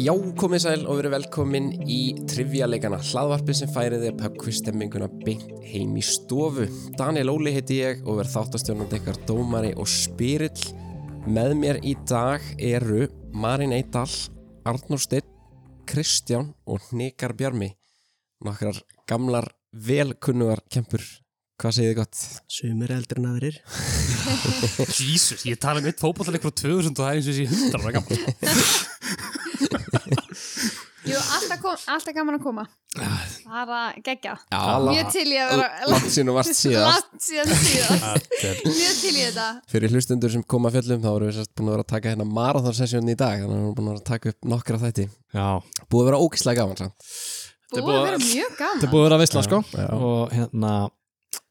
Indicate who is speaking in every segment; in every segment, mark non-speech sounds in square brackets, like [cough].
Speaker 1: Já, komið sæl og verið velkomin í Trivialeikana, hlaðvarpið sem færið er pubquistemminguna beint heim í stofu. Daniel Óli heiti ég og verð þáttastjónandi ykkar dómari og spyrill. Með mér í dag eru Marín Eidal, Arnór Steinn, Kristján og Hnikar Bjarmi. Nokkrar gamlar velkunnugar kempur. Hvað segið þið gott?
Speaker 2: Sumir eldri en aðrir.
Speaker 3: [laughs] Jísus, ég tala um eitt fótballleikur á 2000 og það er eins og þessi 100 ára gammal.
Speaker 4: Jú, alltaf, kom, alltaf gaman að koma bara geggja
Speaker 1: Já,
Speaker 4: mjög til ég að vera
Speaker 1: langt sín og
Speaker 4: [laughs]
Speaker 1: vart síðast.
Speaker 4: langt síðan síðast mjög til ég þetta
Speaker 1: Fyrir hlustendur sem koma að fjöllum þá erum við sérst búin að vera að taka hérna marathonsessjónu í dag þannig að við erum búin að vera að taka upp nokkra þætti
Speaker 3: Já.
Speaker 1: Búið að vera ógislega gaman samt
Speaker 4: búið
Speaker 3: búið
Speaker 4: að
Speaker 3: að-
Speaker 4: vera mjög
Speaker 3: Það er
Speaker 4: gaman
Speaker 3: búið að vera að veistla, sko.
Speaker 1: Já.
Speaker 3: Og hérna,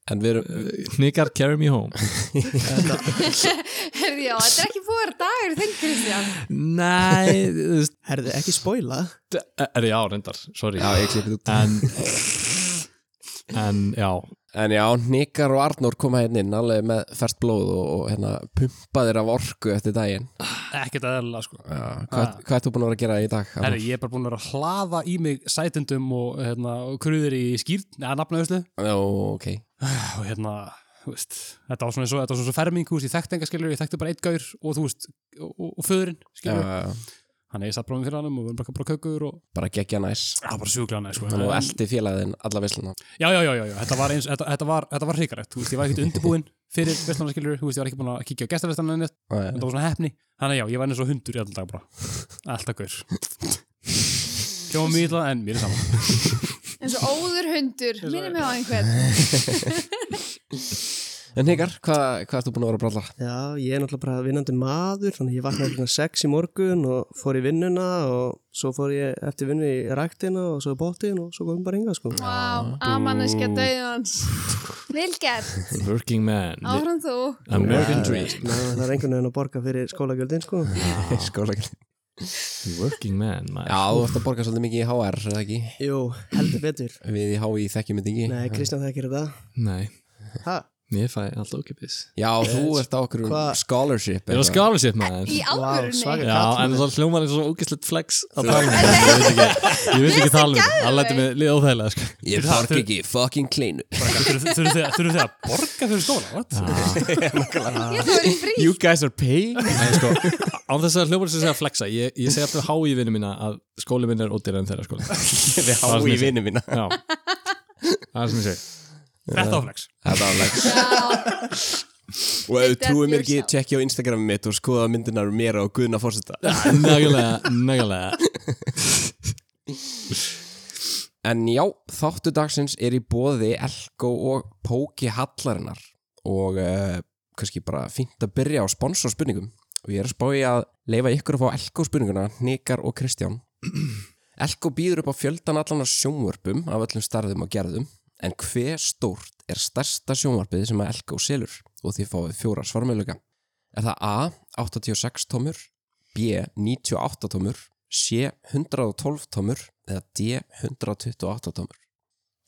Speaker 1: En við erum,
Speaker 3: Hnikar, carry me home.
Speaker 4: Herði, já, þetta er ekki búið að vera dagur þinn Kristján
Speaker 3: Nei, þú veist,
Speaker 2: Herðu, ekki spoila.
Speaker 3: e, er ég á reyndar, sorry.
Speaker 1: já ég klippið út
Speaker 3: En, en, já,
Speaker 1: En já, Nikar og Arnór koma hérna inn alveg með fært blóð og, og hérna pumpaðir af orku eftir daginn
Speaker 5: [laughs] ekkert aðeðla sko.
Speaker 1: já, Hvað, hvað ert þú búin að vera að gera í dag? Arnór?
Speaker 5: Herri, ég er bara búin að vera að hlaða í mig sætendum og, hérna, og kruðir í skýrn eða nafnaðuslu
Speaker 1: Já, ok
Speaker 5: og hérna, þú veist, þetta var svona eins og, þetta var svona svo ferming, þú veist, ég þekkti enga skilur, ég þekkti bara eitt gaur og þú veist, og, og, og föðurinn
Speaker 1: já,
Speaker 5: skilur,
Speaker 1: já.
Speaker 5: hann er í sattbróðum fyrir hannum og við erum bara, bara kökur og
Speaker 1: Bara geggja næs
Speaker 5: það var bara sjúklaðan sko.
Speaker 1: Þannig að
Speaker 5: En-
Speaker 1: eldi félagðin alla veisluna
Speaker 5: já, já, já, já, já, þetta var eins, þetta, þetta var, þetta var hrigarætt, þú veist, ég var ekkert undirbúinn fyrir vestlana skilur, þú veist, ég var ekki búin að kíkja á gestaveslana en þetta
Speaker 1: Já, já.
Speaker 5: var svona hefni, þannig að já, ég var eins og hundur í allan dag bara, alltaf gaur Kjóma mjög illa, en mér er saman
Speaker 4: eins og óður hundur, minnum mig á einhvern
Speaker 1: En Nikar, hvað, hvað ert þú búin að vera að bralla?
Speaker 2: Já, ég er náttúrulega bara vinnandi maður, þannig að ég vaknaði klukkan 6 í morgun og fór í vinnuna og svo fór ég eftir vinnu í ræktina og svo í bóttin og svo komum bara hinga, sko.
Speaker 4: wow, amanneska döðans vilgert, [laughs]
Speaker 3: working man,
Speaker 4: áfram þú
Speaker 3: American dream,
Speaker 2: Ná, það er einhvern veginn að borga fyrir skólagjöldin, sko.
Speaker 1: [laughs] Skólakir
Speaker 3: working man,
Speaker 1: Já,
Speaker 3: maður.
Speaker 1: þú ert að borga svolítið mikið í HR, er það ekki?
Speaker 2: Jú, heldur betur.
Speaker 1: Við í HÍ þekkjum þetta ekki
Speaker 2: Nei, Kristján þekkir þetta.
Speaker 3: Nei,
Speaker 2: Ha,
Speaker 3: ég fæ alltaf ókipis.
Speaker 1: Já, þú ert á okkur
Speaker 2: Hva-
Speaker 1: scholarship
Speaker 3: Ég var
Speaker 1: eitthvað.
Speaker 3: skálusið, maður.
Speaker 4: í
Speaker 2: svaka.
Speaker 4: áðurinni
Speaker 3: Já,
Speaker 2: Kall-
Speaker 3: en það hljómar eins og ógislegt flex að tala um þetta, ég veit ekki, ég veit ekki tala um þetta, hann læti mig liða óþægilega, sko.
Speaker 1: Ég borg ekki fucking kleinu
Speaker 5: Þurfum þið, þurfum þið að borga fyrir skóla, what?
Speaker 4: ég ætla að vera í frí
Speaker 3: You guys are paying Nei, sko, Án þess að hljómar sem segja flexa Ég, ég segi alltaf há í vinnu mína að skóli minn er ódýra en þeirra [laughs] skóli
Speaker 1: Við
Speaker 3: Það sem ég
Speaker 1: vinnu mína
Speaker 3: Já Það er sem ég [laughs] segi
Speaker 5: Þetta áflex.
Speaker 1: Þetta var legs
Speaker 4: já,
Speaker 1: Og ef þú
Speaker 4: Defend
Speaker 1: trúið mér ekki,
Speaker 4: yourself.
Speaker 1: tjekkja á Instagramið mitt og skoða myndinar mér á Guðna Fórseta
Speaker 3: Nægulega, nægulega
Speaker 1: En já, þáttu dagsins er í boði Elko og Póki Hallarinnar og uh, kannski bara fínt að byrja á sponsorspurningum og ég er að spája að leifa ykkur að fá Elko spurninguna, Nikar og Kristján [clears throat] Elko býður upp á fjöldan allan af sjónvörpum af öllum starðum og gerðum en hve stórt er stærsta sjónvarpið sem að Elko selur og því fáið fjóra svarmöðluga Er það A, 86 tómur, B, 98 tómur, C, 112 tómur eða D, 128 tómur?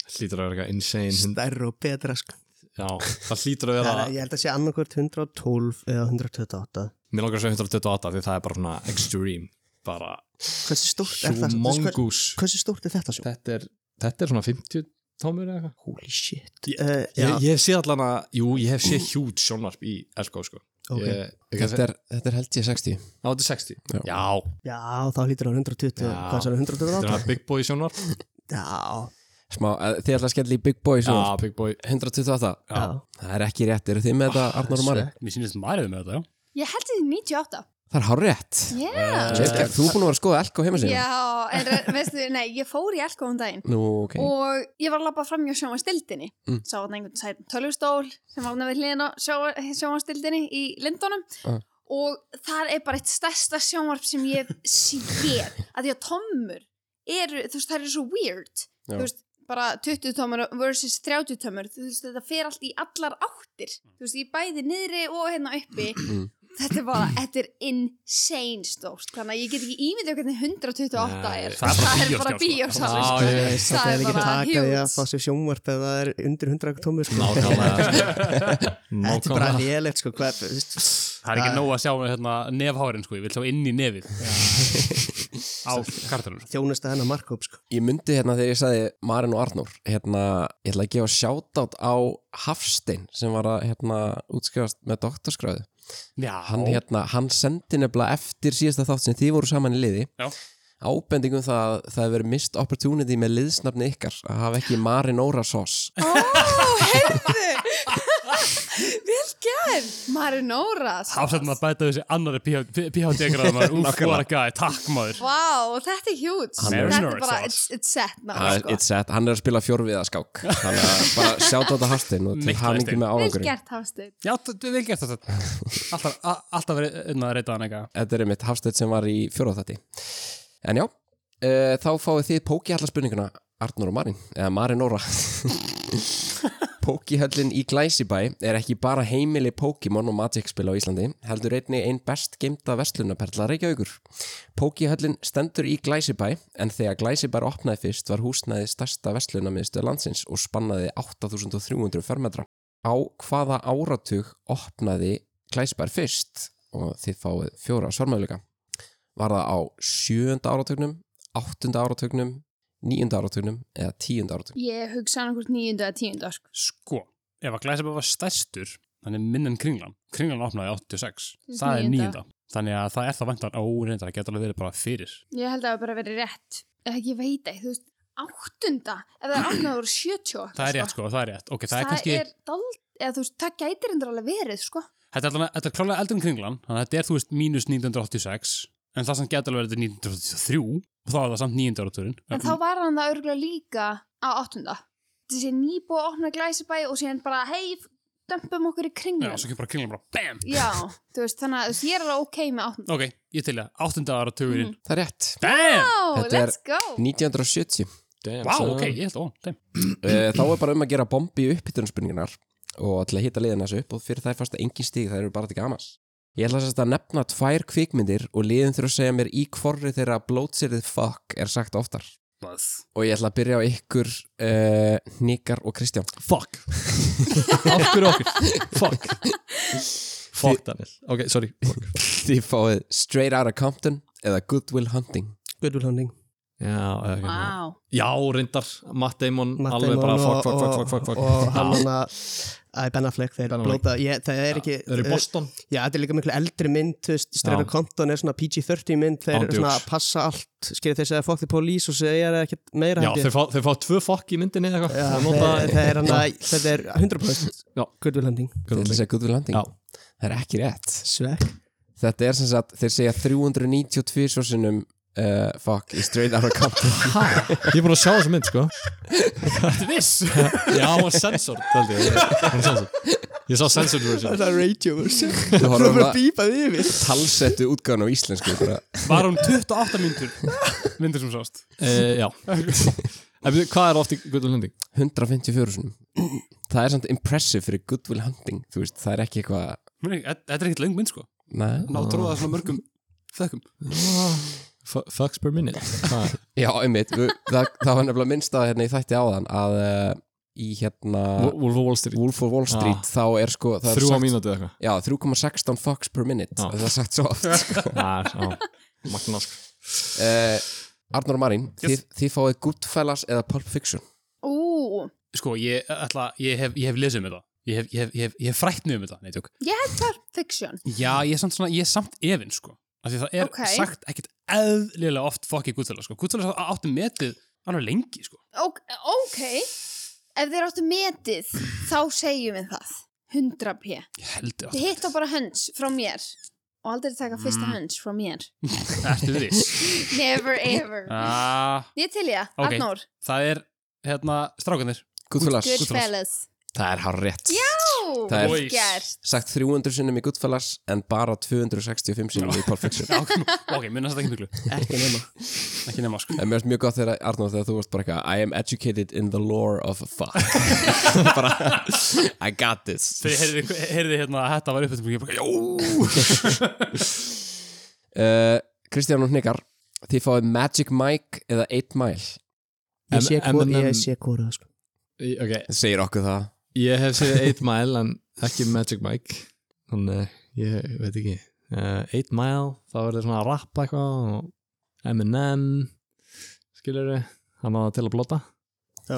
Speaker 3: Hlýtur að vera eitthvað insane hund-
Speaker 2: stærra og betra, sko.
Speaker 3: Já, það hlýtur að vera
Speaker 2: Það, er- ég held að sé annarkvört 112 eða 128.
Speaker 3: Mér langar að segja 128 því það er bara svona extreme Bara
Speaker 2: Hversu stórt er það? Hvers-
Speaker 3: humongous
Speaker 2: Hversu stórt er þetta, svo?
Speaker 3: Þetta er, þetta er svona 50 tómur eða eitthvað
Speaker 2: Holy shit.
Speaker 3: Ég-
Speaker 2: Uh, já,
Speaker 3: Ég, ég hef séð allan að, jú, ég hef séð hjút sjónvarp í Elko, sko
Speaker 2: ok.
Speaker 3: Ég, ég,
Speaker 1: Þetta er, þetta er held ég 60
Speaker 3: á, þetta er 60
Speaker 1: Já.
Speaker 3: Já,
Speaker 2: Já, þá hlýtur það 120,
Speaker 3: Já.
Speaker 2: hvað er það,
Speaker 3: þetta er
Speaker 2: 128?
Speaker 3: svona big boy sjónvarp
Speaker 2: Já,
Speaker 1: Smá, eh, Þið ætla að skella í Big Boy svo
Speaker 3: Já, big boy
Speaker 1: 128
Speaker 2: já.
Speaker 1: Það er ekki rétt, eru þið með þetta Arnur og Mari?
Speaker 5: Mér sýnist maður með þetta, já.
Speaker 4: ég held þið 98
Speaker 1: Það er hár rétt
Speaker 4: Eh,
Speaker 2: Eh,
Speaker 4: yeah.
Speaker 1: Jake, Þú er búin að vera að skoða Elko heima síðan
Speaker 4: já, en re- veistu, nei, ég fór í elko um daginn
Speaker 1: Nú, ok
Speaker 4: og ég var að labba fram hjá sjónvastildinni
Speaker 1: Mm.
Speaker 4: sá hann einhvern sætum tölvustól sem var nefnir hliðin á sjó- sjónvastildinni í Lindunum
Speaker 1: Ah.
Speaker 4: og það er bara eitt stærsta sjónvarp sem ég sé
Speaker 1: [laughs]
Speaker 4: að því að tommur eru, þú veist, það eru svo weird
Speaker 1: Já.
Speaker 4: þú veist, bara 20 tommur versus 30 tommur, þú veist, þetta fer allt í allar áttir,
Speaker 5: Mm.
Speaker 4: þú veist, í bæði niðri og hérna uppi
Speaker 1: [clears throat] Mm.
Speaker 4: Þetta er bara, þetta er insane stórt, þannig að ég get ekki ímyndið hvernig 128 er,
Speaker 3: Nei,
Speaker 5: það er bara bíósal, sko.
Speaker 4: bíósal,
Speaker 3: Já,
Speaker 4: sko.
Speaker 3: ég
Speaker 2: veist, það er ekki
Speaker 4: bara
Speaker 2: taka því að
Speaker 4: huge.
Speaker 2: fá sér sjónvarp ef það er undir 100 tómur sko. [laughs]
Speaker 3: Nákvæmlega
Speaker 2: Þetta er bara
Speaker 3: Nákvæmlega
Speaker 2: lélegt sko, hvað, þú veist,
Speaker 5: Það er ekki
Speaker 2: Það-
Speaker 5: nóg að sjá hérna, nefhárin, sko, ég vil sjá inn í nefið. á kartunum
Speaker 2: þjónusta hennar markhóp sko.
Speaker 1: Ég myndi hérna þegar ég sagði Marin og Arnór hérna, ég ætla að gefa sjátátt á Hafstein sem var að hérna, útskrifast með doktorskráðu
Speaker 5: Já,
Speaker 1: hann, hérna, hann sendi nefnilega eftir síðasta þátt sem þið voru saman í liði
Speaker 5: Já.
Speaker 1: ábendingum það að það hefur verið mist opportunity með liðsnafni ykkar að hafa ekki Marin Órasós
Speaker 4: Ó, heyrðu! Vel gert! Marinóras.
Speaker 5: Hafsettum að bæta þessi annari PHD-gráðum Úf, what a guy, takk maður
Speaker 4: Vá, þetta er huge.
Speaker 1: Hann
Speaker 5: er-
Speaker 4: þetta er bara,
Speaker 5: Marinóras.
Speaker 4: it's, it's set now,
Speaker 1: Ah,
Speaker 4: sko.
Speaker 1: It's set, hann er að spila fjórviða skák þannig að
Speaker 5: [laughs]
Speaker 1: bara sjátátt á Hafstein og til
Speaker 5: Miklu
Speaker 1: hamingi
Speaker 5: Hafstein.
Speaker 1: með
Speaker 4: Vel
Speaker 1: árangurinn
Speaker 4: gert, Hafstein.
Speaker 5: Já, þú vil gert þetta Alltaf, a- alltaf verið inn að reyta hann eitthvað
Speaker 1: Þetta er mitt Hafstein sem var í fjóraþætti En já, uh, þá fáið þið Póki allar spurninguna Arnur og Marin eða Marin Óra Pókihöllin í Glæsibæ er ekki bara heimili Pokémon og Magic spil á Íslandi, heldur einni einn best geimta verslunaperla Reykjavíkur. Pókihöllin stendur í Glæsibæ en þegar Glæsibær opnaði fyrst var húsnaði stærsta verslunamiðstöð landsins og spannaði 8300 fermetra. Á hvaða áratug opnaði Glæsibær fyrst? og þið fáið fjóra svarmöðleika var það á sjöunda áratögnum áttunda áratögnum níunda áratögnum eða tíunda áratögnum
Speaker 4: Ég hugsa hann okkur nýjunda eða tíunda, sko.
Speaker 5: Sko, ef að Glæsabæ var stærstur Þannig minn en Kringlan Kringlan opnaði 86 Það er
Speaker 4: Níunda.
Speaker 5: nýjunda Þannig að það er það vantan Ó, reyndar, það getur alveg verið bara fyrir
Speaker 4: Ég held að það hafi bara verið rétt. Eða ekki, ég veit ekki, þú veist, áttunda, ef það er áttunda, það voru 70 og
Speaker 5: Það er
Speaker 4: eitthvað,
Speaker 5: rétt, sko, það er rétt Ok, það er kannski
Speaker 4: er dald, eða þú veist, það gætir endur alveg verið, sko.
Speaker 5: Þetta er, allavega- þetta er klálega eldin kringlan, þannig að þetta er, þú veist, mínus 1986, en það sem getur alveg verið þetta er 1983, og þá er það samt 9. áratúrin.
Speaker 4: En þá var hann það örgulega líka á áttunda. Þessi nýbú að opna glæsibæ og síðan bara, hei, dömpum okkur í
Speaker 5: Já,
Speaker 4: kringlum.
Speaker 5: svo kemur bara kringlan bara, bam!
Speaker 4: Já, þú veist, þannig að þú veist, ég er alveg ok með áttunda.
Speaker 5: Ok, ég til það, 8.
Speaker 4: Mhm.
Speaker 5: áratúrin,
Speaker 1: það er rétt
Speaker 5: bam!
Speaker 4: Ó,
Speaker 1: Þetta er-
Speaker 4: let's go!
Speaker 1: 1970
Speaker 3: Damn,
Speaker 5: Vá,
Speaker 3: son.
Speaker 5: ok, ég held, ó, damn.
Speaker 1: Eh, þá er bara um að gera bombi í uppbytunarspurningunar og til að hitta liðin þessu upp og fyrir það er fast að engin stíg það eru bara til gamans ég ætla sérst að nefna tvær kvikmyndir og liðin þurfa að segja mér í hvorri þegar blótsirðið fuck er sagt oftar og ég ætla að byrja á ykkur uh, Nikar og Kristján [laughs]
Speaker 3: Fuck [laughs] Af hverju okkur Fuck Fuck Daniel Ok, sorry Fuck.
Speaker 1: þið fáið Straight Outta Compton eða Good Will Hunting
Speaker 2: Guðvul Handing
Speaker 3: Já, okay,
Speaker 4: Wow.
Speaker 3: já, reyndar Matt Damon
Speaker 2: Matt
Speaker 3: Alveg
Speaker 2: Damon
Speaker 3: bara fuck,
Speaker 2: og-
Speaker 3: fuck, fuck,
Speaker 2: og-
Speaker 3: fuck, fuck, fuck.
Speaker 2: og
Speaker 3: Já.
Speaker 2: hann hann að Æ, Ben Affleck, þeir
Speaker 3: Ben Affleck.
Speaker 2: blóta ég, það er ekki
Speaker 3: Þeir eru í Boston
Speaker 2: já, þetta er líka miklu eldri mynd, þú veist Streyra
Speaker 3: Já.
Speaker 2: Compton er svona PG-30 mynd þeir
Speaker 3: Án
Speaker 2: eru svona
Speaker 3: djóks.
Speaker 2: að passa allt skilja þeir segja fólk því polís og segja er ekkert meira
Speaker 3: Já,
Speaker 2: held ég.
Speaker 3: þeir fá, þeir fá tvö fuck í myndinni eða eitthvað
Speaker 2: Já,
Speaker 3: Þeir
Speaker 2: þeir-
Speaker 3: nota-
Speaker 2: þeir eru hann að- þetta er 100%
Speaker 3: Já.
Speaker 2: Guðvul Handing
Speaker 1: þið ætla að segja Good Will Hunting
Speaker 3: Já.
Speaker 1: það er ekki rétt
Speaker 2: Svekk
Speaker 1: Þetta er sem sagt, þeir segja 392 svo sinnum uh, fuck, í straight out of compton
Speaker 3: Ég er búin að sjá þessu mynd, sko Þetta er viss [laughs] Já, hún var sensor, held ég Hún var sensor Ég sá sensor version
Speaker 2: Það er radio version
Speaker 1: Þú
Speaker 2: Það er
Speaker 1: horfum
Speaker 2: bara
Speaker 1: að
Speaker 2: bípað yfir
Speaker 1: talsettu útgáðan á íslensku bara.
Speaker 5: Var hún 28 myndur, myndur sem sást.
Speaker 3: uh, [laughs] Já En við, hvað er oft í Good Will Hunting?
Speaker 1: 154 sinnum Það er samt impressive fyrir Good Will Hunting þú veist, það er ekki eitthvað
Speaker 5: Mér ekki, Þetta þetta er ekkert löng mynd, sko.
Speaker 1: Nei.
Speaker 5: Ná tróða svona mörgum þökkum.
Speaker 3: Fu- Fucks per minute Ha.
Speaker 1: Já, einmitt, við, það, það var nefnilega minnstað hérna í þætti áðan að uh, í hérna
Speaker 3: Wo- Wolf of Wall Street
Speaker 1: Wolf of Wall Street þá er sko það er
Speaker 3: Ah. Þrjú á
Speaker 1: sagt-
Speaker 3: mínútu Ah. eða eitthvað
Speaker 1: Já, 3,16 fucks per minute
Speaker 3: Já.
Speaker 1: það er sagt
Speaker 3: [laughs]
Speaker 1: svo oft
Speaker 3: Já, já, magna sko
Speaker 1: uh, Arnur og Marín, þið, þið fáið Goodfellas eða Pulp Fiction
Speaker 4: Ú,
Speaker 5: Sko, ég ætla, ég hef, ég hef lesið um þetta. Ég hef, ég hef, ég hef, ég hef frætt mig um þetta, neitjók.
Speaker 4: ég hef Pulp Fiction.
Speaker 5: Já, ég er samt svona, ég er samt efinn sko af því það er
Speaker 4: Ok.
Speaker 5: sagt ekkert eðlilega oft fokki Guðfjöla sko, Guðfjöla átti metið alveg lengi sko
Speaker 4: Ok, ok, ef þeir áttu metið, þá segjum við það. 100 p.
Speaker 5: ég held
Speaker 4: Þið [laughs]
Speaker 5: það,
Speaker 4: hitt á bara hunds frá mér. Og aldrei taka fyrsta hunds frá mér.
Speaker 5: ertu viss
Speaker 4: Never ever.
Speaker 5: [laughs] ah,
Speaker 4: Ég til ég,
Speaker 5: Ok.
Speaker 4: Arnór.
Speaker 5: það er, hérna, strákanir
Speaker 1: Goodfellas,
Speaker 4: Goodfellas.
Speaker 1: Það er hár rétt
Speaker 4: Ó,
Speaker 1: Það er-
Speaker 4: vel gert.
Speaker 1: sagt 300 sinnum í Goodfellas en bara 265 sinnum í Pulp
Speaker 2: [laughs]
Speaker 1: Fiction
Speaker 5: ok, ok, munast þetta ekki miklu
Speaker 2: Ekki nema
Speaker 5: ekki nema sko,
Speaker 1: en mér finnst mjög gott þegar Arnóð þegar þú varst bara eitthvað I am educated in the lore of fuck [laughs] bara I got this
Speaker 5: þegar ég heyrði, heyrði hérna að þetta var uppið ég bara, [laughs] jú
Speaker 1: uh, Kristján og Hnikar þið fáið Magic Mike eða 8 Mile
Speaker 2: Ég sé hvor-
Speaker 3: Eminem-
Speaker 2: Ég sé hvora sko.
Speaker 3: Í- Ok,
Speaker 1: það segir okkur það
Speaker 3: ég hef séð 8 Mile en ekki Magic Mike Þannig, ég veit ekki Eh, 8 Mile, þá verður svona að rappa eitthvað og
Speaker 6: M&M skilur hann á það til að blóta
Speaker 2: Já.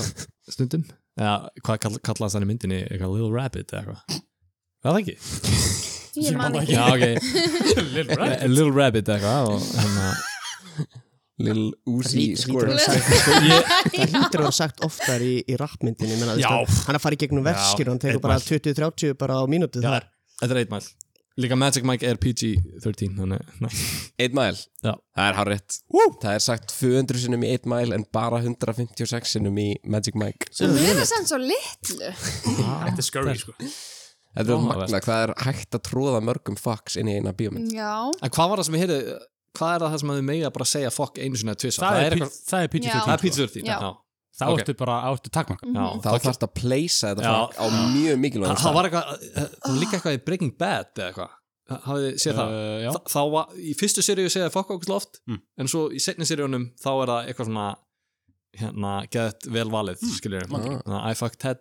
Speaker 6: stundum eða hvað kall, kallast hann í myndinni eitthvað Lil Rabbit eða eitthvað var það ekki?
Speaker 4: Ég man ekki.
Speaker 6: Já, ok,
Speaker 5: Lil
Speaker 6: Eh, Lil Rabbit eða eitthvað og hérna, hann að
Speaker 1: Lil Uzi
Speaker 2: Hlýtur-
Speaker 1: Squirt
Speaker 2: hlýtur að vera sagt- Það
Speaker 4: Já.
Speaker 2: hlýtur að vera sagt oftar í, í rappmyndinni menna,
Speaker 5: Já.
Speaker 2: Hann er að fara í gegnum verskir og hann tekur
Speaker 6: einn
Speaker 2: bara
Speaker 6: mæll.
Speaker 2: 20-30 bara á mínútu
Speaker 6: Já.
Speaker 2: þar
Speaker 6: Þetta er eitt mæl Líka Magic Mike er PG-13 Þannig, næ
Speaker 1: Eitt mæl,
Speaker 6: Já.
Speaker 1: það er hárétt Það er sagt 200 sinnum í eitt mæl en bara 156 sinnum í Magic Mike
Speaker 4: Svo mjög sem svo litlu.
Speaker 5: Þetta er scurry, sko
Speaker 1: Þetta er
Speaker 6: Áhugavert.
Speaker 1: magna, hvað er hægt að tróða mörgum fucks inn í eina bíómynd
Speaker 4: Já.
Speaker 6: [laughs] En hvað var það sem ég heyrði Hvað er það sem að þið mega bara segja fuck einu sinni að tvisa
Speaker 5: Það er
Speaker 6: eitthvað-
Speaker 5: pí- það er
Speaker 4: Já.
Speaker 5: PG-13
Speaker 6: Það er PG-13
Speaker 4: Já.
Speaker 6: Já,
Speaker 5: Það
Speaker 6: Ok.
Speaker 5: áttu bara, áttu takmarka
Speaker 6: já
Speaker 1: Þá
Speaker 6: Það,
Speaker 1: þarf að pleysa þetta
Speaker 6: Já.
Speaker 1: fólk á mjög mikilvægum
Speaker 6: það var eitthvað Það var líka eitthvað í Breaking Bad eða eitthvað Hafið þið séð það?
Speaker 5: Uh, já.
Speaker 6: Þa, þá var, í fyrstu seríu segja fuck okkur loft
Speaker 5: Mm.
Speaker 6: En svo í setni seríunum þá er það eitthvað svona Hérna, geðt vel valið mm. Skiljum,
Speaker 1: Ah.
Speaker 6: I fucked head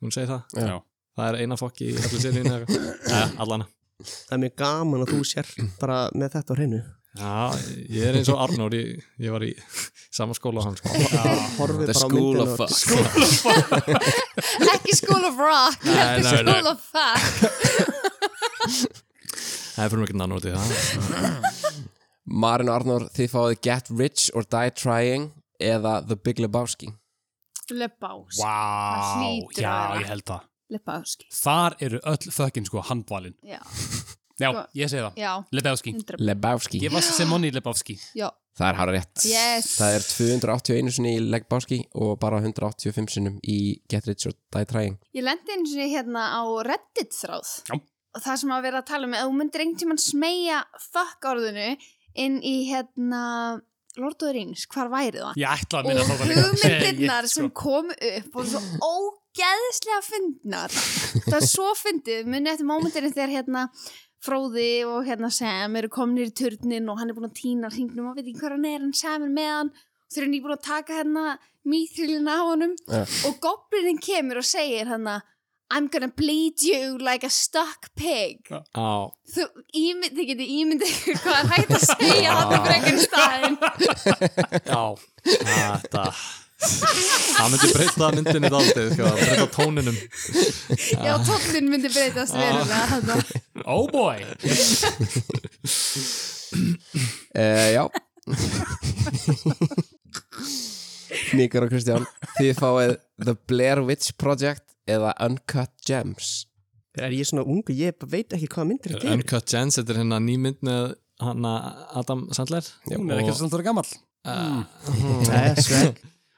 Speaker 6: Hún segir það
Speaker 1: Já.
Speaker 5: Já.
Speaker 6: Það er eina fokk í allir seríunni eða [laughs] eitthvað. Jæja, Allan
Speaker 2: Það er mjög gaman að þú sér bara með þetta á hreinu
Speaker 6: Já, ég er eins og Arnór, ég, ég var í sama skóla á hans [laughs] sko.
Speaker 2: Horfið
Speaker 1: The
Speaker 2: bara á
Speaker 1: School of
Speaker 2: myndina og-
Speaker 1: Fuck
Speaker 4: Ekki School of Rock,
Speaker 6: Nei,
Speaker 4: ekki
Speaker 6: nei, nei.
Speaker 4: School of Fuck.
Speaker 6: eh, Það fyrir mig ekki nann út í það.
Speaker 1: Marin og Arnór, þið fáið Get Rich or Die Trying eða The Big Lebowski
Speaker 4: Lebás. Það
Speaker 5: Vá,
Speaker 4: hlýtur að
Speaker 5: já,
Speaker 4: vera.
Speaker 5: ég held það
Speaker 4: Lebáski.
Speaker 5: Þar eru öll fökkin sko handvalin
Speaker 4: Já.
Speaker 5: Já,
Speaker 4: Sko-
Speaker 5: ég segi það
Speaker 4: Já.
Speaker 5: Lebowski,
Speaker 4: 100.
Speaker 1: Lebowski,
Speaker 5: give us some money Lebowski
Speaker 4: Já.
Speaker 1: það er hár rétt
Speaker 4: Yes.
Speaker 1: Það er 281 sinni í Lebowski og bara 185 sinnum í Get Rich or Die Trying
Speaker 4: Ég lendi einu sinni hérna á Reddit þráð
Speaker 5: Já.
Speaker 4: og það sem að vera að tala um að þú myndir einhvern tímann smeyja fuck orðinu inn í hérna Lord of the Rings, hvar væri það?
Speaker 5: Ég ætla að minna
Speaker 4: og
Speaker 5: það
Speaker 4: hugmyndirnar
Speaker 5: sko.
Speaker 4: sem komu upp voru svo ógeðslega fyndnar það er svo fyndið muni eftir mómentirinn þegar hérna Fróði og hérna Sam eru komnir í turnin og hann er búin að týna hringnum og veit ekki hver hann er en Sam er með hann þau eru nýbúin að taka hérna mýþrilina á honum
Speaker 1: Ja.
Speaker 4: og goblinin kemur og segir hérna I'm gonna bleed you like a stuck pig
Speaker 6: Á,
Speaker 4: þú, ímynd, þið getur ímyndið ykkur hvað er hægt að segja hann frekar í staðinn
Speaker 6: já, þetta, það myndi breyta myndinni daldið, sko, breyta tóninum.
Speaker 4: Já,
Speaker 5: Ah.
Speaker 4: tóllin myndi breytast verulega
Speaker 5: [laughs]
Speaker 4: þarna.
Speaker 5: Oh boy
Speaker 1: uh, Já [laughs] Míkar og Kristján Þið fáið The Blair Witch Project eða Uncut Gems
Speaker 2: Er ég svona ungu, ég bara veit ekki hvað myndir þetta er
Speaker 6: Uncut Jens, þetta er hérna ný mynd með hana Adam Sandler.
Speaker 1: Já,
Speaker 5: Hún er ekki
Speaker 6: og-
Speaker 5: svona þar gammal
Speaker 6: Uh,
Speaker 2: Nei, sveg.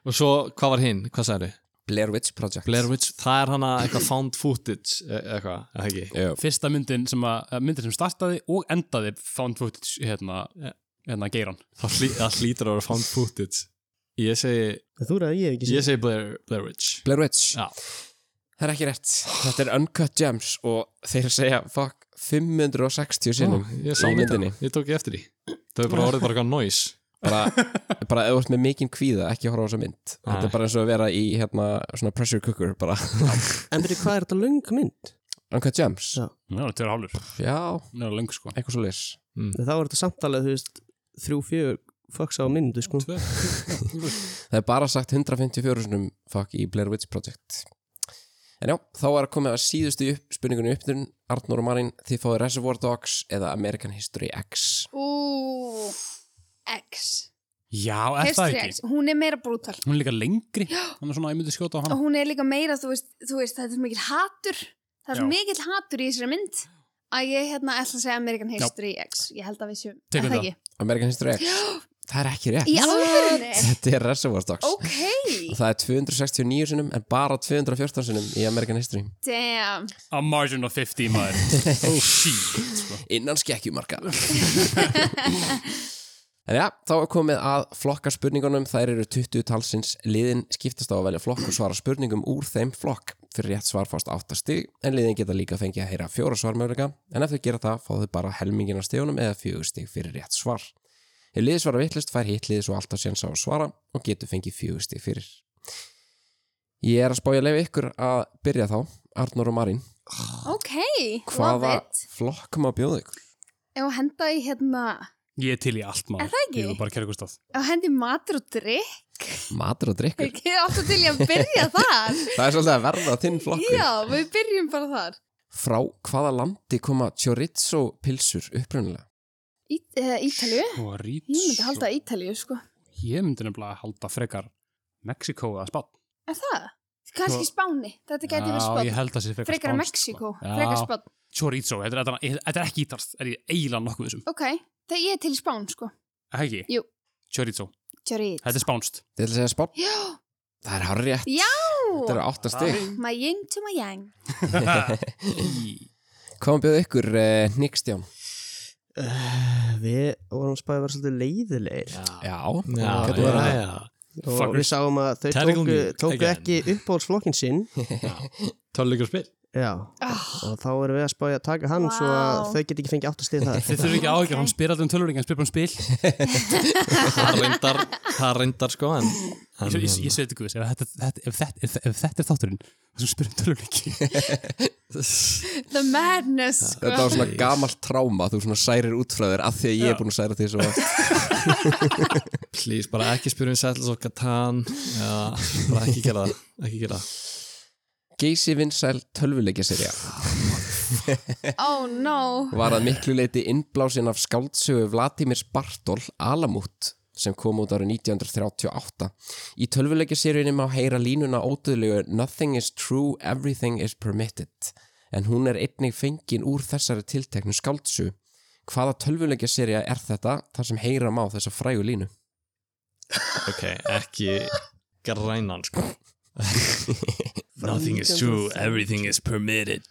Speaker 6: og svo, hvað var hinn? Hvað sagði þið?
Speaker 1: Blair Witch Project
Speaker 6: Blair Witch, það er hana eitthvað found footage, e- eitthvað, eða ekki?
Speaker 1: Witch
Speaker 5: Fyrsta myndin sem, að, eh, myndin sem startaði og endaði found footage hérna, hérna geiran
Speaker 6: Það, hlý, það hlýtur að vera found footage. Ég segi,
Speaker 2: Þú ræði ég hef ekki
Speaker 6: ég segi Blair, Blair Witch.
Speaker 1: Blair Witch
Speaker 6: Já.
Speaker 1: Það er ekki rétt Þetta er Uncut Gems og þeir segja fuck 560 sinnum
Speaker 6: Já, ég sá
Speaker 1: í
Speaker 6: myndinni,
Speaker 1: myndinni
Speaker 6: ég tók ég eftir því það er bara orðið bara eitthvað noise
Speaker 1: bara, bara ef þú ert með mikinn kvíða ekki horfa á þessa mynd Þetta
Speaker 6: Nei.
Speaker 1: er bara eins og að vera í hérna, svona pressure cooker bara [laughs]
Speaker 2: En byrju, hvað er þetta löng mynd?
Speaker 1: Uncut Gems
Speaker 2: Já.
Speaker 5: Hún er alveg tveir og hálfur,
Speaker 1: Já,
Speaker 5: hún er löng sko
Speaker 1: eitthvað svo leys
Speaker 2: Þá er þetta samtalið, þú veist, þrjú, fjögur fucks á myndu, sko
Speaker 1: Það er bara sagt 154 sinnum fuck í Blair Witch Project En já, þá er að koma að síðustu upp, spurningunni uppnum Arnur og Marín, þið fáið Reservoir Dogs eða American History X
Speaker 4: Ú, X.
Speaker 5: Já, er það
Speaker 4: History
Speaker 5: ekki? Ah.
Speaker 4: X, hún er meira brútal.
Speaker 5: Hún er líka lengri Hann er svona, ég myndi skjóta á hann
Speaker 4: Og hún er líka meira, þú veist, þú veist það er svo mikill hatur. Það er svo
Speaker 5: Já.
Speaker 4: mikill hatur í þessari mynd að ég hérna ætla að segja American History X. Ég held að við séum,
Speaker 5: Tekum
Speaker 4: er
Speaker 5: það.
Speaker 4: ekki.
Speaker 1: American History X, það er ekki rétt
Speaker 4: Í alvegni?
Speaker 1: Þetta er Reservoir Dogs
Speaker 4: Ok,
Speaker 1: Og Það er 269 sinnum en bara 214 sinnum í American History
Speaker 4: damn.
Speaker 5: A margin of 50 [laughs] maður Oh shit sko.
Speaker 1: innan skekkjumarka [laughs] En já, þá er komið að flokka spurningunum, þær eru 20 talsins liðin skiptast á að velja flokk og svara spurningum úr þeim flokk fyrir rétt svar fást 8 stig, en liðin geta líka fengið að heyra fjóra svarmöðleika, en ef þau gera það fá þau bara helmingin af stigunum eða fjögur stig fyrir rétt svar Ef liðið svara vitlist fær hitt liðið svo alltaf séns á að svara og getur fengið fjögur stig fyrir Ég er að spája að leifa ykkur að byrja þá, Arnur og Marín
Speaker 4: Ok, love
Speaker 1: Hvaða
Speaker 4: it.
Speaker 1: flokk má bjóða ykkur?
Speaker 4: Ef hún henda í hérna
Speaker 5: Ég er til í allt maður.
Speaker 4: Er það ekki?
Speaker 5: Ég vil bara kæra Gustaf.
Speaker 4: Að hendi matur og drikk,
Speaker 1: Matur og drikkur.
Speaker 4: ekki alltaf til [laughs] ég að byrja þar.
Speaker 1: Það er svolítið að verða þinn flokkur.
Speaker 4: Já, við byrjum bara þar.
Speaker 1: Frá hvaða landi koma chorizo pilsur upprunnilega?
Speaker 4: Í, uh, Ítalju?
Speaker 5: Og Sko, rít.
Speaker 4: Ég myndi halda Ítalju, sko.
Speaker 5: Ég myndi nefnilega halda frekar Mexiko eða Spán.
Speaker 4: Er það? Kanski
Speaker 5: Svo-
Speaker 4: Spáni, þetta geti verið
Speaker 5: Já, ég
Speaker 4: Spáni.
Speaker 5: held að það sé frekar
Speaker 4: Frekar
Speaker 5: spánskt,
Speaker 4: Mexíkó,
Speaker 5: sko. Já.
Speaker 4: frekar Spán.
Speaker 5: Chorizo, þetta er, þetta er, þetta er ekki ítalst, er ég eiginlega nokkuð þessum.
Speaker 4: Ok, það ég er til í Spán, sko.
Speaker 5: Ekki?
Speaker 4: Jú.
Speaker 5: Chorizo,
Speaker 4: Tjórið.
Speaker 5: þetta er
Speaker 6: [laughs]
Speaker 5: spánst.
Speaker 1: Þið ætla að segja spán?
Speaker 4: Já,
Speaker 1: Það er harrið. Þetta
Speaker 4: já,
Speaker 1: eru átta stig.
Speaker 4: my yin to my yang.
Speaker 1: Hvað bjóðu ykkur eh, Nikstján?
Speaker 2: Eh, Við vorum spæðið að vera svolítið leiðilegir
Speaker 1: Já.
Speaker 6: Já,
Speaker 1: Getur
Speaker 6: já,
Speaker 1: verið.
Speaker 6: já.
Speaker 2: og
Speaker 6: Fuckers.
Speaker 2: við sáum að þau
Speaker 6: Terrible
Speaker 2: tóku,
Speaker 6: me
Speaker 2: tóku
Speaker 6: again.
Speaker 2: ekki uppbólsflokkin sinn
Speaker 6: Tölulegur spil.
Speaker 2: Já,
Speaker 4: Oh,
Speaker 2: og þá erum við að spája að taka hann svo að
Speaker 4: Vá.
Speaker 2: þau get ekki fengið áttastið það
Speaker 5: Þið þurfum ekki
Speaker 4: Ok.
Speaker 5: áhyggjur, hann spyr alltaf um tölvöringar, hann spyr bara um spil. Ég,
Speaker 6: Það reyndar, það reyndar sko, en... en
Speaker 5: ég, ég, ég sveit ykkur þess, ef þetta, þetta, ef, þetta, ef, ef þetta er þátturinn, þessum spyr um tölvöringi.
Speaker 4: the madness,
Speaker 5: [laughs]
Speaker 4: sko.
Speaker 1: Þetta var svona gamalt tráma, þú svona særir útfræður af því að ég er búin að særa því svo.
Speaker 6: Please, bara ekki spyrjum Settles of Catan. Já, bara ekki gera það. Ekki gera það.
Speaker 1: Geysi vinsæl tölvuleikja
Speaker 4: Oh no.
Speaker 1: var að miklu leiti innblásin af skáldsögu Vladimir Bartol Alamut sem kom út árið 1938. Í tölvuleikjaseríunni má heyra línuna ódöðlegu Nothing is true, everything is permitted en hún er einnig fengin úr þessari tilteknu skáldsögu. Hvaða tölvuleikjaserja er þetta þar sem heyra má þessa frægu línu?
Speaker 6: Ok, ekki grænan sko. [laughs] Nothing is true, everything is permitted.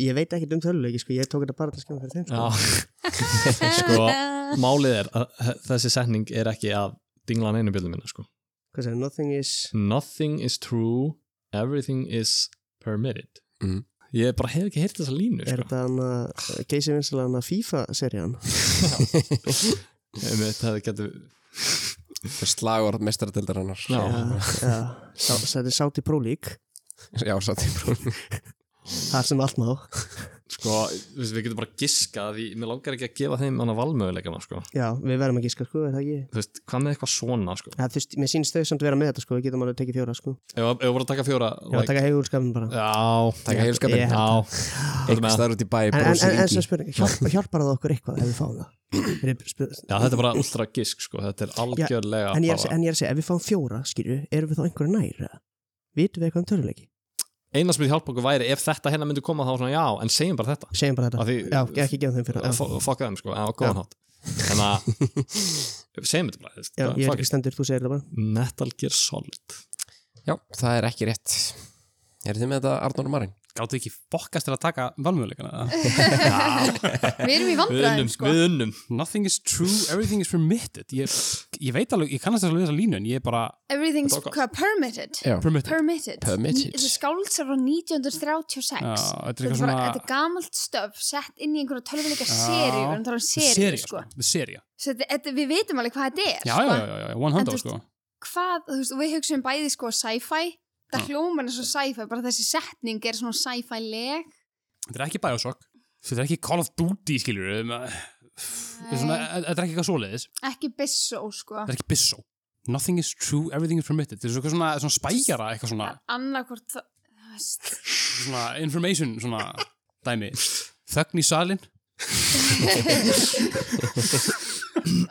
Speaker 2: Ég veit ekkert um töluleiki, sko, ég tók þetta bara til skemmu fyrir þeim sko.
Speaker 6: Já, [laughs] Sko. málið er að þessi setning er ekki að dingla hann einu bjöldum minna sko.
Speaker 2: Hvað segir, nothing is
Speaker 6: Nothing is true, everything is permitted.
Speaker 1: Mm.
Speaker 6: Ég bara hef ekki heyrt þessa línu sko.
Speaker 2: Er þetta hann að geysi vinsalega hann að FIFA-serían?
Speaker 6: Ef Þetta getur...
Speaker 1: Það slagur mestaradeldar hennar.
Speaker 6: Já.
Speaker 2: Já, þetta er sátt í prólík
Speaker 1: Já, satt í brún.
Speaker 2: Það sem allt má
Speaker 6: Sko, þú veist, við getum bara giskað því mér langar ekki að gefa þeim annað valmöguleikana sko.
Speaker 2: Já, við verðum að giska, sko, er það ekki?
Speaker 6: Þú veist, hvað með eitthvað svona sko?
Speaker 2: Já, þú veist, mér sýnst þau samt vera með þetta, sko, við getum alveg tekið fjóra, sko
Speaker 6: Ef ef við vorum að taka fjóra
Speaker 2: Já, taka heigurskapin bara
Speaker 6: Já,
Speaker 1: Takk að heilskapin. Yeah.
Speaker 2: Ég-
Speaker 6: já.
Speaker 1: Einhvers staðar út í bæi
Speaker 2: En, en,
Speaker 1: brósir
Speaker 2: en, en
Speaker 1: Ingi.
Speaker 2: sem spurning, hjálpar, hjálpar það okkur eitthvað ef við fáum það? Er, spyr,
Speaker 6: Já, þetta er bara ultra gisk sko, þetta er algjörlega
Speaker 2: en, ég er, að
Speaker 6: bara...
Speaker 2: seg- en ég er að segja, ef við fáum fjóra, skilju, erum við þá einhverju nær? eða? Vitum við eitthvað um töluleiki?
Speaker 6: Eina sem við hjálpa okkur væri ef þetta hérna myndi koma þá svona já, en segjum bara þetta
Speaker 2: Segjum bara
Speaker 6: Af
Speaker 2: þetta,
Speaker 6: því,
Speaker 2: já, ekki gefa þeim fyrir
Speaker 6: F-
Speaker 2: það
Speaker 6: Fuck þeim sko, á góðan hátt En að, segjum þetta bara þú veist,
Speaker 2: Já,
Speaker 6: bara,
Speaker 2: ég er
Speaker 6: fuck
Speaker 2: ekki
Speaker 6: it.
Speaker 2: stendur, þú segir það bara
Speaker 6: Metal Gear Solid
Speaker 1: Já, það er ekki rétt. Er þið með þetta Arnór og Marín?
Speaker 5: Gáttu ekki fokkast til að taka valmöguleikana?
Speaker 4: Við erum í
Speaker 6: Við
Speaker 4: vandræðum,
Speaker 6: unnum,
Speaker 4: sko.
Speaker 6: við unnum
Speaker 5: Nothing is true, everything is permitted. Ég, ég veit alveg, ég kannast alveg við þessa línu, en ég er bara
Speaker 4: Everything's
Speaker 6: Þetta var gott.
Speaker 4: hvað, permitted.
Speaker 1: Já.
Speaker 5: Eh, permitted.
Speaker 4: Permitted.
Speaker 1: Permitted.
Speaker 4: Þetta skáldsar frá
Speaker 5: Já,
Speaker 4: 1936.
Speaker 5: þetta er
Speaker 4: þetta,
Speaker 5: eitthvað
Speaker 4: var,
Speaker 5: svona-
Speaker 4: þetta er gamalt stöf sett inn í einhverja tölvuleika
Speaker 5: Já.
Speaker 4: seri, við erum talað um seri,
Speaker 5: Sería,
Speaker 4: sko.
Speaker 5: sko. Sería.
Speaker 4: Svo þetta, þetta, við veitum alveg hvað þetta er,
Speaker 5: Já,
Speaker 4: sko.
Speaker 5: já, já, já, já, one
Speaker 4: En þú
Speaker 5: hundred,
Speaker 4: veist-
Speaker 5: sko.
Speaker 4: Hvað, þú veist, og við hugsaum bæði, sko, sci-fi. Það
Speaker 5: Já.
Speaker 4: hljóman er svo sci-fi, bara þessi setning er svona sci-fi-leg.
Speaker 5: Þetta er ekki Bioshock, þetta er ekki Call of Duty, skiljur. Þetta er ekki eitthvað svoleiðis.
Speaker 4: Ekki bissó, sko.
Speaker 5: það er ekki bissó nothing is true, everything is permitted þetta er svona, svona, svona spæjara eitthvað svona,
Speaker 4: Annarkvort það, þú veist.
Speaker 6: [coughs]
Speaker 5: svona information svona dæmi þögn í salin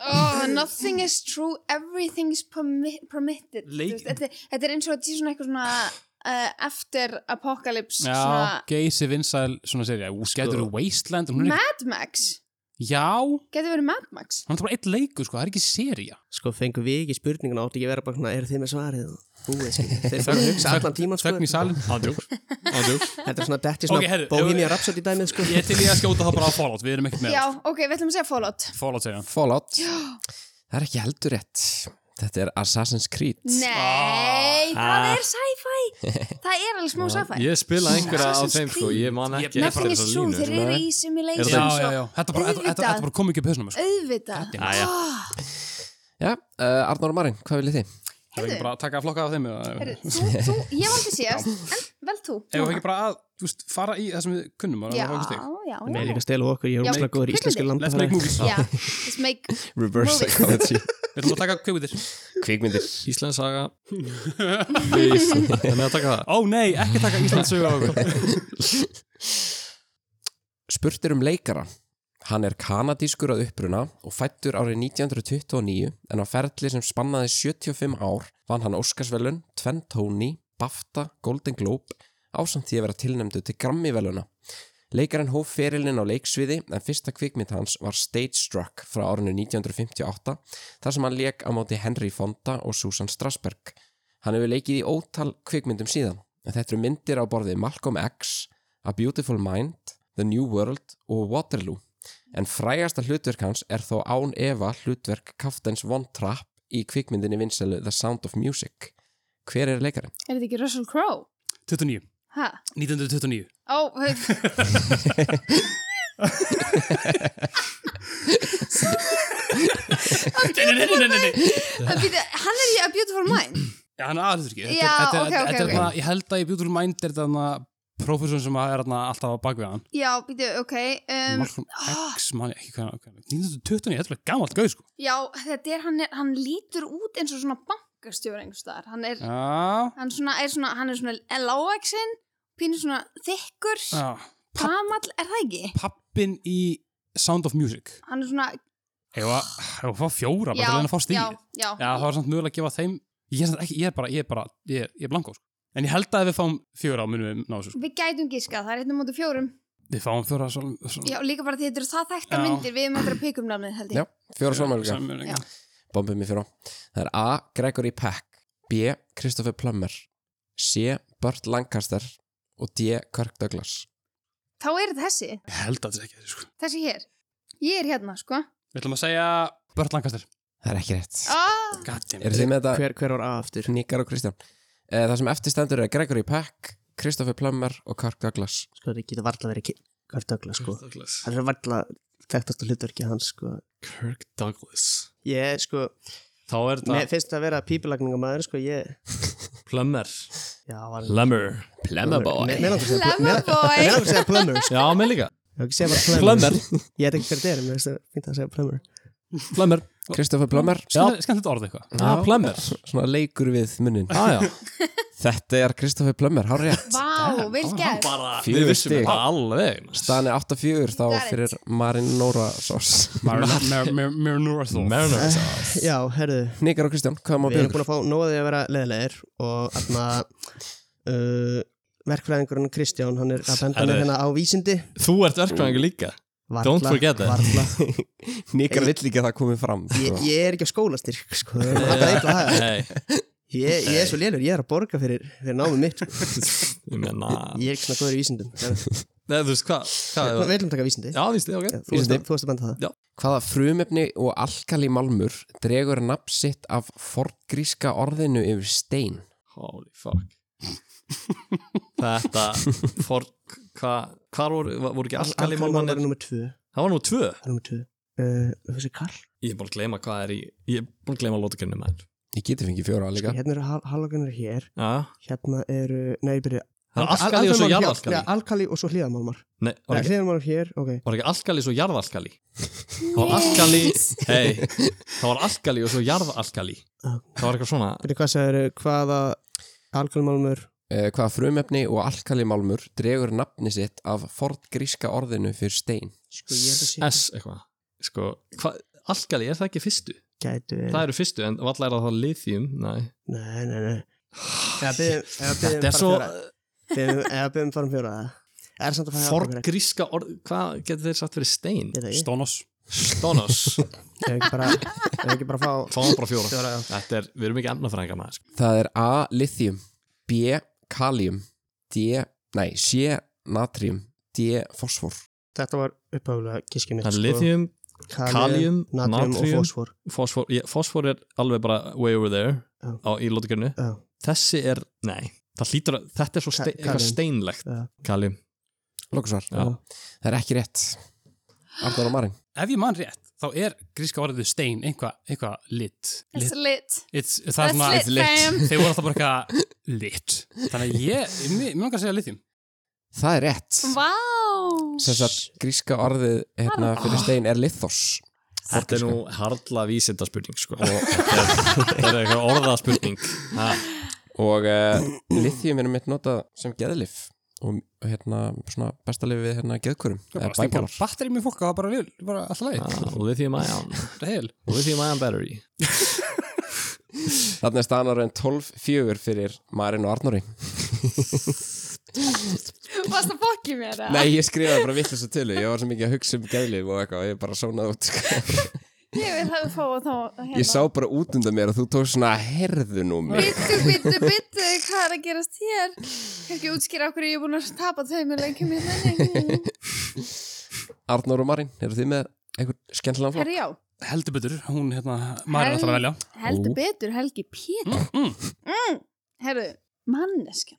Speaker 4: oh, nothing is true, everything is permi permitted Þú
Speaker 5: Leik-
Speaker 4: veist, þetta, þetta er eins og að þetta er svona eitthvað svona uh, eftir apocalypse
Speaker 5: já,
Speaker 4: svona
Speaker 5: geysi vinsæl svona serið, ú,
Speaker 4: Sko.
Speaker 5: getur þú Wasteland hún er ekki,
Speaker 4: Mad Max,
Speaker 5: já, hann
Speaker 4: getur verið Mad Max
Speaker 5: er bara eitt leikur sko, það er ekki serið
Speaker 2: Sko, fengum við ekki spurninguna, átti ekki að vera bara svona, eru þið með svarið? Búið, skilju, [laughs] þeir eru að hugsa allan tíman, sko
Speaker 5: þögn í salin,
Speaker 6: Andjúks, andjúks
Speaker 2: [laughs] Þetta er svona detti
Speaker 5: Ok,
Speaker 2: svona
Speaker 5: heyrðu,
Speaker 2: bóhimja
Speaker 5: ef-
Speaker 2: rapsótt í dæmið, sko
Speaker 5: ég er til í að skjóta það bara á Fallout við erum ekkert með
Speaker 4: já,
Speaker 5: það.
Speaker 4: ok, við ætlum að segja Fallout
Speaker 5: Fallout segja
Speaker 1: Fallout Það er ekki heldur rétt Þetta er Assassin's Creed
Speaker 4: nei, það
Speaker 6: Ah.
Speaker 4: er sci-fi
Speaker 6: [laughs]
Speaker 4: það er alveg smá sci-fi
Speaker 6: Ég spilaði einhverja á
Speaker 4: Assassin's
Speaker 6: þeim sko,
Speaker 4: Creed.
Speaker 6: ég man
Speaker 5: Ég-
Speaker 6: ekki eftir
Speaker 4: nothing is
Speaker 6: þessa
Speaker 4: true,
Speaker 6: línu
Speaker 4: þeir
Speaker 6: sko.
Speaker 4: eru í sko.
Speaker 5: já,
Speaker 4: simulation
Speaker 5: já,
Speaker 4: svo-
Speaker 5: já, þetta bara, þetta, þetta, þetta bara kom ekki upp í hausnum á mér, sko.
Speaker 4: auðvitað
Speaker 5: Goddamn.
Speaker 1: Já, uh, Arnór og Marín, hvað viljið þið?
Speaker 5: Ef við
Speaker 4: Heyrðu.
Speaker 5: ekki bara taka að flokka af þeim eða-
Speaker 4: Heyrðu, þú, þú, ég valdi síðast, en vel þú.
Speaker 5: Ef við ekki bara að, þú veist, fara í það sem við kunnum að
Speaker 4: Já,
Speaker 5: ráða stig
Speaker 4: já,
Speaker 2: Ég með
Speaker 4: já.
Speaker 2: líka stela okkur, ég er
Speaker 4: Já,
Speaker 2: umslag góður í íslensku
Speaker 4: kvikmyndir.
Speaker 5: Let's make
Speaker 2: landafræði
Speaker 5: movies
Speaker 4: Já, let's make
Speaker 1: Reverse
Speaker 4: Movies.
Speaker 1: psychology
Speaker 5: Við ætlum að taka kveikutir
Speaker 1: Kvikmyndir
Speaker 6: Íslands
Speaker 2: [laughs]
Speaker 6: saga Þannig að taka [laughs] það
Speaker 5: Ó nei, ekki taka Íslands sögu á [laughs] okkur
Speaker 1: Spurt er um leikara. Hann er kanadískur að uppruna og fættur árið 1929 en á ferli sem spannaði 75 ár vann hann Óskarsvelun, Tvenn Tony, BAFTA, Golden Globe ásamt því að vera tilnæmdu til Grammy-veluna. Leikarinn hóf ferilinn á leiksviði en fyrsta kvikmynd hans var Stage Struck frá árinu 1958 þar sem hann leik á móti Henry Fonda og Susan Strasberg. Hann hefur leikið í ótal kvikmyndum síðan en þetta eru myndir á borðið Malcolm X, A Beautiful Mind, The New World og Waterloo en frægasta hlutverk hans er þó án efa hlutverk Kaftens Von Trapp í kvikmyndinni vinselu The Sound of Music Hver er leikarinn?
Speaker 4: Er þetta ekki Russell Crowe?
Speaker 5: 29,
Speaker 4: Ha?
Speaker 5: 1929
Speaker 4: Ó, hef-
Speaker 5: Nei, nei, nei, nei, nei, nei
Speaker 4: það býtu, hann er í A Beautiful Mind.
Speaker 5: Já, hann er aðhlutur ekki
Speaker 4: Já,
Speaker 5: þetta,
Speaker 4: ok,
Speaker 5: þetta,
Speaker 4: ok,
Speaker 5: þetta er
Speaker 4: ok.
Speaker 5: þarna- Ég held að í Beautiful Mind er þetta þarna prófessorinn sem er þarna alltaf á bakvið hann
Speaker 4: Já, býtu, ok. Um,
Speaker 5: Malcolm X, mann ég ekki hvað hann- hvað hann- 1929, þetta er alveg gamalt gauð sko
Speaker 4: já, þetta er, hann er, hann lítur út eins og svona bankastjóri einhvers staðar. Hann er,
Speaker 5: Já,
Speaker 4: hann svona, er svona, hann er svona LOX-in, pínur svona þykkur,
Speaker 5: já
Speaker 4: pamall, er það ekki?
Speaker 5: Pappin í Sound of Music
Speaker 4: Hann er svona,
Speaker 5: Ég var að fá fjóra, bara til að
Speaker 4: já,
Speaker 5: reyna að fá stíð
Speaker 4: já,
Speaker 5: Já,
Speaker 4: já,
Speaker 5: það var samt mögulega að gefa þeim Ég er, samt ekki, ég er bara, ég er bara, ég er, ég er blankó sko. En ég held að ef við fáum fjóra á munum við ná þessu sko.
Speaker 4: Við gætum giskað, það er einnum mútið fjórum.
Speaker 5: Við fáum fjóra svona,
Speaker 4: Já, líka bara því þetta eru það þekkta
Speaker 5: Já.
Speaker 4: myndir, við erum eftir að pika um namnið, held ég.
Speaker 1: Já, fjóra samanlega
Speaker 5: samverðingar
Speaker 1: Bombið mér fjóra Það er A. Gregory Peck B. Christopher Plummer C. Burt Lancaster og D. Kirk Douglas
Speaker 4: Þá er þetta þessi,
Speaker 5: Ég held að þetta sé ekki þessi sko
Speaker 4: þessi hér. Ég er hérna, sko.
Speaker 5: Við ætlum að segja Bört Lancaster
Speaker 1: Það er ekki rétt
Speaker 4: Ah,
Speaker 1: Er þið með þetta
Speaker 2: hver, hver var A aftur?
Speaker 1: Nikar og Kristján? Eh, Það sem eftir stendur er Gregory Peck, Christopher Plummer og Kirk Douglas
Speaker 2: Sko það geta varla verið ki- Kirk Douglas sko
Speaker 6: Douglas
Speaker 2: Það er varla þekktasta hlutverki hans sko
Speaker 6: Kirk Douglas
Speaker 2: Ég sko,
Speaker 6: Þá er
Speaker 2: mér
Speaker 6: þetta
Speaker 2: finnst það að vera pípulagningamaður sko ég
Speaker 6: Plummer
Speaker 2: Já, var
Speaker 6: Plummer
Speaker 2: Mér mér langar að segja
Speaker 4: Lemma boy.
Speaker 2: Mér langar að segja plumber sko
Speaker 6: [laughs] Já, mig líka
Speaker 2: Ég vil ekki segja bara plumber
Speaker 6: Plummer
Speaker 2: Ég veit ekki hver þetta er, en mér finnst það fínt að segja plumber
Speaker 6: Plummer
Speaker 1: Christopher Plummer
Speaker 5: Skemmt þetta orð [laughs] eitthvað
Speaker 6: Já, Plummer
Speaker 1: Svona leikur við munnin
Speaker 6: Já,
Speaker 2: Ah,
Speaker 6: já
Speaker 1: [laughs] Þetta er Kristoffer Plömmur, hár rétt
Speaker 4: Vá, vel gert.
Speaker 6: bara
Speaker 1: Fjögur
Speaker 6: Við vissum
Speaker 1: stig.
Speaker 6: þetta alveg
Speaker 1: Staðan er 8-4 þá
Speaker 4: Got it.
Speaker 1: fyrir Marin Nóra Sors
Speaker 5: Marinora Thor
Speaker 6: Mariner
Speaker 2: Já, herðu,
Speaker 1: Nikar og Kristján, hvað má
Speaker 2: við
Speaker 1: byrja?
Speaker 2: erum búin að fá nóðið að vera leðilegir og aðna uh, verkfræðingurinn Kristján, hann er að benda mér
Speaker 6: Herðu.
Speaker 2: hérna á vísindi
Speaker 6: Þú ert verkvæðingur líka
Speaker 2: varla,
Speaker 6: Don't forget that.
Speaker 2: varla.
Speaker 6: [laughs]
Speaker 1: Nikar vill ekki að það komið fram
Speaker 2: Ég,
Speaker 1: sko.
Speaker 2: ég er ekki á skólastyrk sko. það er eitthvað það
Speaker 6: Nei
Speaker 2: ég, ég er svo lélur, ég er að borga fyrir, fyrir námið mitt sko.
Speaker 6: Ég meina
Speaker 2: ég er ekki svona góður í vísindum Hvað-
Speaker 6: Nei, þú veist hvað Hvað
Speaker 2: við ætlum að taka vísindi
Speaker 6: Já, víst þið, ok
Speaker 2: þú veist
Speaker 1: vísindi.
Speaker 2: að- þú veist að benda það
Speaker 1: Hvaða frumefni og alkali malmur dregur nafn sitt af forngríska orðinu yfir stein?
Speaker 6: Holy fuck [laughs] Þetta For Hvað Hvar voru Voru ekki alkali
Speaker 2: Alkalímálmann
Speaker 6: málmannir
Speaker 2: er nummer 2
Speaker 6: Það var nú tvö
Speaker 2: það er nummer 2 Uh, þessi kall,
Speaker 6: Ég er búin að gleyma hvað er í Ég er búin að gleyma lótakernum maður
Speaker 1: Ég geti fengið fjóra
Speaker 2: sko,
Speaker 1: líka
Speaker 2: hérna eru hal halogenir hér
Speaker 6: Já
Speaker 2: hérna eru, nei, byrja
Speaker 6: Það er alkali og svo jarðalkali
Speaker 2: alkali og svo hlíðamálmar
Speaker 6: Nei, var
Speaker 2: okay.
Speaker 6: ekki,
Speaker 2: hliðarmálum hér, ok
Speaker 6: var ekki alkali og svo jarðalkali
Speaker 2: [laughs]
Speaker 6: Það var alkali Hei Það var alkali og svo jarðalkali Það var eitthvað svona
Speaker 2: Veitir hvað segir, hvaða alkalmálmur
Speaker 1: Eh, Hvaða frumefni og alkali malmur dregur nafni sitt af forngríska orðinu fyrir stein?
Speaker 2: sko ég held að
Speaker 6: S eitthvað Sko hva, Alkali er það ekki fyrstu
Speaker 2: sé gætu verið
Speaker 6: Það eru fyrstu en valla er það þá lithium Nei
Speaker 2: nei, nei, nei eða byggjum, eða byggjum
Speaker 6: Þetta er svo
Speaker 2: byggjum, eða byggjum farum fjóra það er samt að fara
Speaker 6: forgríska orð Hvað getur þeir satt fyrir stein?
Speaker 2: ég veit ekki,
Speaker 5: Stonos
Speaker 6: Stonos
Speaker 2: ef ekki bara ef ekki bara fá
Speaker 6: Fáum bara fjóra
Speaker 2: fjóra já.
Speaker 6: Þetta er, við erum ekki efnafræðingar maður sko.
Speaker 1: Það er A. Lithium B. Kalium D. Nei, C. Natrium D. Fosfor
Speaker 2: þetta var uppáhulega kiskið mitt sko.
Speaker 6: Það er lithium, kalíum,
Speaker 2: natrium og
Speaker 6: natrium.
Speaker 2: fósfor
Speaker 6: fósfor ég- Fósfor er alveg bara way over there
Speaker 2: Já.
Speaker 6: á, í lótugjörnu
Speaker 2: Já.
Speaker 6: Þessi er, nei, það hlýtur að þetta er svo ste
Speaker 2: Ka-
Speaker 6: eitthvað
Speaker 2: kalíum.
Speaker 6: steinlegt
Speaker 2: Já.
Speaker 6: Kalium
Speaker 1: Lókusvar
Speaker 6: Já.
Speaker 1: Það er ekki rétt Arnar og Marin
Speaker 5: Ef ég man rétt þá er gríska orðið stein eitthvað eitthva lit.
Speaker 4: It's
Speaker 5: lit.
Speaker 4: lit
Speaker 5: It's, það er
Speaker 4: That's
Speaker 5: svona,
Speaker 4: lit, fam
Speaker 5: þeir voru alltaf bara eitthvað lit. Þannig að ég, mér mér langar að segja litjum.
Speaker 1: Það er rétt
Speaker 4: Vá
Speaker 1: Sem sagt gríska orðið hérna, fyrir stein er lithos
Speaker 6: Þetta er nú harla vísindaspurning sko.
Speaker 3: og þetta er, þetta er eitthvað orðaspurning ha,
Speaker 1: og uh, lithium er mitt notað sem geðlif og hérna svona besta lifið við hérna geðkurum eða
Speaker 5: bara
Speaker 1: bækólar
Speaker 5: batteri með fólk, það var bara, vel- bara alltaf leið.
Speaker 6: ah, Lithium ion
Speaker 5: Þetta er heil.
Speaker 6: Lithium ion battery
Speaker 1: Þannig er staðan áraðin 12-4 fyrir Marin og Arnóri
Speaker 4: Varst að fokki mér það?
Speaker 1: Nei, ég skrifaði bara vittlust að tölu ég var svo mikið að hugsa um geðlif og eitthvað ég bara sónaði út sko.
Speaker 4: Ég vil hafa fá að þá hérna.
Speaker 1: Ég sá bara út undan mér og þú tók svona herðu nú mig
Speaker 4: Bittu, bittu, bittu, hvað er að gerast hér? Kannski útskýra okkur ég er búin að tapa tveimur leikum í þenni.
Speaker 1: Arnór og Marin, eru þið með einhvern skemmtilegan flokk?
Speaker 4: Herri já,
Speaker 5: Heldur betur, hún, hérna, maður er alltaf að velja.
Speaker 4: heldur
Speaker 1: Ú.
Speaker 4: betur Helgi Pétur. Mm, herru, manneskja.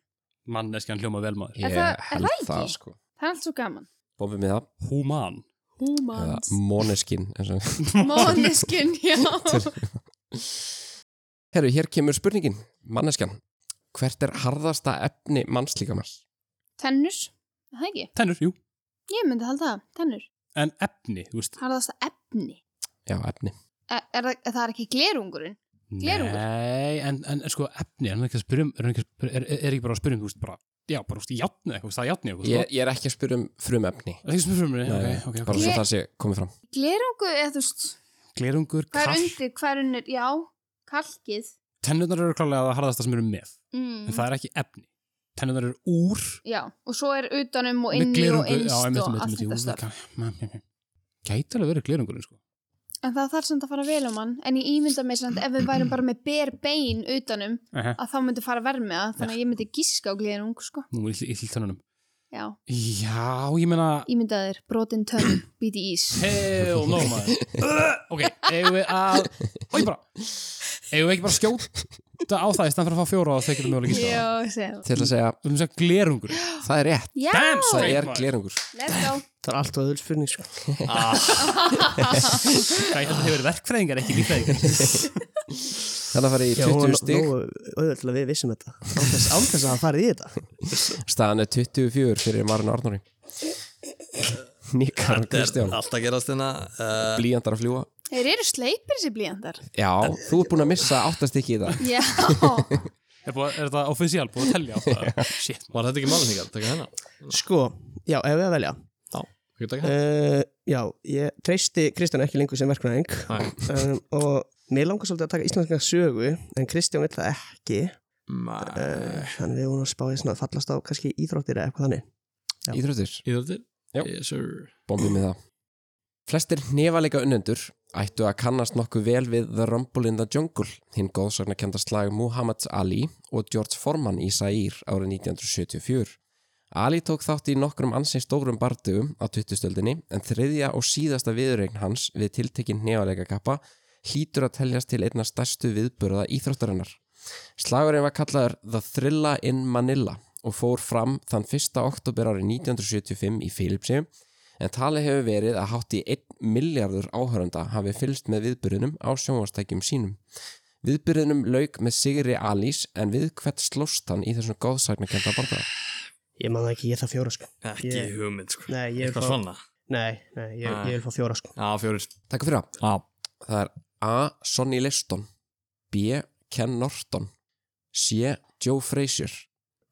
Speaker 5: Manneskjan hljóma vel maður.
Speaker 4: Er
Speaker 1: Ég
Speaker 4: það- er
Speaker 1: held
Speaker 4: það ekki?
Speaker 1: það sko
Speaker 4: Það er allt svo gaman.
Speaker 1: Bófið með það,
Speaker 5: Human.
Speaker 1: eða
Speaker 4: Húmans.
Speaker 1: Måneskin eins og
Speaker 4: [laughs] Móneskinn, já.
Speaker 1: Herru, hér kemur spurningin, manneskjan. Hvert er harðasta efni mannslíkamars?
Speaker 4: Tennur, Er það ekki.
Speaker 5: Tennur, jú.
Speaker 4: Ég myndi halda það, tennur.
Speaker 5: En efni, þú veist.
Speaker 4: Það er það efni.
Speaker 1: Já, efni.
Speaker 5: Sko?
Speaker 4: Er, er, það- er það er ekki glerungurinn? Glerungur.
Speaker 5: Nei, en, en en sko efni, er hann ekki að spyrja um, er, hann ekki að spyrja- er, er, er ekki bara að spyrja um, þú veist, bara, já, bara, þú veist, játni eitthvað, þú veist, það er játni eitthvað,
Speaker 1: Ég, ég er ekki að spyrja um frumefni.
Speaker 5: Það er ekki að spyrja um mér,
Speaker 1: Nei,
Speaker 5: ok, ok,
Speaker 1: Bara
Speaker 5: ok.
Speaker 1: svo
Speaker 4: Ég-
Speaker 1: það sé komið fram.
Speaker 4: Glerungu, eða þú veist,
Speaker 5: Glerungur,
Speaker 4: hvað er
Speaker 5: kalk,
Speaker 4: undir, hvað er undir, já, kalkið.
Speaker 5: tennurnar eru klálega að harðast það sem eru með,
Speaker 4: Mm.
Speaker 5: en það er ekki efni. Tennurnar eru úr,
Speaker 4: Já, og svo er utanum og
Speaker 5: með
Speaker 4: inni og
Speaker 5: glerungur,
Speaker 4: innst
Speaker 5: já,
Speaker 4: og
Speaker 5: einmitt,
Speaker 4: allt
Speaker 5: einmitt,
Speaker 4: þetta stöf.
Speaker 5: einmitt, jú, Gæti alveg verið glerungurinn, sko.
Speaker 4: En það þarf samt að fara vel um hann, en ég ímynda mér samt ef við værum bara með ber bein utanum,
Speaker 5: Aha.
Speaker 4: að þá myndi fara verð með það, þannig að ég myndi giska á glerung, sko.
Speaker 5: Nú er illt tönnunum.
Speaker 4: Já,
Speaker 5: Já, ég meina,
Speaker 4: ímyndaðir, brotin tönn, bíti ís.
Speaker 5: Hell no maður [laughs] Ok, eigum við að Og ég bara Eigum við ekki bara að skjóta á það í stand fyrir að fá fjóra og um þeir getum mjög líka
Speaker 4: Já, segja það.
Speaker 1: Til að segja,
Speaker 5: Þú veist að glerungur
Speaker 1: það er rétt.
Speaker 4: Já,
Speaker 5: Damn
Speaker 1: Það
Speaker 5: straight
Speaker 1: er
Speaker 5: maður
Speaker 1: glerungur.
Speaker 4: let's go.
Speaker 2: Það er alltaf öðru spurning sko.
Speaker 5: Hvað ég held að þeir verið verkfræðingar, ekki lífræðingar
Speaker 1: Þannig að fara í
Speaker 2: Já,
Speaker 1: 20
Speaker 2: hún var
Speaker 1: stig.
Speaker 2: auðvitað við vissum þetta án þess, án þess að það farið í þetta
Speaker 1: Staðan er 24 fyrir Marin og Arnóri. Nikar og Kristján.
Speaker 6: alltaf gerast hérna uh,
Speaker 1: Blíjandar að fljúa.
Speaker 4: Þeir eru sleipir þessi blíjandar.
Speaker 1: Já, þú ert búin að missa 8 stikki í það.
Speaker 4: Já,
Speaker 5: [laughs] Er, búið, er þetta offensíal búið að tellja á það? Shit, maður.
Speaker 6: Var þetta ekki málinn híkar? Takk hérna
Speaker 2: [laughs] Sko, já, ef við að velja
Speaker 6: Ekki taka hérna
Speaker 2: uh, Já, ég treysti Kristján ekki lengur sem verknæðing
Speaker 6: Nei.
Speaker 2: um, og mér langar svolítið að taka íslenska sögu en Kristján vill það ekki
Speaker 6: Mæ-
Speaker 2: uh, þannig við vorum að spá í svona fallast á kannski íþróttir eða eitthvað þannig Já.
Speaker 1: Íþróttir,
Speaker 6: Íþróttir?
Speaker 1: Já.
Speaker 6: Yes, sir.
Speaker 1: bombið með það. Flestir hnefalega unnendur ættu að kannast nokkuð vel við The Rumble in the Jungle, hinn góðsagnakenda slag Muhammad Ali og George Foreman í Sair árið 1974. Ali tók þátt í nokkrum ansinn stórum bardugum á 20-stöldinni en þriðja og síðasta viðurregn hans við tiltekinn hnefalega kappa hlýtur að teljast til einna stærstu viðburða íþróttarinnar. Slagurinn var kallaður The Thrilla in Manila og fór fram þann 1. oktober árið 1975 í Filipsið en talið hefur verið að hátt í 1 miljardur áhörunda hafi fylst með viðbyrðunum á sjónvastækjum sínum. Viðbyrðunum lauk með Sigri Alís en við hvert slóst hann í þessum góðsagnakenda barða.
Speaker 2: Ég man það ekki, ég þarf fjóra sko
Speaker 6: Ekki
Speaker 2: Ég-
Speaker 6: hugmynd sko
Speaker 2: Nei, ég vil
Speaker 6: Eitthvað
Speaker 2: fá,
Speaker 6: svona
Speaker 2: nei, nei, ég,
Speaker 6: Nei.
Speaker 2: ég vil fá fjóra sko
Speaker 6: Já, fjórir
Speaker 1: Takk fyrir það.
Speaker 6: Já
Speaker 1: Það er A. Sonny Liston B. Ken Norton C. Joe Frazier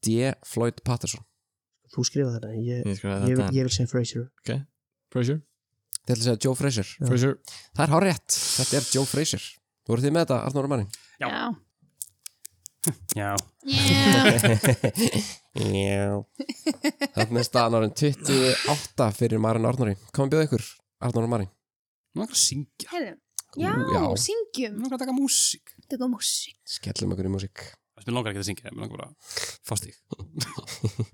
Speaker 1: D. Floyd Patterson
Speaker 2: Þú skrifa þetta, ég,
Speaker 6: Ég skrifaði
Speaker 2: ég, ég,
Speaker 6: þetta
Speaker 2: vil- ég vil segja Fraser
Speaker 6: Pressure
Speaker 1: Þið ætla að segja Joe Frazier.
Speaker 6: Pressure
Speaker 1: Það er hár rétt. Þetta er Joe Frazier. Þú voruð þið með þetta, Arnóra Manning?
Speaker 5: Já.
Speaker 4: já.
Speaker 5: Já,
Speaker 4: Yeah.
Speaker 1: Já Þannig er staðan árin 28 fyrir Marin Arnóri Komum bjóð ykkur, Arnóri og Marin
Speaker 5: nú langar að syngja
Speaker 4: Herru, já,
Speaker 1: já.
Speaker 4: syngjum.
Speaker 5: Nú langar að taka músík
Speaker 4: Tökum músík.
Speaker 1: Skellum ykkur í músík
Speaker 5: Mér langar ekki að syngja, mér langar bara að fá stík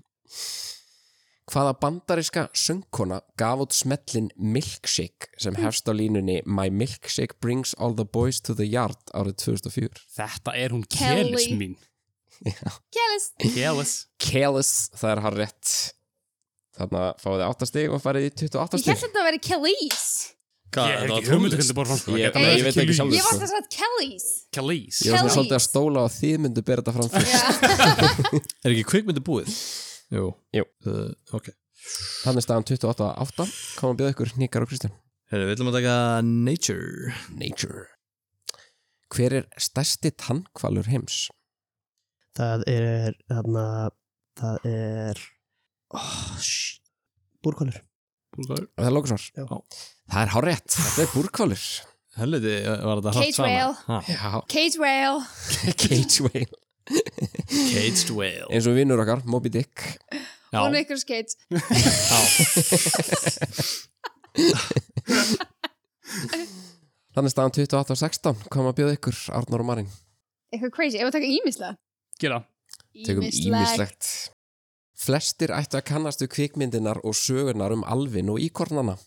Speaker 1: Hvaða bandariska söngkona gaf út smellin Milkshake sem hefst á línunni My Milkshake brings all the boys to the yard árið 2004
Speaker 5: Þetta er hún
Speaker 4: Kelly.
Speaker 5: Kelis mín
Speaker 4: Kjælis.
Speaker 5: Kelis
Speaker 1: Kelis, það er hár rétt Þannig að fáið þið 8 stig og farið í
Speaker 4: Ég
Speaker 1: 28
Speaker 4: held
Speaker 1: stig
Speaker 4: þetta að vera Kjælis.
Speaker 3: Hvað,
Speaker 5: Ég hef
Speaker 3: þetta var
Speaker 5: ekki hugmyndu
Speaker 3: tónlist?
Speaker 5: hvernig borð fram sko.
Speaker 1: Ég-
Speaker 5: Geta með
Speaker 1: ég veit ekki sjálfur.
Speaker 4: Ég var það sagt Kelly's
Speaker 5: Kalís.
Speaker 1: Ég var svona
Speaker 4: Kelly.
Speaker 1: svolítið að stóla á að þið myndu bera þetta fram fyrir.
Speaker 4: Já, [laughs]
Speaker 3: Er ekki kvikmyndu búið?
Speaker 6: Jú.
Speaker 1: Jú.
Speaker 6: Uh, ok.
Speaker 1: Þannig staðan 28.8. Komum að bjóða ykkur, Nikar og Kristján.
Speaker 3: Herru, við ætlum að taka Nature
Speaker 1: Nature. Hver er stærsti tannkvalur heims?
Speaker 2: Það er, þarna, það er, oh, shit, búrkvalur.
Speaker 6: Búlgar.
Speaker 1: Og það er lókusvar.
Speaker 2: Já.
Speaker 1: Það er hárétt. Þetta er búrkvalur.
Speaker 3: Helviti,
Speaker 6: eh,
Speaker 3: var þetta
Speaker 4: Cage
Speaker 3: hratt
Speaker 4: whale.
Speaker 3: saman? Ha,
Speaker 1: Já.
Speaker 4: Kate Rail
Speaker 1: [laughs] Cage whale.
Speaker 3: Caged
Speaker 1: [laughs]
Speaker 3: whale
Speaker 1: Eins og vinnur okkar, Moby Dick.
Speaker 3: Já,
Speaker 4: og Nicolas Cage
Speaker 1: Þannig staðan 28.16. Komum að bjóða ykkur, Arnur og Marín.
Speaker 4: Eitthvað crazy, ef að taka ímislega
Speaker 5: Gera.
Speaker 1: Tökum ímislegt. Flestir ættu að kannastu kvikmyndinar og sögunar um alvin og íkornana.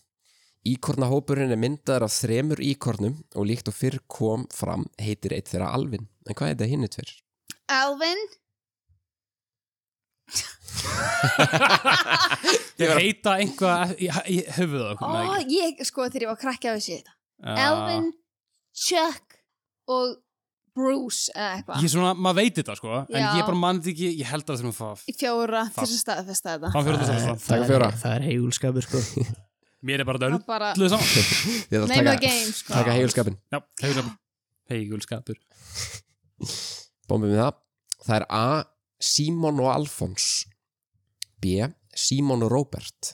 Speaker 1: Íkornahópurinn er myndaður af þremur íkornum og líkt og fyrr kom fram heitir eitt þeirra alvin. En hvað er þetta hinnu tver?
Speaker 4: Alvin
Speaker 5: Ég heita einhvað í, í höfuðu okkur.
Speaker 4: Ó,
Speaker 5: með ekki.
Speaker 4: ég sko þegar ég var krakki á þessu
Speaker 5: Já.
Speaker 4: Alvin, Chuck og Bruce eða eitthvað
Speaker 5: Ég er svona, maður veit þetta sko, en
Speaker 4: Já.
Speaker 5: ég bara mann þetta ekki, ég held að það sem að fá.
Speaker 4: í fjóra til þess að staðfesta þetta
Speaker 5: Hann fyrir þetta saman.
Speaker 1: Taka fjóra.
Speaker 2: Það er, það er heigulskapur, sko.
Speaker 5: Mér er bara
Speaker 4: Það
Speaker 5: dörð.
Speaker 4: er bara
Speaker 5: Allu saman.
Speaker 1: Þið ættu að
Speaker 4: name of the
Speaker 1: taka,
Speaker 4: game sko.
Speaker 1: taka heilskapin.
Speaker 5: Já, heigul, heigulskapur.
Speaker 1: Bombum við það. Það er A. Simon og Alfons. B. Simon og Robert.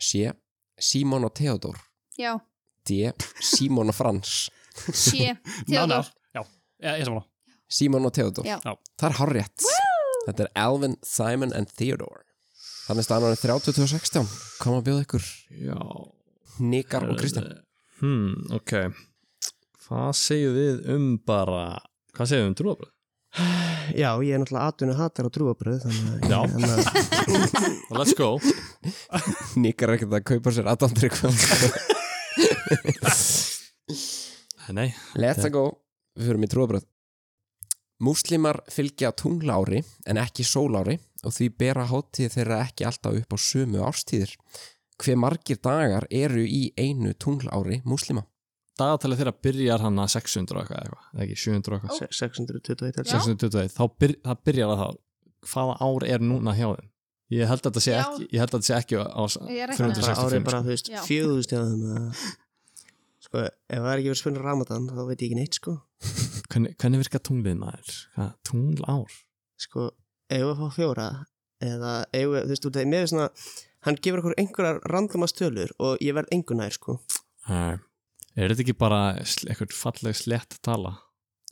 Speaker 1: C. Simon og Theodor.
Speaker 4: Já,
Speaker 1: D. Simon og Frans.
Speaker 5: [laughs]
Speaker 4: sé, Theodor
Speaker 5: Já, ég er saman.
Speaker 1: Simon og Theodor.
Speaker 4: Já.
Speaker 5: Já.
Speaker 1: Það er horrið. Þetta er Alvin, Simon and Theodore. Þannig staðan árið 32.16. Kom að bjóða ykkur,
Speaker 6: Já.
Speaker 1: Nikar og Kristján.
Speaker 6: Hmm, ok. Hvað segjum við um bara... Hvað segjum við um trúabröð?
Speaker 2: Já, ég er náttúrulega atvinni hatar á trúabröð, þannig
Speaker 6: Já.
Speaker 2: að, þannig að
Speaker 6: Well, let's go.
Speaker 1: Nikar er ekkert að kaupa sér aðdandri kvöld.
Speaker 6: Nei.
Speaker 1: Let's go. Við fyrir í trúabröð. Múslimar fylgja tunglári en ekki sólári og því bera hátíð þeirra ekki alltaf upp á sömu árstíðir. Hve margir dagar eru í einu tunglári múslima?
Speaker 6: Dagatalið þeirra byrjar hann að 600 og eitthvað, eitthvað. Eða ekki 700 og eitthvað.
Speaker 4: Ó.
Speaker 2: 621
Speaker 4: Já.
Speaker 2: helst.
Speaker 6: 621, þá byr, það byrjar að þá hvaða ár er núna hjá þeim ég held að þetta sé
Speaker 4: Já.
Speaker 6: ekki, ég held að þetta sé ekki á s-
Speaker 4: Ég reikna
Speaker 2: Það er bara
Speaker 6: 365
Speaker 2: árið bara, þú veist,
Speaker 4: Já.
Speaker 2: fjöðust hjá þeim að, sko, ef það er ekki verið að spuna ramadan, þá veit ég ekki neitt, sko.
Speaker 6: sko. hvernig, hvernig virka tunglið maður Hvað, tungl ár
Speaker 2: Sko, ef að fá fjóra, eða, ef, þú veist, út af því, mér er svona, hann gefur okkur einhverjar randomast tölur og ég verð engunær, sko.
Speaker 6: Æ, er þetta ekki bara sl- eitthvað falleg slett tala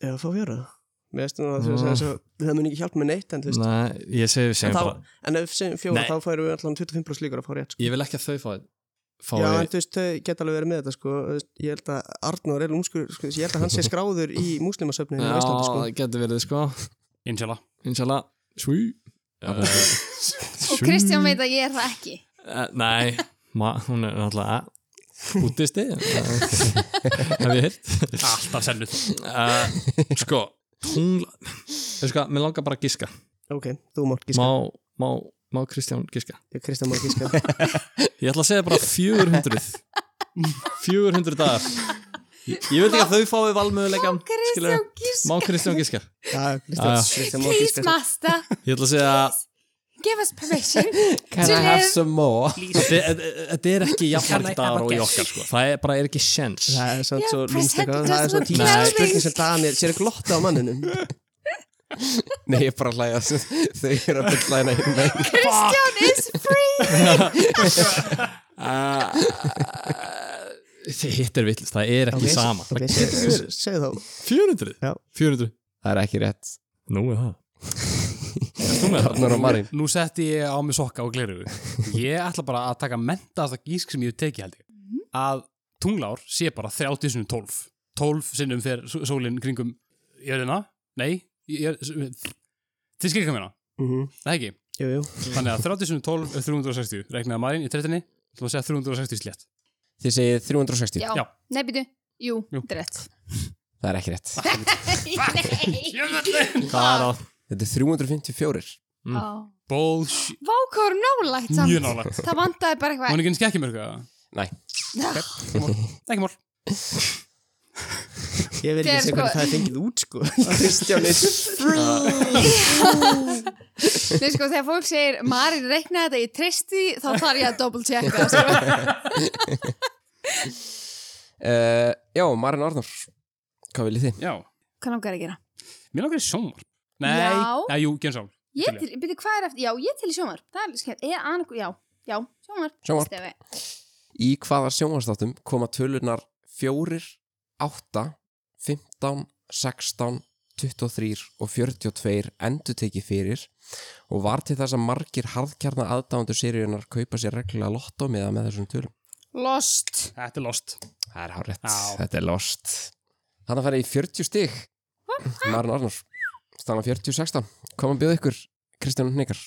Speaker 2: Ef að fá fjóra, mér veist, þú veist,
Speaker 6: Já.
Speaker 2: það- svo- það mun ekki hjálpa með neitt, en þú veist,
Speaker 6: Mm. Nei, ég segi, segi
Speaker 2: En þá-
Speaker 6: bara,
Speaker 2: En ef við segjum fjóra,
Speaker 6: Nei.
Speaker 2: þá færum við allan 25% líkur að fá rétt, sko.
Speaker 6: ég vil ekki að þau fái
Speaker 2: Já, en
Speaker 6: fái,
Speaker 2: þú veist, þau geta alveg verið með þetta, sko. Þú veist, Ég held að Arnór er umskur, sko, ég held að hann sé skráður í múslimasöfninu í
Speaker 6: já,
Speaker 2: Íslandi, sko.
Speaker 6: það getur verið sko
Speaker 5: Inshallah.
Speaker 6: inshallah, sví uh,
Speaker 4: Og Kristján veit að ég er það ekki
Speaker 6: Eh, nei, ma, hún er [laughs] náttúrulega bútisti hef ég hirt
Speaker 5: Alltaf sennuð.
Speaker 6: Uh, sko, tungla Þú sko, mér langar bara að giska
Speaker 2: Ok, þú mátt gíska.
Speaker 6: má, má, má Kristján giska
Speaker 2: Ég Kristján má [laughs] gíska.
Speaker 6: Ég ætla að segja bara 400 400 dagar Ég, ég veit ekki að þau fái valmöðuleika
Speaker 4: Kristján Gísk
Speaker 6: Má Kristján giska
Speaker 2: Já,
Speaker 6: Já,
Speaker 2: Kristján,
Speaker 6: já.
Speaker 2: Kristján má
Speaker 4: Please
Speaker 2: gíska. sko.
Speaker 4: master,
Speaker 6: Ég ætla að segja
Speaker 4: give us
Speaker 5: [laughs]
Speaker 4: permission
Speaker 1: Can
Speaker 4: I
Speaker 1: I
Speaker 4: have
Speaker 1: have some more?
Speaker 6: Þetta þetta- þetta er ekki jafnvægt dagar og í okkar sko. Það er bara er ekki sjens
Speaker 2: Það er samt
Speaker 4: Yeah,
Speaker 2: svo lúmst eitthvað,
Speaker 4: presented
Speaker 2: það er
Speaker 4: us
Speaker 2: svo
Speaker 4: with
Speaker 2: tíma
Speaker 4: clothing.
Speaker 2: spurning sem Daniel, sér ekki glotta á manninum.
Speaker 1: [laughs] Nei, ég er bara að hlæja [laughs] að þau eru að bylla hérna hérna.
Speaker 4: Kristján is free
Speaker 6: Hitt er villist, það er ekki sama
Speaker 2: Ok,
Speaker 6: Það getur ekki verið.
Speaker 2: seg- segðu þá.
Speaker 6: 400
Speaker 2: Já.
Speaker 6: 400
Speaker 1: Það er ekki rétt.
Speaker 6: Nú er það Erst þú með það?
Speaker 1: Arnar og Marín.
Speaker 5: Nú setti ég á mig sokka og glerugu. Ég ætla bara að taka mentaðasta gísk sem ég hef tekið held ég. Að tunglár sé bara 30 sinnum 12. 12 sinnum fyrir sólinn kringum jörðina. Nei, jör, þið skilja hvað ég meina.
Speaker 2: Mhm,
Speaker 5: Nei ekki.
Speaker 2: Jú, jú.
Speaker 5: Þannig að 30 sinnum 12 er 360. Reknaði Marín í trettinni. Þú að segja 360 slétt.
Speaker 1: Þið segið 360.
Speaker 4: Já,
Speaker 5: Já.
Speaker 4: nei býtu, jú,
Speaker 5: Jú.
Speaker 4: þetta er rétt
Speaker 1: Það er ekki rétt.
Speaker 4: [laughs] Nei
Speaker 6: Hvað er það?
Speaker 1: Þetta er 354.
Speaker 4: Á.
Speaker 5: Bullshit.
Speaker 4: Vákór nálægt samt
Speaker 5: Mm. Mjög nálægt.
Speaker 4: Það vantaði
Speaker 5: Má
Speaker 4: bara eitthvað
Speaker 5: hann ekki eins ekki mörg að
Speaker 1: Nei.
Speaker 4: [laughs]
Speaker 5: Ekki mál.
Speaker 2: Ég veit
Speaker 4: Þegar
Speaker 2: ekki sem
Speaker 4: sko-
Speaker 2: hvernig það er fengið út sko Kristján er
Speaker 4: Nei, sko, þegar fólk segir Marín reiknaði þetta, ég tristi þá þarf ég að double checka [laughs] sko.
Speaker 1: Uh, já, Marin Arnór, hvað viljið þið?
Speaker 5: Já.
Speaker 4: Hvað langar að gera?
Speaker 5: Mér langar í sjónvarp. Nei,
Speaker 4: Já.
Speaker 5: ja, jú, genn sá.
Speaker 4: Ég
Speaker 5: Til
Speaker 4: til, byrju, hvað er eftir? Já, ég til í sjómar Það er skemmt, eða annað, já, já, sjómar
Speaker 1: Sjónvarp.
Speaker 4: Stefi.
Speaker 1: Í hvaða sjónvarsþáttum koma tölurnar 4, 8, 15, 16, 23 og 42 endur tekið fyrir og var til þess að margir harðkjarna aðdándu seríunar kaupa sér reglulega lottó með með þessum tölum.
Speaker 4: Lost
Speaker 5: Þetta er
Speaker 4: [clears throat]
Speaker 5: lost.
Speaker 1: Það er hárétt,
Speaker 5: Já.
Speaker 1: þetta er lost. Þannig að fara í 40 stig. Marin Arnór, stanna 40, 16. Koma að bjóða ykkur, Kristján Hnikar.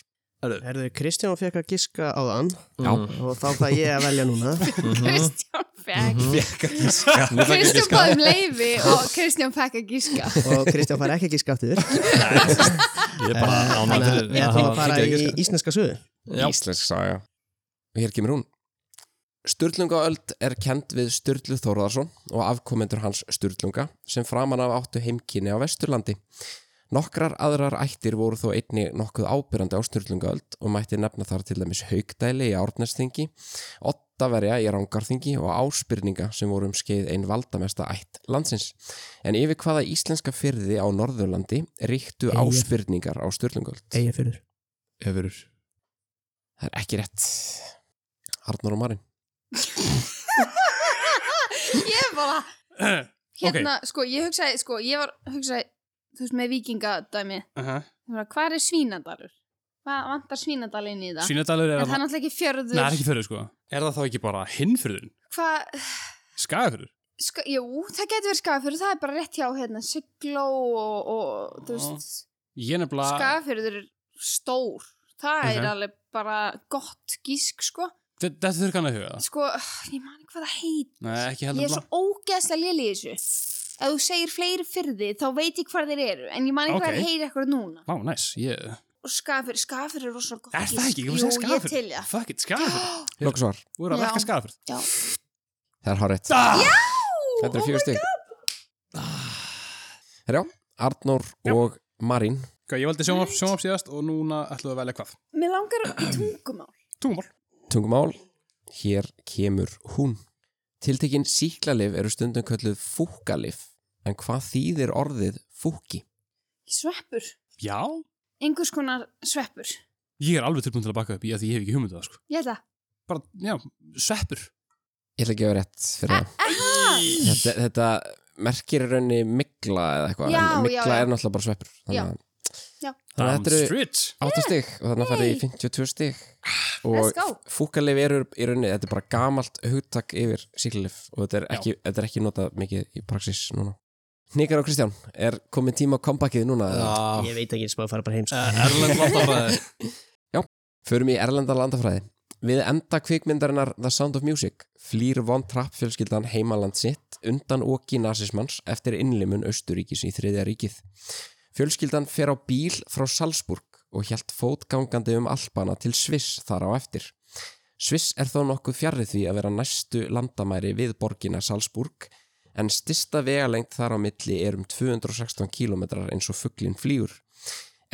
Speaker 2: Herðu, Kristján fekk að giska á þann
Speaker 1: Já.
Speaker 6: Mm.
Speaker 2: og þá hvað ég að velja núna
Speaker 5: Mhm.
Speaker 4: Kristján Fekk
Speaker 6: Mér fækka
Speaker 4: Kristján
Speaker 6: gíska.
Speaker 4: báðum leifi og Kristján fekk að gíska
Speaker 5: [laughs]
Speaker 2: og Kristján fær ekki að giska aftur
Speaker 6: Ég er bara
Speaker 2: Þannig
Speaker 6: ánægður
Speaker 2: að við ætlum að fara í íslenska sögu
Speaker 6: Já.
Speaker 1: Íslensk saga Og hér kemur hún Sturlungaöld er kend við Sturlu Þórðarsson og afkomendur hans Sturlunga sem framan af áttu heimkynni á Vesturlandi. Nokkrar aðrar ættir voru þó einni nokkuð ábyrjandi á Sturlungaöld og mætti nefna þar til dæmis Haugdæli í Árnesþingi, Ottaverja í Rángarþingi og Áspyrninga sem voru um skeið ein valdamesta ætt landsins. En yfir hvaða íslenska fyrði á Norðurlandi ríktu
Speaker 2: Eyjafjörður.
Speaker 1: áspyrningar á Sturlungaöld?
Speaker 2: Egið fyrir
Speaker 6: Hefurur
Speaker 1: Það er ekki rétt Arnur og Marin
Speaker 4: Ég bara, hérna, sko, ég hugsaði sko, ég var, hugsaði, þú veist, með vikingadæmi
Speaker 5: Uh -huh.
Speaker 4: Ég bara, Hvað er svínadalur? Hvað vantar svínadal inn í það?
Speaker 5: Svínadalur er
Speaker 4: en það er
Speaker 5: að...
Speaker 4: náttúrulega ekki
Speaker 5: Nei,
Speaker 4: fjörður
Speaker 5: það er ekki fyrir, sko. Er það þá ekki bara hinnfyrðun?
Speaker 4: Hvað,
Speaker 5: Skagafyrður?
Speaker 4: Ska, Sko, jú, það getur verið skafafjörður, það er bara rétt hjá hérna, Sigló og, og þú veist,
Speaker 5: Ég nefnilega...
Speaker 4: skafafjörður er stór. Það er
Speaker 5: Mhm.
Speaker 4: alveg bara gott gísk, sko.
Speaker 5: Þetta þetta þurr kann að huga það.
Speaker 4: Sko, [sighs] ég man ekki hvað það heit.
Speaker 5: Nei, ekki
Speaker 4: Ég
Speaker 5: heldur
Speaker 4: er svo ógeðslega léli í þessu. Ef þú segir fleiri fyrði, þá veit ég hvað þeir eru, en ég man ekki
Speaker 5: Ok.
Speaker 4: hvað þeir heyri ekkur núna.
Speaker 5: Vá, næs. Ég...
Speaker 4: Og skafafjörður, skafafjörður er rosalega gott
Speaker 5: Er það ekki? Ég
Speaker 4: Jú,
Speaker 5: var að segja
Speaker 4: ég til
Speaker 5: skagafyrð.
Speaker 4: það.
Speaker 5: Fuck it, skagafyrð.
Speaker 1: Lóksvar,
Speaker 5: Þú eru að
Speaker 4: Já.
Speaker 5: verka skagafyrð.
Speaker 4: Já.
Speaker 1: það er hárétt
Speaker 4: Oh
Speaker 5: Já!
Speaker 1: Þetta er fjögur stig Ah. Herjá, Arnur og Marin
Speaker 5: Hvað, ég valdi sjónvarp, sjónvarp síðast og núna ætlum við að velja hvað?
Speaker 4: Mér langar í tungumál.
Speaker 5: Tungumál.
Speaker 1: Tungumál, hér kemur hún Tiltekin síklarlif eru stundum kölluð fúkalif En hvað þýðir orðið fúki?
Speaker 4: Sveppur.
Speaker 5: Já.
Speaker 4: Engus konar sveppur.
Speaker 5: Ég er alveg tilbúin til að baka upp í að því ég hef ekki hugmyndað, sko.
Speaker 4: Ég
Speaker 5: [gasps]
Speaker 4: held það.
Speaker 5: Bara, já, sveppur.
Speaker 1: Ég ætla að gefa rétt fyrir það Þetta, þetta merkir í rauninni migla eða eitthvað
Speaker 4: Já,
Speaker 1: en
Speaker 4: já,
Speaker 1: Migla
Speaker 4: já.
Speaker 1: er náttúrulega bara sveppur
Speaker 4: Já.
Speaker 1: Þannig að-
Speaker 4: Já.
Speaker 1: þannig að þetta eru
Speaker 5: Street.
Speaker 1: 8 stig og þannig að fara í
Speaker 4: Yay. Ah,
Speaker 1: 52 stig
Speaker 4: let's
Speaker 1: og
Speaker 4: go.
Speaker 1: fúkalif eru í rauninni þetta er bara gamalt hugtak yfir síklarlif og þetta er, ekki, þetta er ekki notað mikið í praxis núna Hnikar og Kristján, er komið tíma á comebackið núna? eða?
Speaker 6: Já.
Speaker 2: Ég veit ekki eins og bara fara bara heim sko.
Speaker 6: Erlend lottafræði
Speaker 1: Förum í erlenda landafræði Við enda kvikmyndarinnar The Sound of Music flýr von Trapp fjölskyldan heimaland sitt undan oki nazismans eftir innlimun Östuríkis í þriðja ríkið. Fjölskyldan fer á bíl frá Salzburg og hjælt fótgangandi um Alpana til Sviss þar á eftir. Sviss er þó nokkuð fjarrið því að vera næstu landamæri við borgina Salzburg en stista vegalengt þar á milli er um 216 km eins og fugglin flýgur.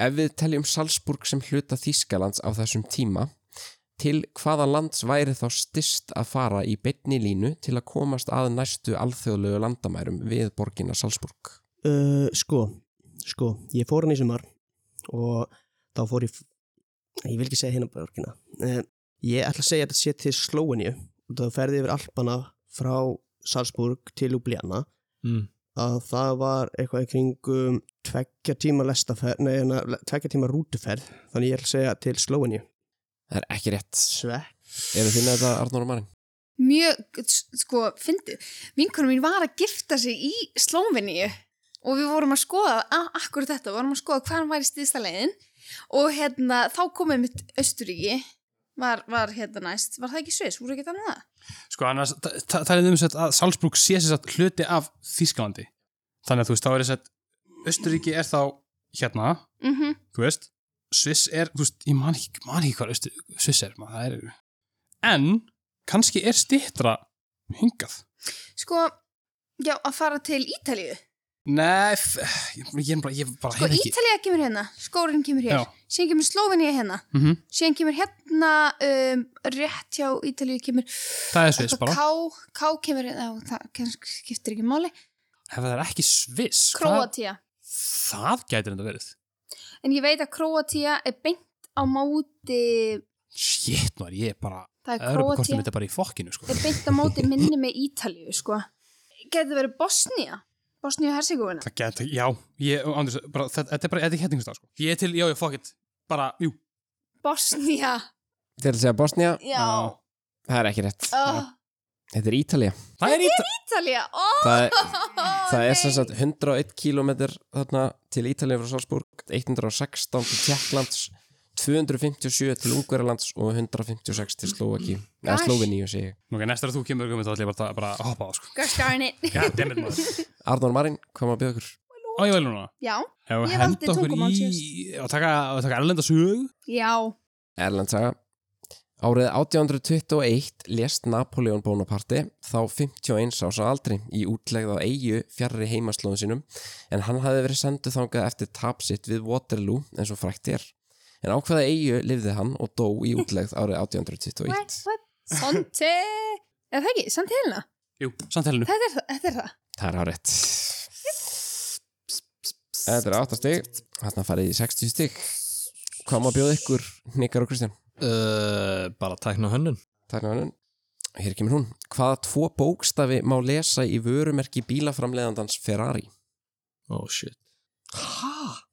Speaker 1: Ef við teljum Salzburg sem hluta Þýskalands á þessum tíma, til hvaða lands væri þá stist að fara í beinni línu til að komast að næstu alþjóðlegu landamærum við borgina Salzburg?
Speaker 2: Uh, sko, sko, ég fór hann í sumar og þá fór ég, ég vil ekki segja hérna borgina, uh, ég ætla að segja að þetta sé til Slóinju og það ferði yfir Alpana frá Salzburg til Ljubljana
Speaker 6: Mm.
Speaker 2: að það var eitthvað í kringum tveggja tíma lestaferð, nei, hérna, le- tveggja tíma rútuferð, þannig ég ætla að segja til Slóinju.
Speaker 1: Það er ekki rétt.
Speaker 2: Svekk.
Speaker 1: Eru þín að þetta Arnóra Marin?
Speaker 4: mjög, s- sko, fyndið vinkunum mín var að gifta sig í Slóveníu og við vorum að skoða a- akkur þetta, vorum að skoða hvaðan væri stíðsta leiðin og hérna þá komið mitt Östuríki var, var hérna næst, var það ekki Sviss, voru ekki þannig það?
Speaker 5: Sko, annars, það er um þess að Salzburg sé þess að hluti af Þýskalandi. Þannig að þú veist, þá er þess að Östuríki er þá hérna,
Speaker 4: Mm
Speaker 5: þú veist, Sviss er, þú veist, ég man ekki, man ekki hvað Östu, Sviss er, maður, það er, en kannski er stittra hingað
Speaker 4: Sko, já, að fara til Ítalíu
Speaker 5: Nei, f- ég, ég, bara- ég bara
Speaker 4: Sko,
Speaker 5: hef ekki
Speaker 4: Ítalía kemur hérna, skórin kemur hér
Speaker 5: Já.
Speaker 4: síðan kemur Slóvenía hérna
Speaker 5: mm
Speaker 4: síðan kemur hérna um, rétt hjá Ítalíu kemur
Speaker 5: Það er
Speaker 1: Sko,
Speaker 5: sviss bara
Speaker 4: Ká, Ká kemur hérna, já, það kannski skiptir ekki máli
Speaker 5: Ef það er ekki sviss það,
Speaker 4: Króatía,
Speaker 5: það gætir enda verið
Speaker 4: en ég veit að Króatía er beint á móti
Speaker 5: Shit, nú er ég bara
Speaker 4: það er
Speaker 5: Europakortum
Speaker 4: Króatía,
Speaker 5: mitt er bara í fokkinu sko.
Speaker 4: er beint á móti minni með Ítalíu, sko getur verið Bosnía Bosnía og Hersegóvina
Speaker 5: Það gæti, já ég, Andrés, bara, þetta, þetta er bara, þetta er hérna sko. Ég er til, já, já, fuck it Bara, jú
Speaker 4: Bosnía,
Speaker 1: Þið ætlaði að segja Bosnia,
Speaker 4: já
Speaker 1: það er ekki rétt.
Speaker 4: oh,
Speaker 1: Þetta er Ítalía.
Speaker 5: Það er í
Speaker 4: [laughs] Ítalía, ó
Speaker 1: Það,
Speaker 4: [laughs]
Speaker 1: það er
Speaker 4: nei.
Speaker 1: sem sagt 101 km þarna til Ítalíu frá Salzburg, 116 til Tjekklands, 257 til Ungverjalands og 156 til Slovaki, eða
Speaker 4: Gosh.
Speaker 1: Sloveníu sé ég.
Speaker 5: Ok, næst er að þú kemur Gumi, þá ætla ég bara, að- bara að hoppa á sko.
Speaker 4: Gosh darn it
Speaker 5: God damn it,
Speaker 4: [laughs]
Speaker 5: maður
Speaker 1: Arnór Marinn, hvað maður byrja okkur?
Speaker 5: Á, ég vel núna
Speaker 4: Já,
Speaker 5: Ef við
Speaker 4: Ég
Speaker 5: henda
Speaker 4: valdi
Speaker 5: okkur
Speaker 4: tungumál
Speaker 5: í- Og taka, og taka erlenda sög
Speaker 4: já,
Speaker 1: Erlendsaga. Árið 1821 lést Napoleon Bonaparte þá 51 árs á aldri í útlegð á eigu fjarrri heimaslóðum sínum en hann hafði verið sendu þangað eftir tap sitt við Waterloo eins og frækt er. En á hvaða eigu lifði hann og dó í útlegð árið
Speaker 4: what,
Speaker 1: 1821?
Speaker 4: what Sonte Er það ekki, Sonte Helena?
Speaker 5: Jú, samtælinu
Speaker 4: Þetta er það, þetta er það
Speaker 1: Það er á rétt. Þetta er 8 stig, hann farið í 60 stig. Hvað má bjóða ykkur, Nikar og Kristján?
Speaker 6: uh, bara tækna hönnun
Speaker 1: Takk fyrir hann. Hér kemur hún. Hvaða tvo bókstafi má lesa í vörumerki bílaframleðandans Ferrari?
Speaker 6: oh shit
Speaker 2: Hæ?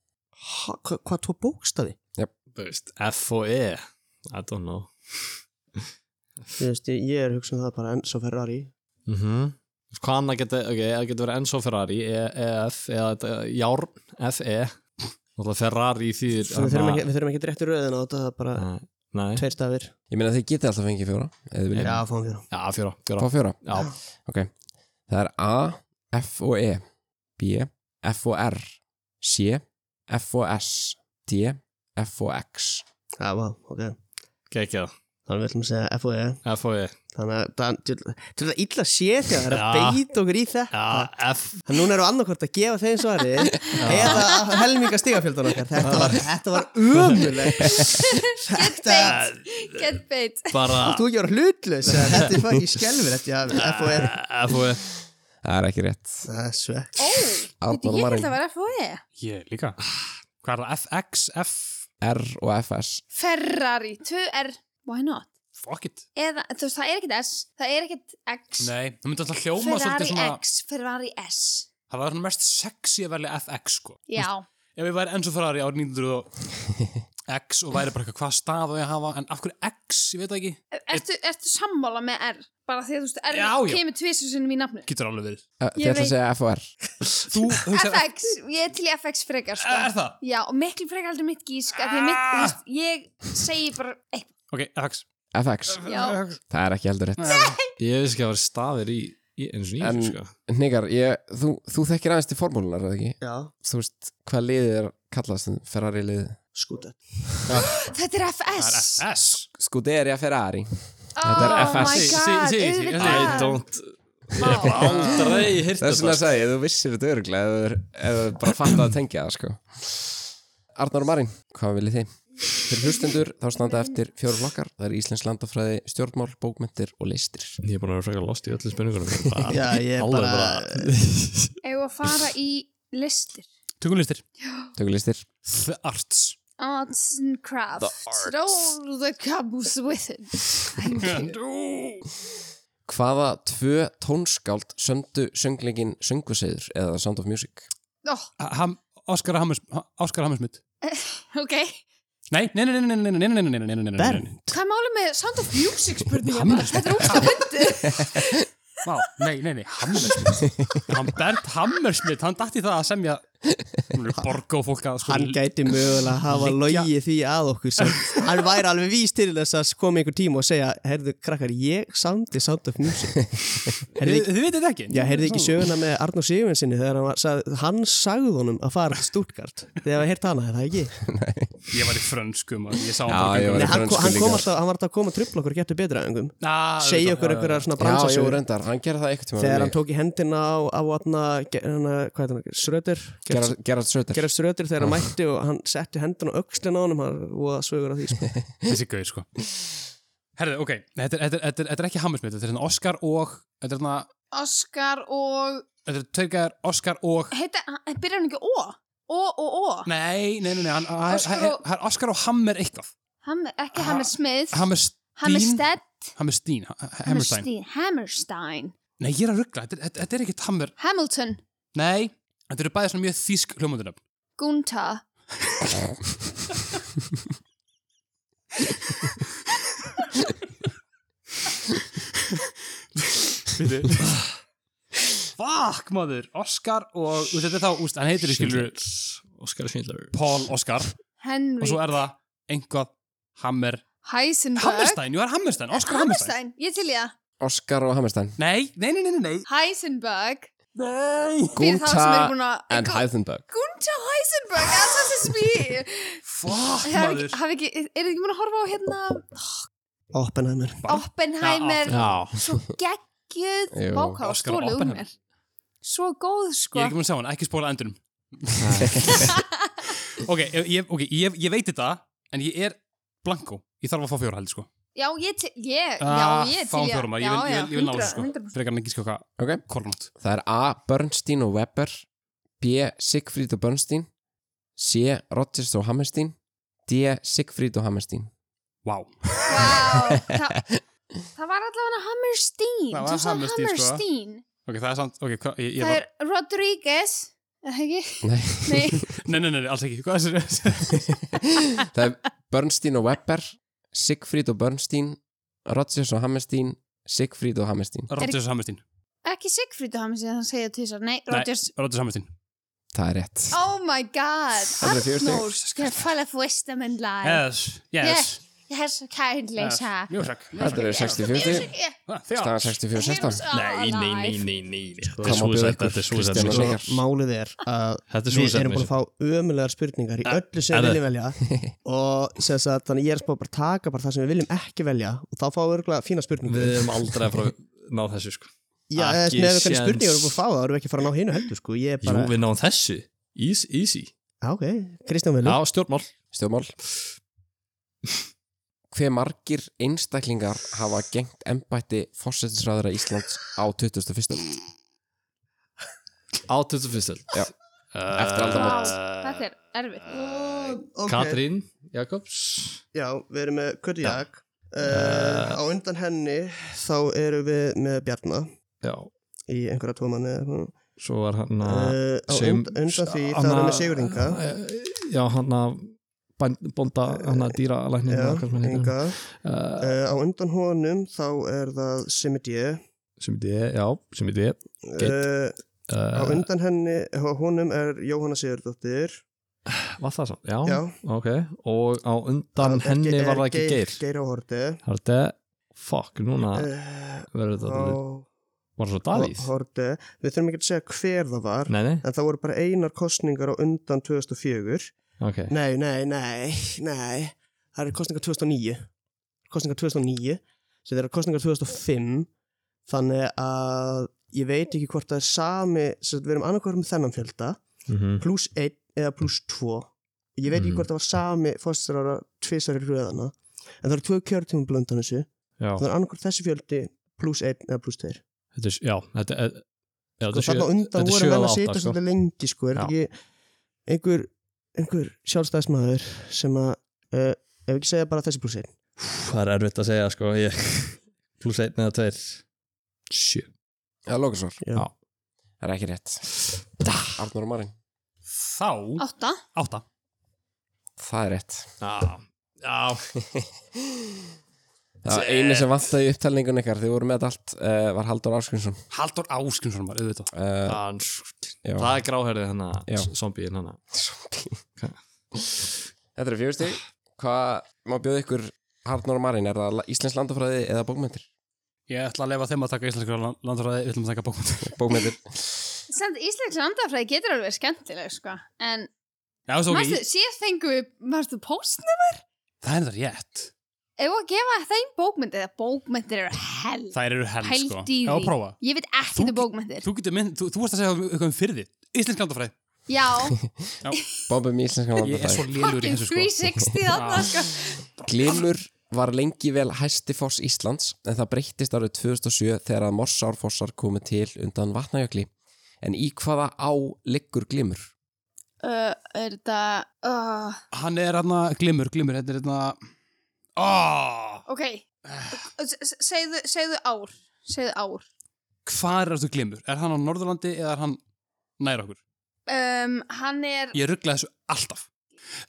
Speaker 2: Hvað hva, tvo bókstafi?
Speaker 6: Þú veist, F og E I don't know
Speaker 2: Ég, veist, ég, ég er að hugsa um það bara enn svo Ferrari
Speaker 6: mm hvað annað geti ok, það geti verið Enzo Ferrari E, e F, eða þetta- Járn F, E Náttúrulega Ferrari þýðir
Speaker 2: Svo Við þurfum ekki, við þurfum ekki rétt í röðina á þetta það er bara
Speaker 6: Nei, nei,
Speaker 2: tveir stafir
Speaker 1: Ég meina þið getið alltaf fengið fjóra, eða þið viljið.
Speaker 2: Já, fáum fjóra
Speaker 6: já, fjóra, fjóra
Speaker 1: Fá fjóra.
Speaker 6: Já,
Speaker 1: Það er A, F og E, B, F og R, C, F og S, D, F og X.
Speaker 2: Já, vá, ok
Speaker 6: gekkjað,
Speaker 2: Þannig við ætlum að segja F og E
Speaker 6: F og E
Speaker 2: Þannig að Dan- til til það illa sé þér Það er að
Speaker 6: Já.
Speaker 2: beita okkur í þetta
Speaker 6: Já, F
Speaker 2: Þannig núna eru annarkvort að gefa þeim svari Eða helminga stigafjöldan okkar Þetta var, þetta var ömuleg Þetta
Speaker 4: Get bait
Speaker 6: bara
Speaker 2: Þú ekki voru hlutlaus eða Þetta er fucking skelfilegt Já, F og E
Speaker 6: F og E
Speaker 1: Það er ekki rétt.
Speaker 2: Það er svekk
Speaker 4: Ó,
Speaker 1: Arnar
Speaker 4: veitu, ég held
Speaker 1: Marín.
Speaker 4: að vera E. FOE
Speaker 5: Ég líka Hvað er það? FX, F
Speaker 1: R og FS.
Speaker 4: Ferrari, 2R, why not?
Speaker 5: Fuck it
Speaker 4: Eða, þú veist, það er ekkert S, það er ekkert X
Speaker 5: Nei, það myndi alltaf hljóma
Speaker 4: Ferrari
Speaker 5: svolítið svona
Speaker 4: X, Ferrari S
Speaker 5: Það var svona mest sexy að velja FX sko
Speaker 4: Já,
Speaker 5: Ef ég væri Enzo Ferrari árið 1900 og X og væri bara eitthvað hvað stað á ég að hafa En af hverju X, ég veit það ekki
Speaker 4: ertu, ertu sammála með R? Bara því að þú veist, R
Speaker 5: Já, já.
Speaker 4: kemur tvisur sinnum í nafnu
Speaker 5: Getur alveg verið
Speaker 1: Eh, Þið ætla
Speaker 4: Ég
Speaker 1: að
Speaker 4: veit.
Speaker 1: segja F og R.
Speaker 5: Þú hugsar
Speaker 4: FX, ég er til í FX frekar sko.
Speaker 5: Er það? Ah!
Speaker 4: Já, og miklu frekar heldur mitt gísk af því að mitt, þú veist, ég segi bara eitthvað,
Speaker 5: Ok, FX
Speaker 1: FX.
Speaker 4: já,
Speaker 1: Það er ekki heldur rétt.
Speaker 6: Ég veist ekki að það var stafir í, í eins og
Speaker 1: En-
Speaker 6: nýjum sko.
Speaker 1: Nikar, ég, þú, þú þekkir aðeins til formúlunar, eða ekki?
Speaker 2: Já,
Speaker 1: Þú veist, hvað liðið er kallast Ferrari liðið?
Speaker 2: skúta
Speaker 4: þetta er FS
Speaker 5: Það er FS
Speaker 1: Scuderia Ferrari
Speaker 4: Þetta
Speaker 1: er
Speaker 4: Oh
Speaker 1: FS.
Speaker 4: my
Speaker 5: Sí,
Speaker 4: god,
Speaker 5: sí, sí, sí,
Speaker 4: auðvitað.
Speaker 5: sí.
Speaker 6: I don't
Speaker 4: Vá.
Speaker 6: Aldrei um hirt
Speaker 1: Þess vegna sagði ég, þú vissir þetta öruglega ef þú- ef þú bara fatt að tengja það sko Arnar og Marín, hvað viljið þið? Fyrir hlustendur þá standa eftir fjóru flokkar Það er Íslensk landafræði, stjórnmál, bókmyndir og listir
Speaker 6: Ég er búin að vera frekar lost í öllu spenningunum
Speaker 2: Já, ég er
Speaker 6: Alveg
Speaker 2: bara
Speaker 4: Eigum við að fara í listir
Speaker 5: Tökum listir
Speaker 1: Tökum listir
Speaker 5: The Arts
Speaker 4: Arts and crafts The All that comes with it Thank you
Speaker 1: Hvaða tvö tónskáld sömdu sönglingin Söngvuseyður eða Sound of Music?
Speaker 4: oh,
Speaker 5: Ha- Ham, Oscar Hammers, Ha- Oscar Hammersmith
Speaker 4: Ok,
Speaker 5: Nei, nei, nei, nei, nei, nei, nei, nei, nei, nei, nei, nei, nei, nei, nei, nei.
Speaker 2: Bernd
Speaker 4: hvað er málið með Sound of Music spurninga?
Speaker 5: Hammersmith.
Speaker 4: Þetta er ógsta myndið
Speaker 5: Vá, nei, nei, nei, Hammersmith Hann Bernd Hammersmith, hann dætti það að semja Hún er borga og fólk að sko
Speaker 2: hann gæti mögulega að hafa
Speaker 5: Liggja.
Speaker 2: logið því að okkur
Speaker 5: [laughs]
Speaker 2: sem hann væri alveg víst til þess að koma einhver tíma og segja heyrðu krakkar, ég samdi Sound of
Speaker 5: [laughs]
Speaker 2: Music heyrðu
Speaker 5: Þið,
Speaker 2: ekki,
Speaker 5: þið veitir þetta ekki
Speaker 2: já, heyrðu ekki söguna með Arnó Sigurvinsinni þegar hann, var, sag, hann sagði honum að fara til Stuttgart þegar hann heyrði hana, er það ekki
Speaker 5: Ég var í frönskum og ég sá
Speaker 1: Já,
Speaker 5: bara
Speaker 1: ég var í
Speaker 2: Nei,
Speaker 5: ganga-
Speaker 2: hann,
Speaker 1: frönsku
Speaker 2: hann,
Speaker 1: líka.
Speaker 2: kom alltaf, hann var alltaf að koma að trubla okkur getur betra engum
Speaker 5: Ah,
Speaker 2: segja
Speaker 5: auðvitað, já, já,
Speaker 2: okkur einhverjar svona
Speaker 1: Já, jú,
Speaker 2: bransasögur
Speaker 1: reyndar, hann gerði það eitthvað tíma
Speaker 2: þegar hann tók í hendina á, á hana, hana, hvað er það, Schröder Gerhard-
Speaker 1: Gerard Gerard Söder
Speaker 2: Gerhard Schröder þegar
Speaker 1: Ah.
Speaker 2: hann mætti og hann setti hendina á öxlina á honum hann var svögur af því
Speaker 1: [laughs]
Speaker 2: sko.
Speaker 5: já. Þessi gauð sko Herðu, ok, þetta er, þetta er, þetta er, þetta er ekki Hammersmith Þetta er hérna Oscar og Þetta er hérna
Speaker 4: Oscar og
Speaker 5: Þetta er tveirgæðar Oscar og
Speaker 4: heita, hann- eh, byrjar hann ekki Ó? Ó, Ó, Ó
Speaker 5: Nei, nei, nei, nei hann,
Speaker 4: Oscar
Speaker 5: Oscar,
Speaker 4: og-
Speaker 5: og... Oscar og Hammer eitthvað
Speaker 4: Ham, ekki
Speaker 5: Ha-
Speaker 4: Hammersmith
Speaker 5: Hammerstein
Speaker 4: Hammerstead
Speaker 5: Hammerstein Ha- Ha- Hammerstein
Speaker 4: Hammerstein Hammerstein
Speaker 5: Nei, ég er að ruggla Þetta, er- þetta, þetta er ekkert Hammer
Speaker 4: Hamilton
Speaker 5: Nei, þetta eru bæði svona mjög þýsk hljómundunum
Speaker 4: Gunta
Speaker 5: Fuck, maður Oscar og þú veist, Þetta er þá, úst, hann heitir í skilur
Speaker 6: Óskar Svindler
Speaker 5: Paul Oscar
Speaker 4: Henry
Speaker 5: og svo er það einhvað Hammer
Speaker 4: Heisenberg
Speaker 5: Hammerstein, jú, það er Hammerstein, Oscar Hammerstein
Speaker 4: Hammerstein, ég til ég að
Speaker 1: Oscar og Hammerstein
Speaker 5: Nei, nei, nei, nei, nei, nei.
Speaker 4: Heisenberg
Speaker 5: Nei
Speaker 4: Fyrir þá sem eru
Speaker 1: Gunta
Speaker 4: búin að
Speaker 1: and Heisenberg
Speaker 4: Gunta Heisenberg Assassin's Creed
Speaker 5: Fuck,
Speaker 4: Haf ekki,
Speaker 5: maður
Speaker 4: haf ekki, er þið ekki búin að horfa á hérna
Speaker 2: Oppenheimer
Speaker 5: Barn.
Speaker 4: Oppenheimer
Speaker 6: Já
Speaker 4: Svo geggjöð
Speaker 1: Jú.
Speaker 4: Váká,
Speaker 5: Oscar
Speaker 4: stólið um
Speaker 5: Oppenheimer.
Speaker 4: mér Svo góð
Speaker 5: Ég
Speaker 4: sko
Speaker 5: er ekki búin að sjá hann, ekki spóla endurum [laughs] Ok, ég, okay ég, ég veit þetta En ég er blanko Ég þarf að fá fjóra held, sko
Speaker 4: Já, ég til, ég,
Speaker 5: Ah,
Speaker 4: já, ég til
Speaker 5: Fáum fjóra maður, ég vil, ég vil, ég vil ná þessu, sko Frekar en ekki skjóka
Speaker 1: Ok.
Speaker 5: kornátt
Speaker 1: Það er A. Bernstein og Weber B. Sigfríd og Bernstein C. Rodgers og Hammerstein D. Sigfríd og Hammerstein
Speaker 5: Vá wow.
Speaker 4: Vá, það, það var allavega Hammerstein
Speaker 5: Það var
Speaker 4: Þú sagði
Speaker 5: Hammerstein, sko.
Speaker 4: Hammerstein
Speaker 5: Ok, það er samt, ok, hva, ég, ég
Speaker 4: Það
Speaker 5: var
Speaker 4: er Rodríguez er það ekki?
Speaker 1: Nei,
Speaker 4: Nei,
Speaker 5: [laughs] Nei, nei, nei, nei, alls ekki, hvað er [laughs] þessi
Speaker 1: það er Bernstein og Weber Sigfríd og Bernstein Rodgers og Hammerstein Sigfríd og Hammerstein
Speaker 5: Rodgers Hammerstein
Speaker 4: ekki Sigfríd og Hammerstein þannig segja til þess að nei, Rodgers
Speaker 5: Rodgers Hammerstein
Speaker 1: Það er rétt
Speaker 4: Oh my god,
Speaker 1: Það eru fjögur stig.
Speaker 4: Arnór Ég fall of wisdom and life
Speaker 5: Yes, yes
Speaker 4: Yes, kindly,
Speaker 5: yes.
Speaker 4: sir
Speaker 5: Mjög sæk
Speaker 1: Það eru 60-40 Staðan 60-40-16
Speaker 5: Ah,
Speaker 6: Nei, nei, nei, nei, nei Þetta
Speaker 1: Hvað
Speaker 6: er
Speaker 1: má bjóða
Speaker 6: súsætt,
Speaker 1: ykkur,
Speaker 6: þetta er
Speaker 1: Kristján
Speaker 6: súsætt
Speaker 1: og Siggar?
Speaker 2: Málið er að
Speaker 6: Þetta er
Speaker 2: við
Speaker 6: súsætt
Speaker 2: erum búin að fá ömulegar spurningar í öllu sem
Speaker 6: er
Speaker 2: við viljum velja og sem sagt, þannig ég er að spá bara að taka bara það sem við viljum ekki velja og þá fáum við örgulega fína spurningar
Speaker 6: Við erum aldrei að fara að ná þessu sko
Speaker 2: Já,
Speaker 6: ekki
Speaker 2: eða með hvernig
Speaker 6: séns.
Speaker 2: spurningar við erum búin að fá þá erum við ekki að fara að ná hinu heldur sko Ég er
Speaker 6: Jú,
Speaker 2: bara,
Speaker 6: við náum þessu Easy, easy
Speaker 2: já ok, Kristján
Speaker 6: Já,
Speaker 2: Vilum
Speaker 6: stjórnmál
Speaker 1: Stjórnmál Hve margir einstaklingar hafa gengt embætti fórsetisræðara Íslands á 21. öld?
Speaker 6: Á 21. öld.
Speaker 1: Já.
Speaker 6: Eh,
Speaker 1: Eftir
Speaker 5: Uh.
Speaker 1: aldamót.
Speaker 4: Þetta er erfitt
Speaker 6: Katrín Jakobs
Speaker 2: Já, við erum með Kurjak
Speaker 6: Eh.
Speaker 2: Á undan henni þá erum við með Bjarna
Speaker 6: Já,
Speaker 2: í einhverja tómanni eða eitthvað
Speaker 6: svo var hann að
Speaker 2: uh, á
Speaker 6: Sigm-
Speaker 2: undan, undan því
Speaker 6: hann
Speaker 2: það er
Speaker 6: að-
Speaker 2: með Sigurðinga
Speaker 6: Eh, Já, hann að bæn- bónda, hann að dýralæknir
Speaker 2: já,
Speaker 6: hvað sem hann heitir.
Speaker 2: Inga
Speaker 6: Eh,
Speaker 2: uh, á undan honum þá er það Simidje
Speaker 6: sem heiti ég, já, sem heiti ég
Speaker 2: uh, á
Speaker 6: uh,
Speaker 2: undan henni á honum er Jóhanna Sigurðdóttir
Speaker 6: Eh, Var það samt? Já,
Speaker 2: já
Speaker 6: ok Og á undan henni var það ekki geir
Speaker 2: Geir á Horti
Speaker 6: Það er þetta, fuck, núna
Speaker 2: uh,
Speaker 6: verður þetta
Speaker 2: á
Speaker 6: alveg- Var það svo Davíð?
Speaker 2: Horti við þurfum ekki að segja hver það var
Speaker 6: Nei, nei,
Speaker 2: en það voru bara einar kostningar á undan 2004
Speaker 6: ok
Speaker 2: Nei, nei, nei, nei Það eru kostningar 2009 Kostningar 2009 sem þeir eru kostningar 2005 Þannig að ég veit ekki hvort það er sami sem sagt, við erum annarkvæður með þennan fjölda
Speaker 6: Mhm.
Speaker 2: pluss 1 eða pluss 2 Ég veit ekki
Speaker 6: Mhm.
Speaker 2: hvort það var sami fórstæðara tvisari röðana en það eru tvö kjörtíma blöndan þessu
Speaker 6: Já,
Speaker 2: það er annarkvæður þessi fjöldi pluss 1 eða pluss 2
Speaker 6: þetta er, já, þetta er Já, þetta
Speaker 2: og
Speaker 6: er sjö-
Speaker 2: Sko, þarna á undan
Speaker 6: þetta er
Speaker 2: voru
Speaker 6: sjö eða
Speaker 2: menn að
Speaker 6: átta,
Speaker 2: sitja
Speaker 6: sko.
Speaker 2: svolítið lengi sko, er
Speaker 6: Já.
Speaker 2: þetta ekki einhver, einhver sjálfstæðismæður sem að, uh, ef ekki segja bara þessi
Speaker 6: Eh,
Speaker 2: pluss 1
Speaker 6: Það er erfitt að segja, sko ég, Plus einn eða tveir Sjö
Speaker 1: Já, lókasvar.
Speaker 2: Já.
Speaker 6: Já.
Speaker 1: Það er ekki rétt. Arnur og Marín.
Speaker 5: Þá,
Speaker 4: Átta
Speaker 5: átta
Speaker 1: Það er rétt.
Speaker 6: Já, já
Speaker 1: Það var einu sem vantaði í eh, upptalningun ykkar, þið voru með þetta allt, uh, var Haldur Áskrinsson.
Speaker 6: Eh,
Speaker 5: Haldur Áskjumsson var auðvitað
Speaker 1: Uh,
Speaker 6: Hann-
Speaker 1: Já.
Speaker 6: það er gráherðið
Speaker 1: Já.
Speaker 6: hennar zombiðin hennar
Speaker 1: Þetta er fjögur stig Hvað má bjóða ykkur Harnor og Marín? Er það la- íslensk landafræði eða bókmyndir?
Speaker 5: Ég ætla að lefa þeim að taka íslenskra land- landfræði, við ætlum að taka bókmyndir.
Speaker 1: Bókmyndir
Speaker 4: Samt íslensk landafræði getur alveg verið skemmtileg, sko. En,
Speaker 5: Já, þú veist,
Speaker 4: okay.
Speaker 5: ok,
Speaker 4: marstu,
Speaker 5: ég-
Speaker 4: síðast fengum við, marstu, póstnum?
Speaker 5: það er þetta rétt.
Speaker 4: Ef að gefa þeim bókmyndir, það bókmyndir eru hell.
Speaker 5: Þær eru hell, sko.
Speaker 4: Pældu í
Speaker 5: Já,
Speaker 4: því.
Speaker 5: prófa.
Speaker 4: Ég veit
Speaker 5: Þú
Speaker 4: ekkert um
Speaker 5: get-
Speaker 4: bókmyndir.
Speaker 5: Þú getur mynd, þú, þú varst að segja um- eitthvað um fyrði. Íslensk landafræði.
Speaker 4: Já,
Speaker 5: [laughs]
Speaker 1: Bómbum íslensk
Speaker 5: Ég er svo
Speaker 1: landafræði
Speaker 5: lélur í
Speaker 4: fucking
Speaker 5: þessu, sko.
Speaker 4: 360
Speaker 5: [laughs]
Speaker 4: þarna,
Speaker 5: Já.
Speaker 4: sko.
Speaker 1: Glymur var lengi vel hæsti foss Íslands en það breyttist árið 2007 þegar að morsárfossar komu til undan vatnajökli En í hvaða á liggur glymur?
Speaker 4: Uh, er þetta, uh,
Speaker 5: Hann er hérna, glimur, glimur, þetta er hérna... Oh,
Speaker 4: ok. S- s- Segðu, segðu ár, segðu ár.
Speaker 5: hvað er þetta glimur? Er hann á Norðurlandi eða er hann nær okkur?
Speaker 4: Um, hann er,
Speaker 5: Ég ruggla þessu alltaf.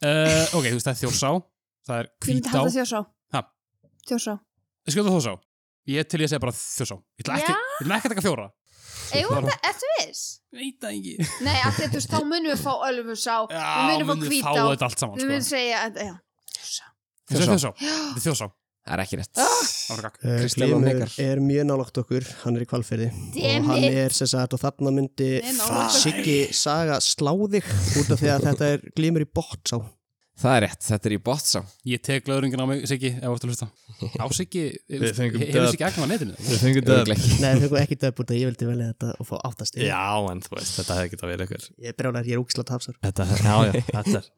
Speaker 5: Uh, ok, þú veist, það er Þjórsá, það er
Speaker 4: ég myndi
Speaker 5: Hvítá,
Speaker 4: halda þjórsá.
Speaker 5: Ha?
Speaker 4: Þjórsá.
Speaker 5: skjóta Þjórsá. Ég til ég að segja bara Þjórsá. Ég ætla ekki, ég ætla ekki að taka fjóra.
Speaker 4: Eigum við þetta, ertu viss?
Speaker 5: Veit það ekki.
Speaker 4: Nei, af því að þú veist, þá munum við fá Ölfusá,
Speaker 5: Já,
Speaker 4: við munum fá
Speaker 5: munum við fá
Speaker 4: Hvítá,
Speaker 5: þetta allt saman,
Speaker 4: við munum
Speaker 5: sko.
Speaker 4: segja, en- já.
Speaker 1: Þjórsá.
Speaker 5: Þjórsá, Þjórsá, þetta er Þjórsá.
Speaker 1: Það er ekki rétt
Speaker 5: Það var gagg.
Speaker 2: Eh,
Speaker 1: Kristján var
Speaker 2: Glymur
Speaker 1: meikar.
Speaker 2: er mjög nálagt okkur, hann er í kvalfyrði
Speaker 4: Damn
Speaker 2: og hann
Speaker 4: it.
Speaker 2: er sem sagt og þarna myndi
Speaker 4: Nei, nálægt okkur.
Speaker 2: Siggi Saga slá þig út af því að þetta er Glymur í bótt sá
Speaker 1: Það er rétt, þetta er í Botsá
Speaker 5: Ég tek löðuringin á mig, Siggi, ef þú ert að hlusta. Á Siggi,
Speaker 6: Við fengum
Speaker 5: hefur
Speaker 6: dub.
Speaker 5: Siggi ekki á netinu?
Speaker 6: Þau fengur
Speaker 2: Nei, þau kom ekki döp út að ég vildi velja þetta og fá áttast ég
Speaker 6: Já, en þú veist, þetta hefði getað verið ykkur
Speaker 2: er brjólar, ég er úksla tafsar
Speaker 6: Þetta, já, já, þetta er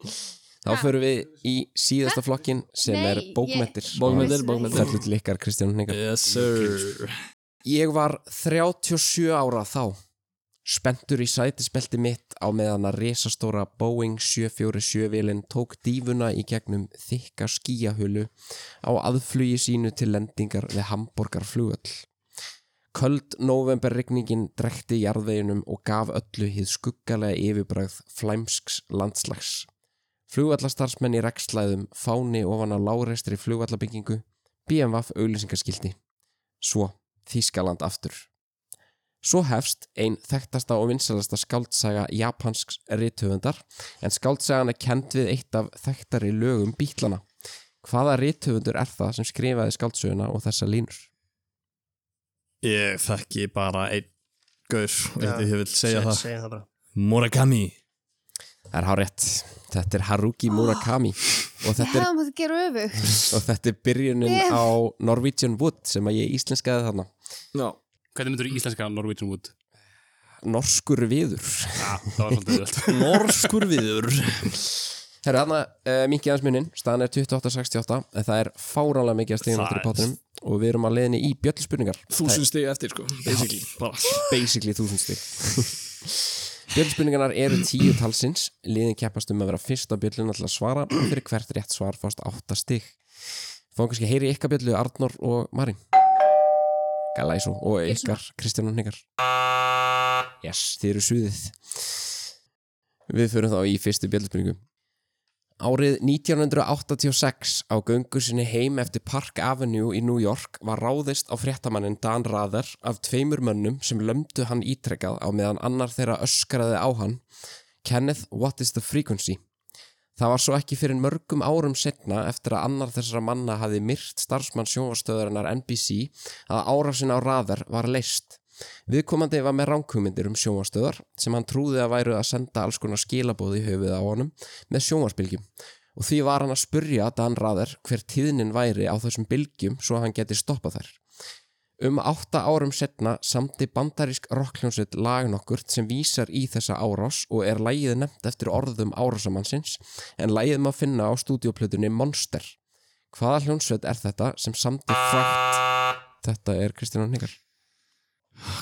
Speaker 1: Þá förum við í síðasta flokkin sem
Speaker 4: Nei,
Speaker 1: er bókmyndir
Speaker 4: ég- Bókmyndir, Ég vissi það bókmyndir. ekki.
Speaker 1: Það er hlut líkar Kristján Henningar
Speaker 6: Yes, sir
Speaker 1: Ég var 37 ára þá Spendur í sætispelti mitt á meðan að resastóra Boeing 747 vélinn tók dífuna í gegnum þykka skíahulu á aðflugi sínu til lendingar við Hamburgar flugöll. Köld novemberrigningin drekti jarðveginum og gaf öllu hið skuggalega yfirbragð flæmsks landslags. Flugvallastarsmenn í rekslæðum fáni ofan á láreistri flugvallabyggingu, BMWF auglýsingaskildi. Svo Þískaland aftur. Svo hefst ein þekktasta og vinsalasta skáldsaga japansks rithöfundar en skáldsagan er kend við eitt af þekktari lögum bítlana. Hvaða rithöfundur er það sem skrifaði skáldsöguna og þessa línur?
Speaker 6: Ég þekki bara einn gaur og
Speaker 2: Já.
Speaker 6: ég vil segja það
Speaker 2: Segja það bara
Speaker 6: Murakami
Speaker 1: Það er hárétt. Þetta er Haruki Murakami og
Speaker 4: Við
Speaker 1: þetta er,
Speaker 4: hefum þetta að gera öfugt.
Speaker 1: og þetta er byrjunin
Speaker 4: Vel.
Speaker 1: á Norwegian Wood sem að ég íslenskaði þarna.
Speaker 6: Já
Speaker 5: Hvernig myndur íslenska Norwegian Wood?
Speaker 1: Norskur viður.
Speaker 5: Já, Ah, það var svolítið auðvelt. [laughs]
Speaker 6: Norskur viður [laughs]
Speaker 1: Herru, þarna, uh, mingi aðeins munin, staðan er 28-68, en það er fáránlega mikið að stegin
Speaker 6: Það
Speaker 1: áttur í
Speaker 6: er-
Speaker 1: pátunum og við erum að leiðinni í bjöllspurningar.
Speaker 6: Þúsund stegi eftir, sko Basically, bara
Speaker 1: Basically þúsundstig. Bjöllspurningarnar eru tíu talsins, liðin keppast um að vera fyrst á bjöllun alltaf að svara og fyrir hvert rétt svar fást átta stig. Fáum kannski að heyri ykkar bjöllu Arnór og Marín. Galæsó og ykkar Kristján og Nikar. Yes, þið eru suðið. Við förum þá í fyrstu bjöllspurningu. Árið 1986 á göngu sinni heim eftir Park Avenue í New York var ráðist á fréttamannin Dan Rather af tveimur mönnum sem lömdu hann ítrekkað á meðan annar þeirra öskraði á hann Kenneth, what is the frequency? Það var svo ekki fyrir mörgum árum setna eftir að annar þessara manna hafi myrt starfsmann sjónvarstöðurinnar NBC að árásin á Rather var leist. Viðkomandi var með ránkugmyndir um sjónvarstöðar sem hann trúði að væru að senda alls konar skilabóði í höfuð á honum með sjónvarsbylgjum og því var hann að spurja Dan Rather hver tíðnin væri á þessum bylgjum svo að hann geti stoppað þær. Um átta árum setna samti bandarísk rockljónsveit lag nokkurt sem vísar í þessa árás og er lægið nefnt eftir orðum árásamannsins en lægið má finna á stúdíoplutunni Monster. Hvaða hljónsveit er þetta sem samti frætt? Þetta er Kristján Nikar.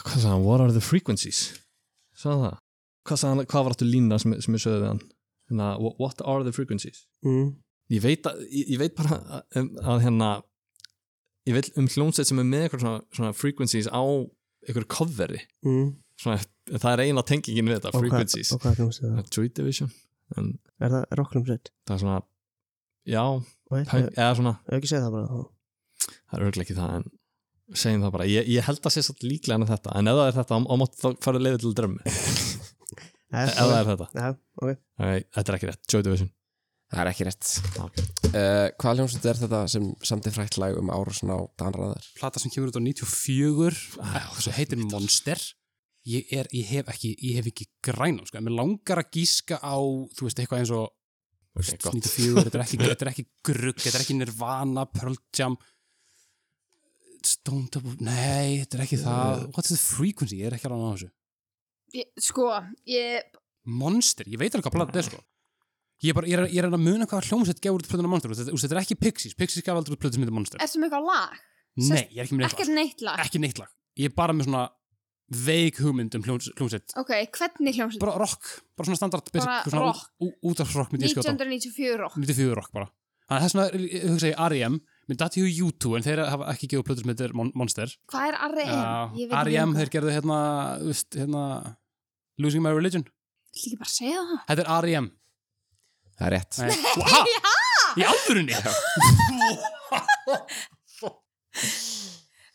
Speaker 6: Hvað sagði hann? What are the frequencies? Sagði það Hvað, sagði hann, hvað var aftur lína sem, sem ég sögði við hann? Hérna, wha- what are the frequencies?
Speaker 2: mm.
Speaker 6: Ég veit, að, ég, ég veit bara að, um, að hérna Ég veit um hljómsveit sem er með eitthvað svona, svona frequencies á eitthvað coveri
Speaker 2: Mm.
Speaker 6: svona, Það er eina tengingin við þetta,
Speaker 2: Og hvað,
Speaker 6: frequencies
Speaker 2: og hvað hljómsið það?
Speaker 6: Joy Division en
Speaker 2: Er það rockljómsveit?
Speaker 6: það er svona já,
Speaker 2: Og
Speaker 6: punk,
Speaker 2: eitthvað,
Speaker 6: eða svona,
Speaker 2: hefur ekki segja það bara
Speaker 6: það er örglega ekki það en segjum það bara, ég, ég held að sé satt líklega en þetta, en ef það er þetta, ámátt þá farið leiðið til drömmi
Speaker 2: Nei,
Speaker 6: Ef það er þetta
Speaker 2: Já, ok
Speaker 6: Nei, Þetta er ekki rétt, Joy Division
Speaker 1: Það er ekki rétt
Speaker 6: Ok.
Speaker 1: uh, Hvað hljómsveit er þetta sem samti frætt lag um árásin á Danræðar?
Speaker 5: plata sem kemur út á 94 þessu Ah, heitir Monster ég, er, ég hef ekki, ég hef ekki græn á sko, en mér langar að gíska á þú veist, eitthvað eins og
Speaker 1: Ok, gott.
Speaker 5: 94, þetta er ekki, þetta er ekki grugg þetta er ekki Nirvana, Pearl Jam Stone Double nei, þetta er ekki það what's the frequency, ég er ekki alveg að ná þessu
Speaker 4: Ég, sko, ég,
Speaker 5: Monster, ég veit alveg hvað plata þetta er sko ég er bara, ég er, ég er að reyna að muna hvað hljómsett gefur út plötuna Monster, þetta, úst, þetta er ekki Pixies Pixies gaf aldrei út plötu sem heitir Monster
Speaker 4: ertu með eitthvað lag?
Speaker 5: nei, ég er ekki með neitt lag. sko.
Speaker 4: Ekkert neitt lag?
Speaker 5: ekki neitt lag ég er bara með svona veik hugmynd um hljóms- hljómsveit
Speaker 4: Ok, hvernig hljómsveit?
Speaker 5: bara rock, bara svona standard basic,
Speaker 4: Bara
Speaker 5: svona
Speaker 4: rock.
Speaker 5: útarsrock myndi ég skjóta á.
Speaker 4: 1994 rock.
Speaker 5: 94 rock bara þannig að þess vegna, ég hugsa E ég R.E.M. myndi dati hjá U2 en þeir hafa ekki gefið plötur sem heitir Mon- Monster Ah,
Speaker 4: Hvað er R.E.M.? Ég veit
Speaker 5: Já, R.E.M.
Speaker 4: ekki um
Speaker 5: þeir gerðu hérna, veist, hérna Losing My Religion
Speaker 4: Ég líka bara að segja það.
Speaker 5: þetta er R.E.M.
Speaker 1: Það er rétt
Speaker 4: [laughs]
Speaker 5: Nei. Hva? í alvörunni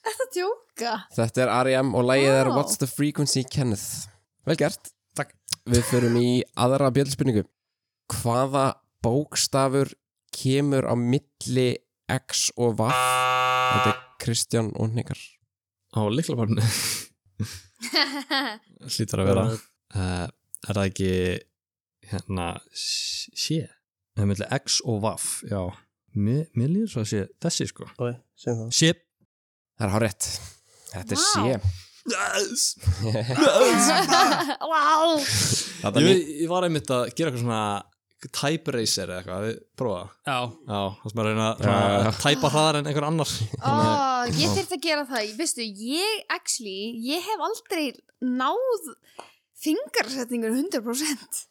Speaker 4: Er það djóka? [laughs]
Speaker 1: Þetta er R.E.M. og lagið er
Speaker 4: Vá.
Speaker 1: What's the Frequency Kenneth Vel gert
Speaker 5: Takk.
Speaker 1: Við förum í aðra bjöldspurningu Hvaða bókstafur kemur á milli X og V Þetta er Kristján og Hnikar
Speaker 6: Á liklabarnu [laughs] Lítur að vera uh, Er það ekki hérna sé Það er milli X og Vaff Já Mér mér líður svo að sé þessi sko
Speaker 2: Ok, segjum það
Speaker 6: Ship
Speaker 1: Það er hár rétt Þetta er
Speaker 4: Vá.
Speaker 1: sé
Speaker 6: yes.
Speaker 4: Vá!
Speaker 1: Þetta er
Speaker 6: ég, veit- ég var einmitt að gera eitthvað svona type racer eða eitthvað Við prófa
Speaker 5: já,
Speaker 6: Já, það sem er að reyna
Speaker 1: Já.
Speaker 6: að svona tæpa hraðar en einhver annar
Speaker 4: Ó, ég þurfti að gera það. Vistu, ég, actually, ég hef aldrei náð fingarsetningur 100%.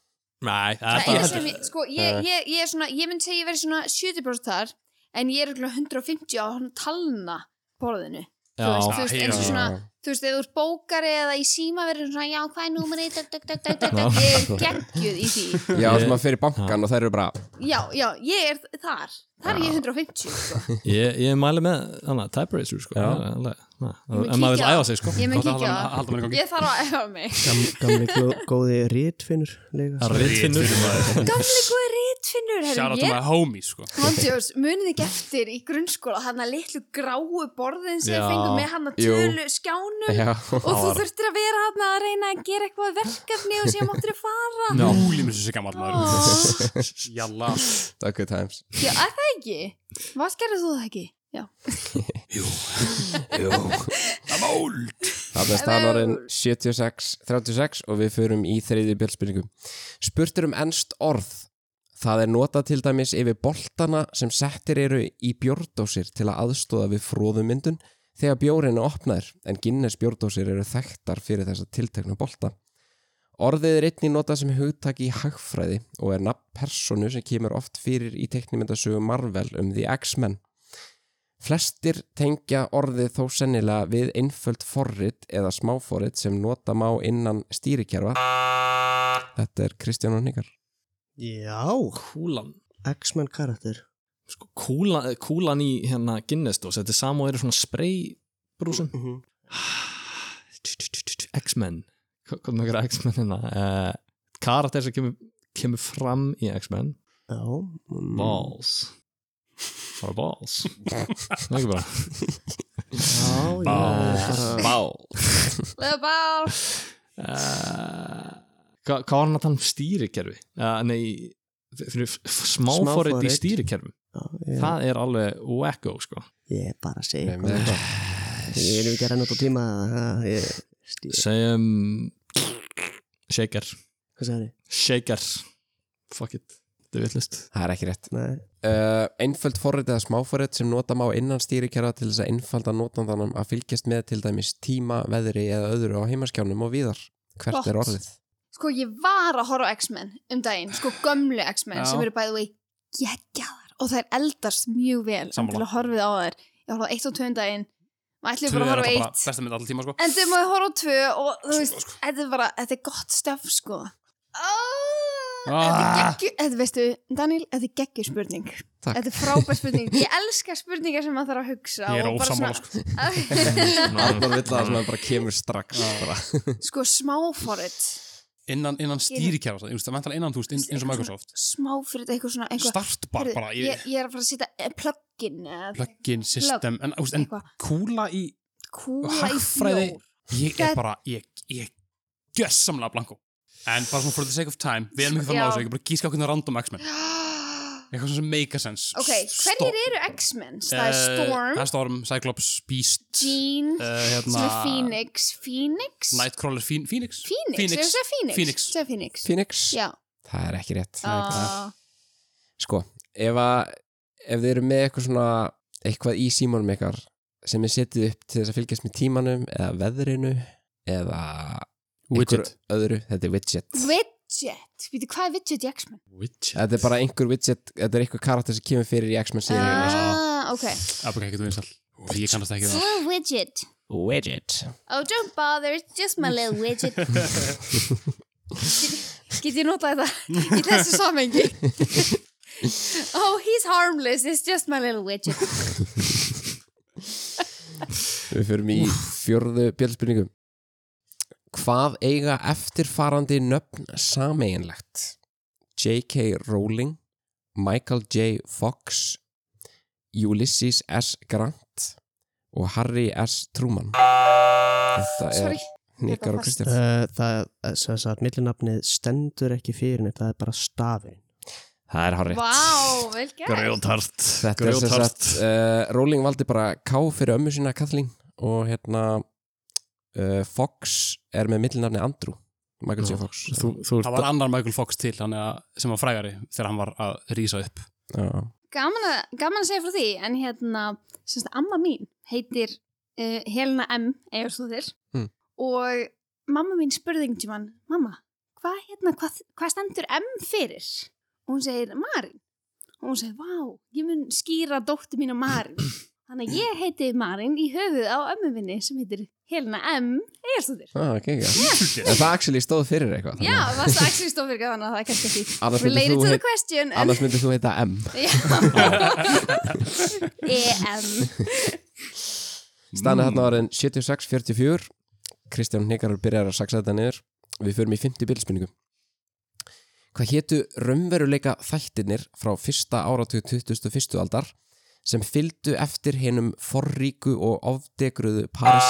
Speaker 6: Nei,
Speaker 4: Það er
Speaker 6: þetta
Speaker 4: sem ég, sko, ég, ég, ég er svona, ég myndi segja ég verið svona 70% þar, en ég er örugglega 150 á hann talna borðinu. Þú veist, þú veist,
Speaker 5: já,
Speaker 4: eins og
Speaker 5: já.
Speaker 4: svona, þú veist, ef þú ert bókari eða í síma verður svona, já, hvað er númeri, dag, dag, dag, dag, dag, dag, ég er geggjuð í því.
Speaker 1: Já, þú maður fyrir bankan og þær eru bara
Speaker 4: Já, já, ég er þar, þar er ég 150, sko.
Speaker 6: Ég, ég mæli með hana, type racer sko
Speaker 1: Já.
Speaker 6: Alveg, alveg,
Speaker 4: Ég mun
Speaker 6: En maður vil
Speaker 4: kíkja á-
Speaker 6: æfa sig sko
Speaker 4: Ég mun
Speaker 5: Þú átt að
Speaker 4: kíkja á
Speaker 5: halda-
Speaker 4: það.
Speaker 5: halda mann í gangi.
Speaker 4: Ég þarf að efa
Speaker 5: [laughs]
Speaker 4: mig.
Speaker 2: Gam, Gamli gló- góði rítfinnur líka
Speaker 6: Það er reyndfinnur
Speaker 4: [laughs] Gamli góði rítfinnur,
Speaker 5: shout
Speaker 4: herri,
Speaker 5: out to
Speaker 4: ég
Speaker 5: my homies sko.
Speaker 4: Montjós, munið þið geftir í grunnskóla hann að litlu gráu borðin sem
Speaker 6: Já.
Speaker 4: við fengum með hann að
Speaker 1: Jú.
Speaker 4: tölu skjánum
Speaker 1: Já, [laughs]
Speaker 4: og þú þurftir að vera hann að reyna að gera eitthvað verkefni og síðan máttir að fara
Speaker 5: [laughs] nú límur þessi gammal maður
Speaker 4: Ó,
Speaker 5: jalla
Speaker 1: takk good times
Speaker 4: Já, er það ekki? Hvað skerðu þú það ekki? Já,
Speaker 1: Jú
Speaker 5: það var ól
Speaker 1: Þarna er staðan orðin 76, 36 og við förum í þriði bjöldspurningu. Spurtur um ennst orð. Það er notað til dæmis yfir boltana sem settir eru í bjórdósir til að aðstóða við fróðumyndun þegar bjórinu opnaðir, en Guinness bjórdósir eru þekktar fyrir þessa tilteknu bolta. Orðið er einnig notað sem hugtak í hagfræði og er nafn personu sem kemur oft fyrir í teknimyndasögu Marvel um The X-Men. Flestir tengja orðið þó sennilega við einföld forrit eða smáforrit sem nota má innan stýrikerfa. Þetta er Kristján og Nikar.
Speaker 2: Já,
Speaker 6: Kúlan
Speaker 2: X-Men karakter
Speaker 6: sko, kúla, Kúlan í hérna Guinness-dós Þetta er sama og eru svona spray brúsin [sighs]
Speaker 2: Mhm.
Speaker 6: X-Men Hva- Hvað er með einhverja X-Men hérna? Uh, karakter sem kemur, kemur fram í X-Men
Speaker 2: Já mm,
Speaker 6: Balls Bara balls [laughs] Það er ekki bara Eh,
Speaker 2: Já, já bara-
Speaker 6: Balls
Speaker 4: leðu bál
Speaker 6: uh, Hvað hva var hann að tala um stýrikerfi? Uh, nei, fyrir f- f- smáforrit í
Speaker 2: Smáforrit.
Speaker 6: stýrikerfum
Speaker 2: Já, ég-
Speaker 6: Það er alveg wacko sko
Speaker 2: Ég er bara að segja
Speaker 1: Nei, með-
Speaker 2: eitthvað
Speaker 6: Eh,
Speaker 2: Ég erum ekki að renna út á tíma ha, ég, stýr,
Speaker 6: Segjum um, Shaker
Speaker 2: Hvað sagði þið?
Speaker 6: Shaker Fuck it Það er villist
Speaker 1: Það er ekki rétt.
Speaker 2: Nei,
Speaker 1: Uh, einföld forrit eða smáforrit sem nota má innan stýrikerfa til þess að einfalda notandanum að fylgjast með til dæmis tíma, veðri eða öðru á heimaskjánum og víðar. Hvert
Speaker 4: Gott.
Speaker 1: er orðið?
Speaker 4: Sko, ég var að horfa á X-Men um daginn, sko, gömlu X-Men
Speaker 5: Já.
Speaker 4: sem eru bæði við geggjaðar og þær eldast mjög vel en
Speaker 5: Sammála.
Speaker 4: til að horfið á þær. Ég horfði á eitt og tvöðum daginn, maður ætlum bara að horfa á eitt.
Speaker 5: besta mynd alltaf tíma sko.
Speaker 4: En þau maður horfa á tvö og þú veist, þetta er bara, þetta er gott stöf sko. Ah, Þetta er
Speaker 5: Ah.
Speaker 4: geggju, þetta veistu, Daniel, þetta er geggju spurning.
Speaker 1: Takk.
Speaker 4: Þetta er frábær spurning. Ég elska spurningar sem maður þarf að hugsa.
Speaker 5: Ég er
Speaker 4: og bara
Speaker 5: ósammála, sko.
Speaker 4: svona- [laughs]
Speaker 5: [laughs]
Speaker 1: Arnur vill að það sem bara kemur strax. Bara.
Speaker 4: Sko, smáforrit.
Speaker 5: innan, innan stýrikjara það er vantilega innan, þú veist, inn- eins og Microsoft
Speaker 4: smá fyrir þetta eitthvað svona eitthvað,
Speaker 5: startbar
Speaker 4: Heyrðu,
Speaker 5: bara í
Speaker 4: ég, ég er að fara að setja eh, plugin eða
Speaker 5: plugin system en, þú veist, en
Speaker 4: eitthvað
Speaker 5: kúla í
Speaker 4: kúla í
Speaker 5: hagfræði
Speaker 4: fjór
Speaker 5: ég er bara, ég, ég gjössamlega blanko en bara svona for the sake of time við erum ekki fram á
Speaker 4: Já.
Speaker 5: þessu, ég er bara að gíska okkur random X-Men eitthvað svona sem make a sense
Speaker 4: ok, hverjir eru X-Men?
Speaker 5: Eh,
Speaker 4: það er
Speaker 5: það
Speaker 4: Storm,
Speaker 5: er Storm, Cyclops, Beast
Speaker 4: Jean
Speaker 5: eh, hérna-
Speaker 4: sem er Phoenix Phoenix?
Speaker 5: Nightcrawler, Phoen- Phoenix
Speaker 4: Phoenix,
Speaker 5: Phoenix.
Speaker 4: er það að segja Phoenix?
Speaker 5: Phoenix.
Speaker 4: Segja Phoenix.
Speaker 1: Phoenix?
Speaker 4: Já,
Speaker 1: Það er ekki rétt. Það er ekki það.
Speaker 4: uh,
Speaker 1: Sko, ef, að, ef þið eru með eitthvað svona, eitthvað í símanum ykkar sem er setið upp til þess að fylgjast með tímanum eða veðrinu eða einhver
Speaker 5: Widget.
Speaker 1: öðru, þetta er widget.
Speaker 4: Widget Víti, hvað er Widget í X-Men?
Speaker 3: Widget
Speaker 1: Þetta er bara einhver widget, þetta er eitthvað karakter sem kemur fyrir í X-Men síðan.
Speaker 4: Ah, ok
Speaker 5: Abba, ekki þú einsall ég kannast ekki við það
Speaker 4: Oh, Widget
Speaker 1: Widget.
Speaker 4: Oh, don't bother, it's just my little widget Get- [laughs] Get ég notað þetta í þessu samengi Oh, he's harmless, it's just my little widget
Speaker 1: Við förum í fjörðu bjöldspurningu. Hvað eiga eftirfarandi nöfn sameiginlegt? J.K. Rowling, Michael J. Fox, Ulysses S. Grant og Harry S. Truman. Þetta er
Speaker 4: Sorry,
Speaker 1: Nikar og
Speaker 4: þetta fannst-
Speaker 1: Kristján.
Speaker 2: Uh, það, sem sagt, millinafnið stendur ekki fyrir neitt, það er bara stafin.
Speaker 1: Það er hárið.
Speaker 4: vá, vel gæt
Speaker 6: Grjótart
Speaker 1: Þetta er sem sagt, uh, Rowling valdi bara K fyrir ömmu sína Kathleen og hérna uh, Fox er með millinafni Andrew. Michael J.
Speaker 6: Já.
Speaker 1: Fox.
Speaker 6: Þú, þú ert
Speaker 5: það var annar Michael Fox til hann er, sem var frægari þegar hann var að rísa upp
Speaker 1: Já.
Speaker 4: gaman, að- gaman að segja frá því En hérna, semst, amma mín heitir uh, Helena M. Ejurstóðir
Speaker 1: Mm.
Speaker 4: Og mamma mín spurði einhvern tímann Mamma, hvað hérna, hvað, hvað stendur M fyrir? Og hún segir, Marín Og hún segir, vá, ég mun skýra dóttir mín á
Speaker 1: [coughs]
Speaker 4: Marín Þannig að ég heiti Marín í höfuð á ömmu minni sem heitir Helena M. Ejurstóðir
Speaker 1: Ah, okay, yeah. En það actually stóð fyrir eitthvað þannig
Speaker 4: Já, það er Axel Stofirka þannig að það er kannski ekki
Speaker 1: að annars myndir
Speaker 4: related
Speaker 1: þú,
Speaker 4: to the
Speaker 1: heit,
Speaker 4: question en-
Speaker 1: annars myndir þú heita M [laughs]
Speaker 4: [laughs] Já. EM
Speaker 1: Stanna þarna áriðin
Speaker 4: Mm.
Speaker 1: 76-44 Kristján Hnikarur byrjar að saksa þetta niður Við förum í 50 bilspinningu Hvað hétu raunveruleika þættirnir frá fyrsta áratug 21. aldar sem fylgdu eftir hinum forríku og ofdegruðu Paris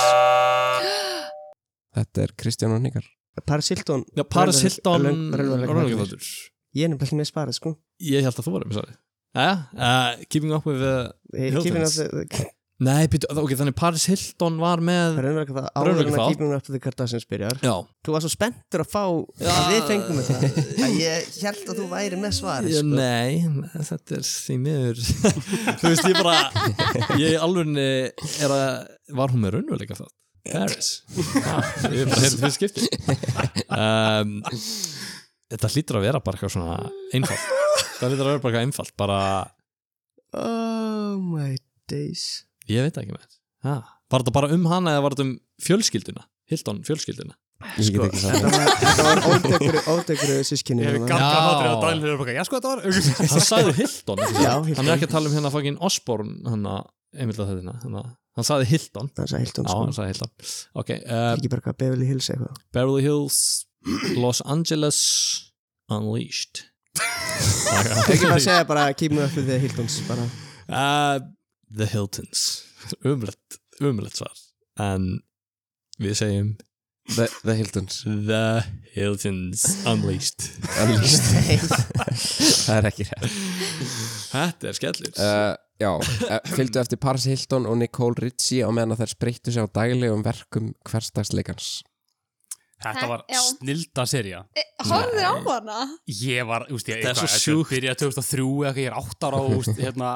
Speaker 1: Þetta er Kristján og Hnikar
Speaker 2: Paris Hilton,
Speaker 6: Já, Paris
Speaker 2: Raunveruleik-
Speaker 6: Hilton
Speaker 2: raunveruleik- raunveruleik-
Speaker 6: Raunveruleikaþáttur.
Speaker 2: ég er nefnilega ekki með sparið, sko.
Speaker 6: Ég held að þú varum, sorry uh, uh, Keeping up with uh,
Speaker 2: Ég
Speaker 6: Hiltons.
Speaker 2: kýfin að það, [laughs]
Speaker 6: Nei, býtu, ok, þannig Paris Hilton var með
Speaker 2: raunverðlega það
Speaker 6: Raunveruleik
Speaker 2: áður en að
Speaker 6: þá.
Speaker 2: kýfin upp til Kardashians byrjar.
Speaker 6: Já,
Speaker 2: Þú var svo spenntur að fá að við fengum þetta. Að ég held að þú væri með svarið,
Speaker 6: ég,
Speaker 2: sko.
Speaker 6: nei, þetta er því miður [laughs] Þú veist, ég bara Ég alveg er að Var hún með raunveruleika þátt? Paris Já, Ég er bara heyrði fyrir skipti um, Þetta hlýtur að vera bara eitthvað svona einfalt Þetta hlýtur að vera bara eitthvað einfalt Bara,
Speaker 2: Oh my days.
Speaker 6: ég veit ekki með þetta Var þetta bara um hana eða var þetta um fjölskylduna? Hilton, fjölskylduna
Speaker 1: Ég
Speaker 4: Sko.
Speaker 1: get ekki sagt
Speaker 2: Þetta
Speaker 1: það.
Speaker 2: var- þetta var ódegru, ódegru sískinni.
Speaker 5: ég hef
Speaker 2: hérna.
Speaker 5: gangað hátrið að
Speaker 6: Já.
Speaker 5: Daniel er bara já sko þetta var
Speaker 6: Hann sagði Hilton ekki satt?
Speaker 2: Já, Hilton.
Speaker 6: Hann er ekki að tala um hérna fucking Osborn hann að einmitt að þetta hérna. Hann sagði Hilton
Speaker 2: Það sagði Hilton,
Speaker 6: Já, hann
Speaker 2: sko.
Speaker 6: sagði Hilton Ok, uh,
Speaker 2: Ekki bara hvað Beverly Hills eitthvað.
Speaker 6: Beverly Hills Los Angeles Unleashed [laughs]
Speaker 2: Ekki bara að segja bara kýfin upp til Hiltons, bara.
Speaker 6: uh, The Hiltons umlegt, umlegt svar en við segjum
Speaker 1: The, the Hiltons
Speaker 4: [laughs]
Speaker 6: The Hiltons Unleashed
Speaker 2: [laughs]
Speaker 1: Unleashed. [laughs] Það er ekki rétt
Speaker 6: Þetta er skellir
Speaker 1: uh, Já, eh, fylgdu eftir Paris Hilton og Nicole Ritchie á meðan að þær spreyttu sig á daglegum verkum hverstagsleikans
Speaker 5: [laughs] þetta var
Speaker 4: Já. Eh.
Speaker 5: snilda seria
Speaker 4: Horfðu á hana?
Speaker 5: ég var, úst, ég,
Speaker 6: Þetta er
Speaker 5: eitthvað,
Speaker 6: svo
Speaker 5: þetta
Speaker 6: sjúkt.
Speaker 5: byrjaði 2003 eða eitthvað, ég er 8 ára og úst, hérna,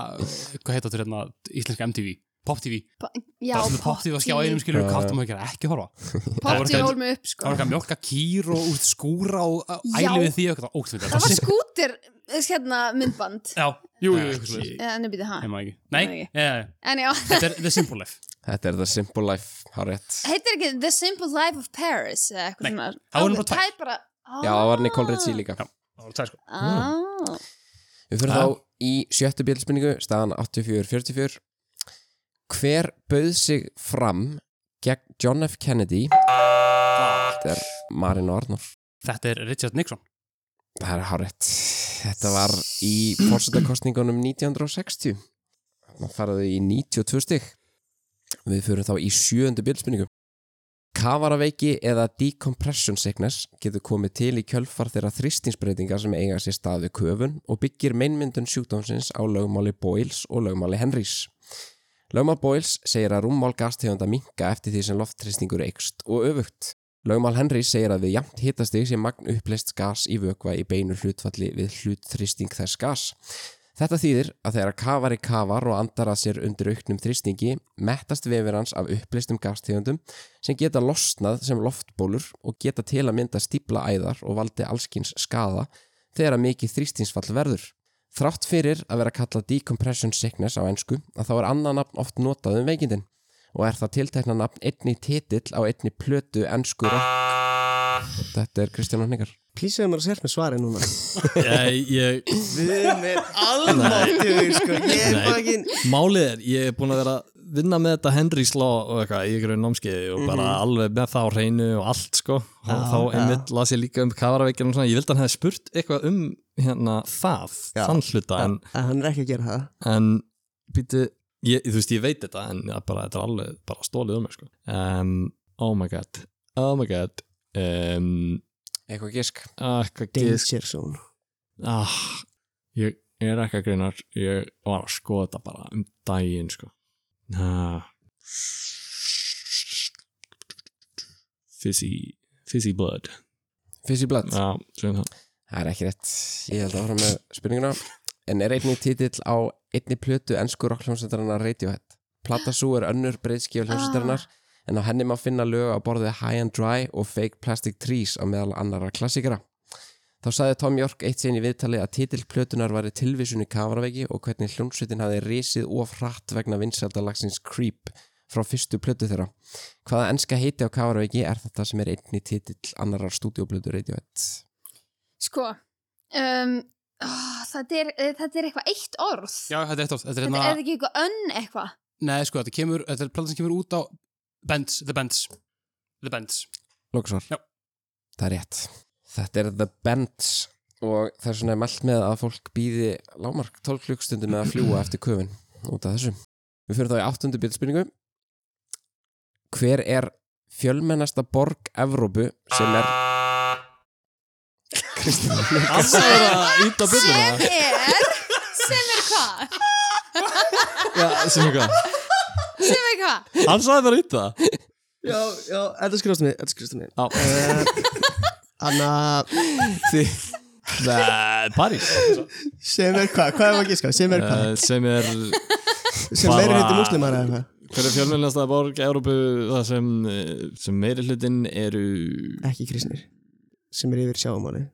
Speaker 5: hvað heitir þetta hérna, íslenska MTV, Pop TV
Speaker 4: Já,
Speaker 5: það var svona Pop TV að skjá einum skilur
Speaker 1: Já, já.
Speaker 5: hvað það maður gera, ekki horfa Það
Speaker 4: Pop
Speaker 5: var
Speaker 4: TV
Speaker 5: eitthvað-
Speaker 4: hól mig upp,
Speaker 5: það
Speaker 4: sko
Speaker 5: var eitthvað mjölka kýr og úst, skúra og uh,
Speaker 4: Já.
Speaker 5: æli við því og eitthvað óksmynda
Speaker 4: Það var skútir, hérna, myndband
Speaker 5: já, jú, jú, jú, jú
Speaker 4: Eh, Nei, býttu, ha?
Speaker 5: heima ekki, nei,
Speaker 4: Nei.
Speaker 5: nei, nei.
Speaker 4: En já,
Speaker 5: þetta er The Simple Life
Speaker 1: Þetta er The Simple Life, það er rétt
Speaker 4: heitir ekki The Simple Life of Paris eða
Speaker 5: Nei,
Speaker 4: eitthvað svona
Speaker 5: það voru
Speaker 4: Ok,
Speaker 5: bara tvær.
Speaker 4: er bara
Speaker 1: Já, það var Nicole Ritchie líka
Speaker 5: Það var tvær, sko.
Speaker 4: Ah,
Speaker 1: Við fyrir þá í sjöttu bílspinningu staðan 84-44 Hver bauð sig fram gegn John F. Kennedy Þetta er Marin Arnor
Speaker 5: Þetta er Richard Nixon
Speaker 1: Það er hárétt. Þetta var í fórsetakostningunum 1960. Það faraði í 92 stygg. Við fyrir þá í sjöundu bjöldspinningu. Kavaraveiki eða decompression sickness getur komið til í kjölfar þeirra þrýstingsbreytinga sem eiga sér stað við köfun og byggir meinmyndun sjúkdómsins á lögmáli Boyles og lögmáli Henrys. Lögmál Boyles segir að rúmmál gastegunda minka eftir því sem loftrýstingur eikst og öfugt. Lögmál Henry segir að við jafnt hitastig sem magn upplest gas í vökva í beinu hlutfalli við hlutþrýsting þess gas. Þetta þýðir að þegar kafari kafar og andar að sér undir auknum þrýstingi mettast vefir hans af upplestum gastegundum sem geta losnað sem loftbólur og geta til að mynda stípla æðar og valdi allskins skada þegar að mikið þrýstingsfall verður. Þrátt fyrir að vera kallað decompression sickness á ennsku að þá er annað nafn oft notað um veikindin og er það tiltekna nafn einni titill á einni plötu ennsku rock. Þetta er Kristján Hanningar.
Speaker 2: Plýsaðu mér að sér með svarið núna
Speaker 6: ég, Eh, ég,
Speaker 2: Við erum með almáttugur sko Ég er
Speaker 6: Nei.
Speaker 2: fucking
Speaker 6: málið er, ég er búin að vera að vinna með þetta Henry Slá og eitthvað í ykkur námskeiði og bara alveg með það á hreinu og allt sko og
Speaker 2: Mhm. Já,
Speaker 6: þá
Speaker 2: já.
Speaker 6: einmitt las ég líka um kavaraveikir og svona, ég vildi að hann hefði spurt eitthvað um hérna það,
Speaker 2: Já.
Speaker 6: þann hluta en,
Speaker 2: að Hann er ekki að gera það
Speaker 6: en býtu, ég, þú veist ég veit þetta en það bara, þetta er alveg bara stólið um mig sko um, oh my god oh my god um,
Speaker 1: Eitthvað gísk.
Speaker 6: ah, hvað gerist
Speaker 2: Danger Zone
Speaker 6: ah, ég er ekki að grinar ég var að skoða þetta bara um daginn sko ah. fizzy fizzy blood
Speaker 1: Fizzy Blood.
Speaker 6: já, svona það
Speaker 1: Það er ekki rétt. Ég held að fara með spurninguna. En er einni titill á einni plötu ennsku rock hljómsveitarinnar Radiohead? Plata sú er önnur breyðskjöf hljómsveitarinnar en á henni má finna lög á borðið High and Dry og Fake Plastic Trees á meðal annara klassikara. Þá sagði Tom York eitt sinn í viðtalið að titillplötunar væri tilvísun í kafaraveiki og hvernig hljómsveitin hafi risið of hratt vegna vinsaldalagsins Creep frá fyrstu plötu þeirra. Hvaða enska heiti á kafaraveiki er þetta sem er einni titill annarar stúdíoplötu Radiohead?
Speaker 4: Sko um, ó, þetta, er, eh, þetta er eitthvað eitt orð
Speaker 5: Já, þetta er eitt orð Þetta er
Speaker 4: Þetta
Speaker 5: hérna
Speaker 4: er ekki eitthvað önn eitthvað
Speaker 5: Nei, sko, þetta kemur Þetta er platan sem kemur út á Bends The Bends The Bends
Speaker 1: Lóksvar?
Speaker 5: Já.
Speaker 1: Það er rétt. Þetta er The Bends og það er svona meld með að fólk býði lámark 12 klukkstundum með að fljúa eftir köfun út af þessu. Við fyrir þá í áttundu byrðspurningu. Hver er fjölmennasta borg Evrópu sem er...
Speaker 6: alltaf er að íta byrjuna
Speaker 4: Sem er Sem er hvað?
Speaker 6: já, sem eitthvað
Speaker 4: Sem er hvað?
Speaker 6: hann sagði það að íta
Speaker 2: Já, já, þetta skrifast mig Þetta skrifast mig
Speaker 6: já,
Speaker 2: Anna
Speaker 6: það París
Speaker 2: Sem er hvað? Hvað er að gíska? Sem er hvað?
Speaker 6: Eh, sem er hver Eh,
Speaker 2: Sem meiri
Speaker 6: bara-
Speaker 2: hluti muslimar eða hvað?
Speaker 6: er fjölmennasta borg Európu það sem, eh, sem meiri hlutin eru
Speaker 2: Ekki kristnir Sem er yfir sjáumáli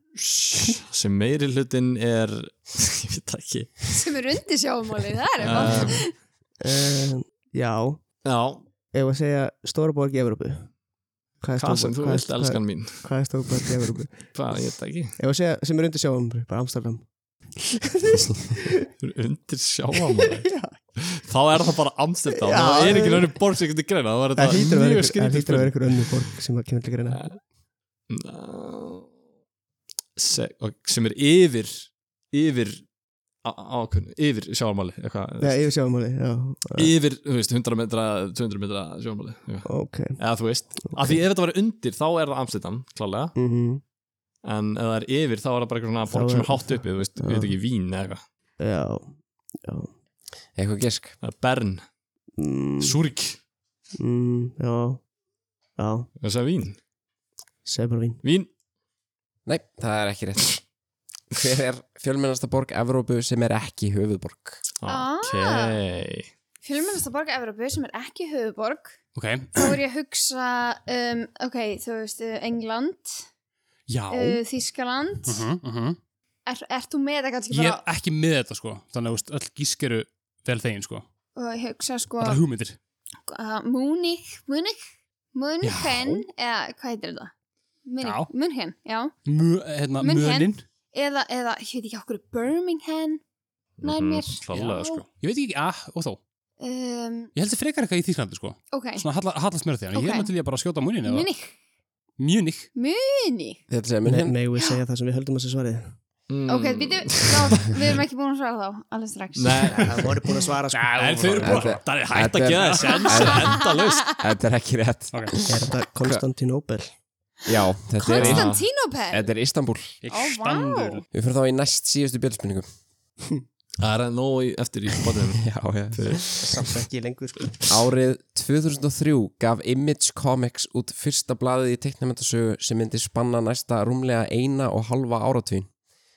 Speaker 6: sem meiri hlutin er [laughs] ég veit það ekki
Speaker 4: Sem er undir sjáumóli Það er eitthvað
Speaker 5: Ah.
Speaker 6: um,
Speaker 2: um, Já
Speaker 6: já,
Speaker 2: Ef að segja Stórborg í Evrópu Hvað
Speaker 6: hvað sem þú
Speaker 2: hvað er-
Speaker 6: vilt
Speaker 2: hvað-
Speaker 6: elskan mín
Speaker 2: Hvað er Stórborg í [laughs] Evrópu?
Speaker 6: hvað, ég veit það ekki
Speaker 2: Ef að segja sem er undir sjáum Bara Amsterdam
Speaker 6: þú eru undir
Speaker 2: [laughs]
Speaker 6: sjáamóli þá er það bara Amsterdam
Speaker 2: Já,
Speaker 6: það er ekki
Speaker 2: það-
Speaker 6: nörður borg sem getur greina það var
Speaker 2: Það hlýtur
Speaker 6: þetta
Speaker 2: að vera
Speaker 6: mjög
Speaker 2: einhver- það
Speaker 6: skrítið
Speaker 2: hlýtur að vera einhver önnu borg sem að kemur til greina
Speaker 6: spurning. Se, og, sem er yfir yfir ákvörnu, yfir sjáamóli eitthvað,
Speaker 2: Já, yfir sjáumáli, já
Speaker 6: yfir, þú veist, 100 metra 200 metra sjáamóli eitthvað.
Speaker 2: Ok
Speaker 6: eða þú veist, af því ef þetta var undir þá er það Amsterdam, klálega
Speaker 2: Mhm.
Speaker 6: en ef það er yfir þá er það bara eitthvað svona
Speaker 2: Þá
Speaker 6: borg sem
Speaker 2: er-
Speaker 6: er hátt uppi, þú veist,
Speaker 2: Já.
Speaker 6: við veit ekki Vín eða eitthvað,
Speaker 2: Já Já
Speaker 1: Eitthvað gisk.
Speaker 6: Það er Bern,
Speaker 2: Mm,
Speaker 6: Súrik
Speaker 2: mm, Já Já
Speaker 6: það er Vín,
Speaker 2: Segð bara vín
Speaker 6: Vín
Speaker 1: Nei, það er ekki rétt. Hver er fjölmennasta borg Evrópu sem er ekki höfuðborg?
Speaker 4: Ah.
Speaker 6: ok,
Speaker 4: Fjölmennasta borg Evropu sem er ekki höfuborg
Speaker 5: Ok
Speaker 4: Þá er ég að hugsa um, Ok, þú veist, eh, England
Speaker 5: Já
Speaker 4: uh, Þískaland
Speaker 5: Mhm, mhm.
Speaker 4: er, Ert þú með eitthvað kannski
Speaker 5: Ég
Speaker 4: bara
Speaker 5: er ekki með þetta, sko Þannig að þú veist, öll gísk eru vel þegin, sko
Speaker 4: og ég hugsa sko
Speaker 5: Alla hugmyndir
Speaker 4: uh, Múnich Múnich Múnchen eða hvað heitir þetta?
Speaker 5: Já.
Speaker 4: Múnich- Múnchen, já
Speaker 5: Mö, hérna,
Speaker 4: München.
Speaker 5: Möninn
Speaker 4: eða, eða, ég veit ekki okkur Birmingham nær
Speaker 6: Mhm,
Speaker 4: mér
Speaker 6: klálega, sko.
Speaker 5: Ég veit ekki, ah, og þó
Speaker 4: um,
Speaker 5: Ég held að frekar eitthvað í Þýrlandi, sko
Speaker 4: ok,
Speaker 5: Svona hallast mér að því, en ég
Speaker 4: Ok.
Speaker 5: er náttúrulega bara að skjóta munin
Speaker 4: Munich
Speaker 5: Munich
Speaker 4: Inni.
Speaker 1: Þetta segja
Speaker 2: Me-
Speaker 1: München
Speaker 2: Megum við segja það sem við höldum að sé svarið
Speaker 1: Mm.
Speaker 4: Ok,
Speaker 6: Mm.
Speaker 4: býtu, þá, við erum ekki búin að svara þá, alveg strax. [laughs]
Speaker 3: Nei,
Speaker 2: Það voru búin að svara sko
Speaker 3: en þau eru búin
Speaker 1: Þetta-
Speaker 3: Það er hægt
Speaker 1: þetta
Speaker 3: að
Speaker 1: er-
Speaker 3: geða þessi enda laust
Speaker 1: Þetta er ekki rétt
Speaker 2: Er þetta Konstantinopel?
Speaker 1: Já, þetta er,
Speaker 4: Konstantínopel?
Speaker 1: þetta er Istanbul
Speaker 5: Ég
Speaker 4: Ó, vá.
Speaker 5: standur.
Speaker 1: Við fyrir þá í næst síðustu bjöldspinningu
Speaker 6: Það er nóg í- eftir í
Speaker 4: [laughs]
Speaker 6: bóðinu
Speaker 1: [laughs] Já, já
Speaker 2: Samt ekki lengur sko
Speaker 1: Árið 2003 gaf Image Comics út fyrsta blaðið í teiknamöndasögu sem myndi spanna næsta rúmlega eina og halva áratvín.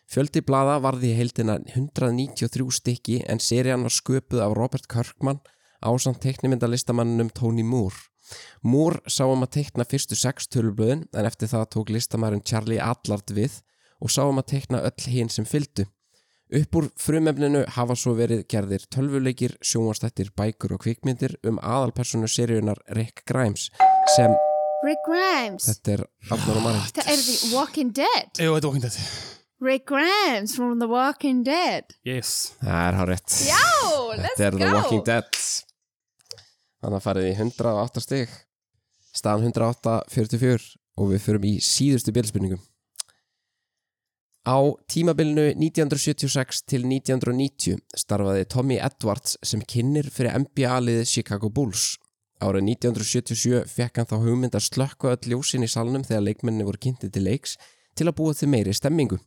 Speaker 1: Fjöldi blaða varði í heildina 193 stykki en serían var sköpuð af Robert Kirkman ásamt teiknimyndalistamanninum Tony Moore. Moore sá um að teikna fyrstu sex tölublöðin en eftir það tók listamærin Charlie Adlard við og sá um að teikna öll hinn sem fylgdu. Upp úr frumefninu hafa svo verið gerðir tölvuleikir, sjónvastættir, bækur og kvikmyndir um aðalpersonu seríunar Rick Grimes sem
Speaker 4: Rick Grimes.
Speaker 1: þetta er Arnur og Marin.
Speaker 4: Það er því Walking Dead.
Speaker 5: Jú, þetta var okkur þetta.
Speaker 4: Rick Grimes from The Walking Dead.
Speaker 5: Yes.
Speaker 1: Það er hár rétt.
Speaker 4: Já, let's
Speaker 1: þetta er The
Speaker 4: go.
Speaker 1: Walking Dead. Þannig að farið í 108 stig. Staðan 108-44 og við förum í síðustu bílspurningum. Á tímabilinu 1976 til 1990 starfaði Tommy Edwards sem kynir fyrir NBA-liðið Chicago Bulls. Árið 1977 fekk hann þá hugmynd að slökka öll ljósin í salnum þegar leikmenni voru kynnti til leiks til að búa til meiri stemmingu.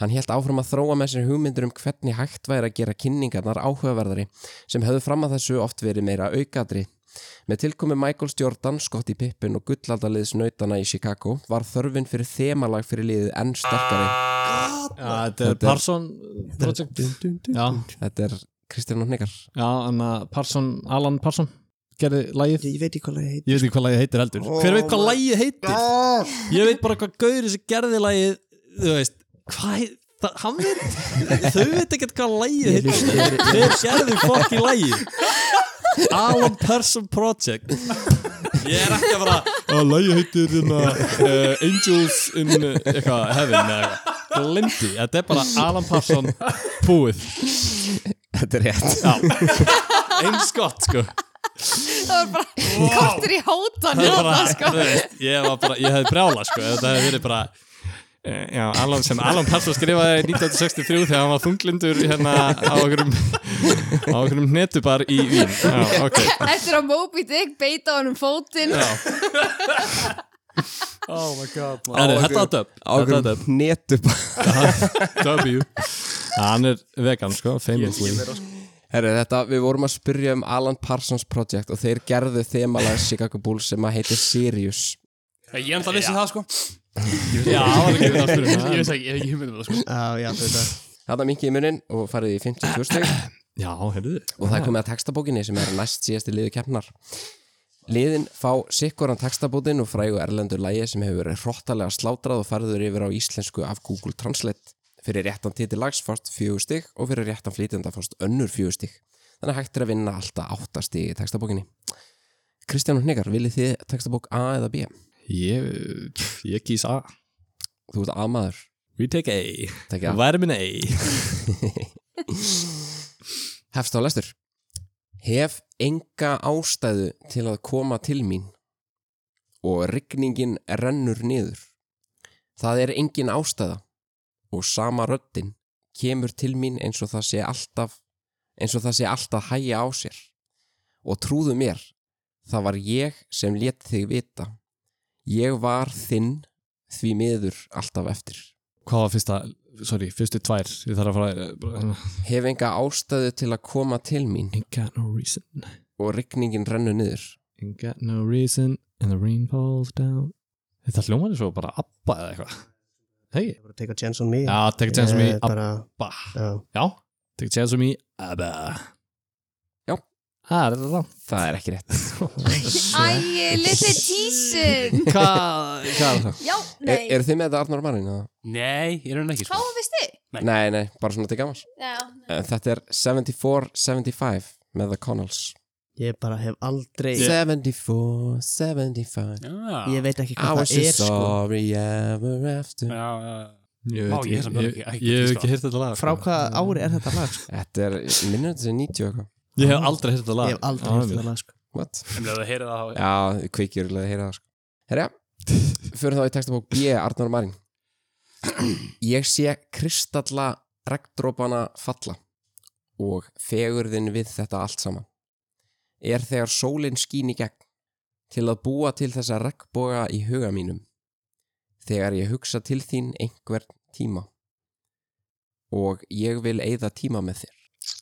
Speaker 1: Hann hélt áfram að þróa með sér hugmyndur um hvernig hægt væri að gera kynningarnar áhugaverðari sem höfðu fram að þessu oft verið meira aukadri. Með tilkomi Michael Jordan, Scottie Pippen og gullaldaliðs nautana í Chicago var þörfin fyrir þemalag fyrir liðið enn sterkari.
Speaker 6: Þetta er
Speaker 1: Þetta er-
Speaker 6: Parson Project
Speaker 2: Dun, dun, dun.
Speaker 6: Já,
Speaker 1: Þetta er Kristján og Hnegar.
Speaker 6: já, en að Parson, Alan Parson gerði lagið
Speaker 2: Ég veit ekki hvað það heit
Speaker 6: Ég veit ekki hvað lagið heitir heldur Hver veit
Speaker 1: Oh
Speaker 6: hvað lagið heitir? Ég veit bara hvað gaurið sem gerði lagið Þú veist, hvað heit- það, hann veit, þau veit ekkert hvað lagið heitir Hver gerði fokk í lagið? Alan Parson Project Ég er ekki að bara að lagið heitir hérna, uh, Angels in uh, eitthvað, Heaven eða eitthvað Glindi, þetta er bara Alan Parson búið
Speaker 1: [laughs] Þetta er rétt.
Speaker 6: Eins gott sko
Speaker 4: Það var bara kortur í hótan.
Speaker 6: Það er bara, þú veist, ég var bara, ég hefði brjála sko, þetta hefði verið bara eh, Já, Alan, sem Alan Parsons skrifaði 1963 þegar hann var þunglindur hérna á okkurum á okkurum hnetubar í Vín Já, ok
Speaker 4: Eftir að Moby Dick beita honum fótinn.
Speaker 5: Oh my god.
Speaker 6: Herri, Þetta var döp, þetta var döp
Speaker 1: netu [laughs] bara.
Speaker 6: W Hann er vegan sko, famously
Speaker 1: Herru, þetta, við vorum að spyrja um Alan Parsons Project og þeir gerðu þemalag Chicago Bulls sem að heitir Sirius.
Speaker 5: Ég enda vissi það sko.
Speaker 6: Já, hann er ekki verið að spyrja um
Speaker 5: Ég
Speaker 6: það.
Speaker 5: veist ekki, ég hef ekki hugmynd um það sko.
Speaker 2: Já, já, þú veit það
Speaker 1: Þetta minkið í munin og farið í 52 steg
Speaker 6: Já, heyrðu
Speaker 1: og það er komið að textabókinni sem er næst síðasti liðu keppnar. Liðin fá sikkoran textabótin og frægu erlendur lægi sem hefur verið hróttalega slátrað og færður yfir á íslensku af Google Translate. Fyrir réttan titillags fórst fjögur stygg og fyrir réttan flýtjanda fórst önnur fjögur stygg. Þannig að hægt er að vinna alltaf átta stygg í textabókinni. Kristján og Hnegar, viljið þið textabók A eða B?
Speaker 6: Ég, pff, ég kýs A
Speaker 1: Þú ert A-maður.
Speaker 6: We take A
Speaker 1: Takk ég að.
Speaker 6: Vitamin A
Speaker 1: Hefst á lestur. Hef enga ástæðu til að koma til mín og rigningin rennur niður. Það er engin ástæða og sama röddin kemur til mín eins og það sé alltaf eins og það sé alltaf hægja á sér. Og trúðu mér, það var ég sem let þig vita. Ég var þinn því miður alltaf eftir.
Speaker 6: Hvað var fyrsta, sorry, fyrstu tvær Ég þarf að fara, eh, bara, hérna
Speaker 1: Hef enga ástæðu til að koma til mín
Speaker 6: Ain't got no reason
Speaker 1: og rigningin rennur niður.
Speaker 6: Ain't got no reason and the rain falls down Þetta hljómar er svo bara Abba eða eitthvað Hei
Speaker 2: Ég bara teka chance on me
Speaker 6: Já, take a chance on me
Speaker 2: Eh,
Speaker 6: Abba
Speaker 2: Bara, já
Speaker 6: Já, take a chance on me Abba
Speaker 1: Já.
Speaker 6: Það er þetta rann
Speaker 1: Það er ekki rétt.
Speaker 4: Æ, litli tísin.
Speaker 6: Hvað hva er það?
Speaker 4: Já,
Speaker 1: Er,
Speaker 4: nei.
Speaker 1: eru þið með þetta Arnar og Marín? eða?
Speaker 5: Nei, ég
Speaker 6: hérna
Speaker 5: raun ekki sko.
Speaker 4: Fáum við stið?
Speaker 5: Nei.
Speaker 1: Nei, nei, bara svona til gamans.
Speaker 4: Já.
Speaker 1: En Þetta er 74-75 með The Connells.
Speaker 2: Ég bara hef aldrei
Speaker 1: 74-75
Speaker 5: Já,
Speaker 2: Ég veit ekki
Speaker 1: I
Speaker 2: hvað
Speaker 1: was
Speaker 2: það er
Speaker 1: just
Speaker 2: sko
Speaker 1: sorry ever after
Speaker 5: já, já.
Speaker 6: Ég
Speaker 5: Má,
Speaker 6: veit
Speaker 5: ég er
Speaker 6: ekki,
Speaker 5: samt alveg ekki-
Speaker 6: ég- ég hef
Speaker 5: ekki
Speaker 6: ekki heyrt þetta lag sko.
Speaker 2: Frá hvað ári er þetta lag sko?
Speaker 1: Þetta er, minnur þetta sem 90 og eitthvað
Speaker 6: Ég hef aldrei heyrt þetta lag
Speaker 2: Ég hef aldrei
Speaker 6: Já, mér.
Speaker 2: heyrt þetta lag sko
Speaker 1: What?
Speaker 5: En ef það heyrið það þá
Speaker 1: Já, kveikjur að heyra það sko Herja, Fyrir þá í textabók B. Arnar Marín Ég sé kristalla regndrópana falla og fegurðin við þetta allt saman er þegar sólin skín í gegn til að búa til þessa regnboga í huga mínum þegar ég hugsa til þín einhvern tíma og ég vil eigða tíma með þér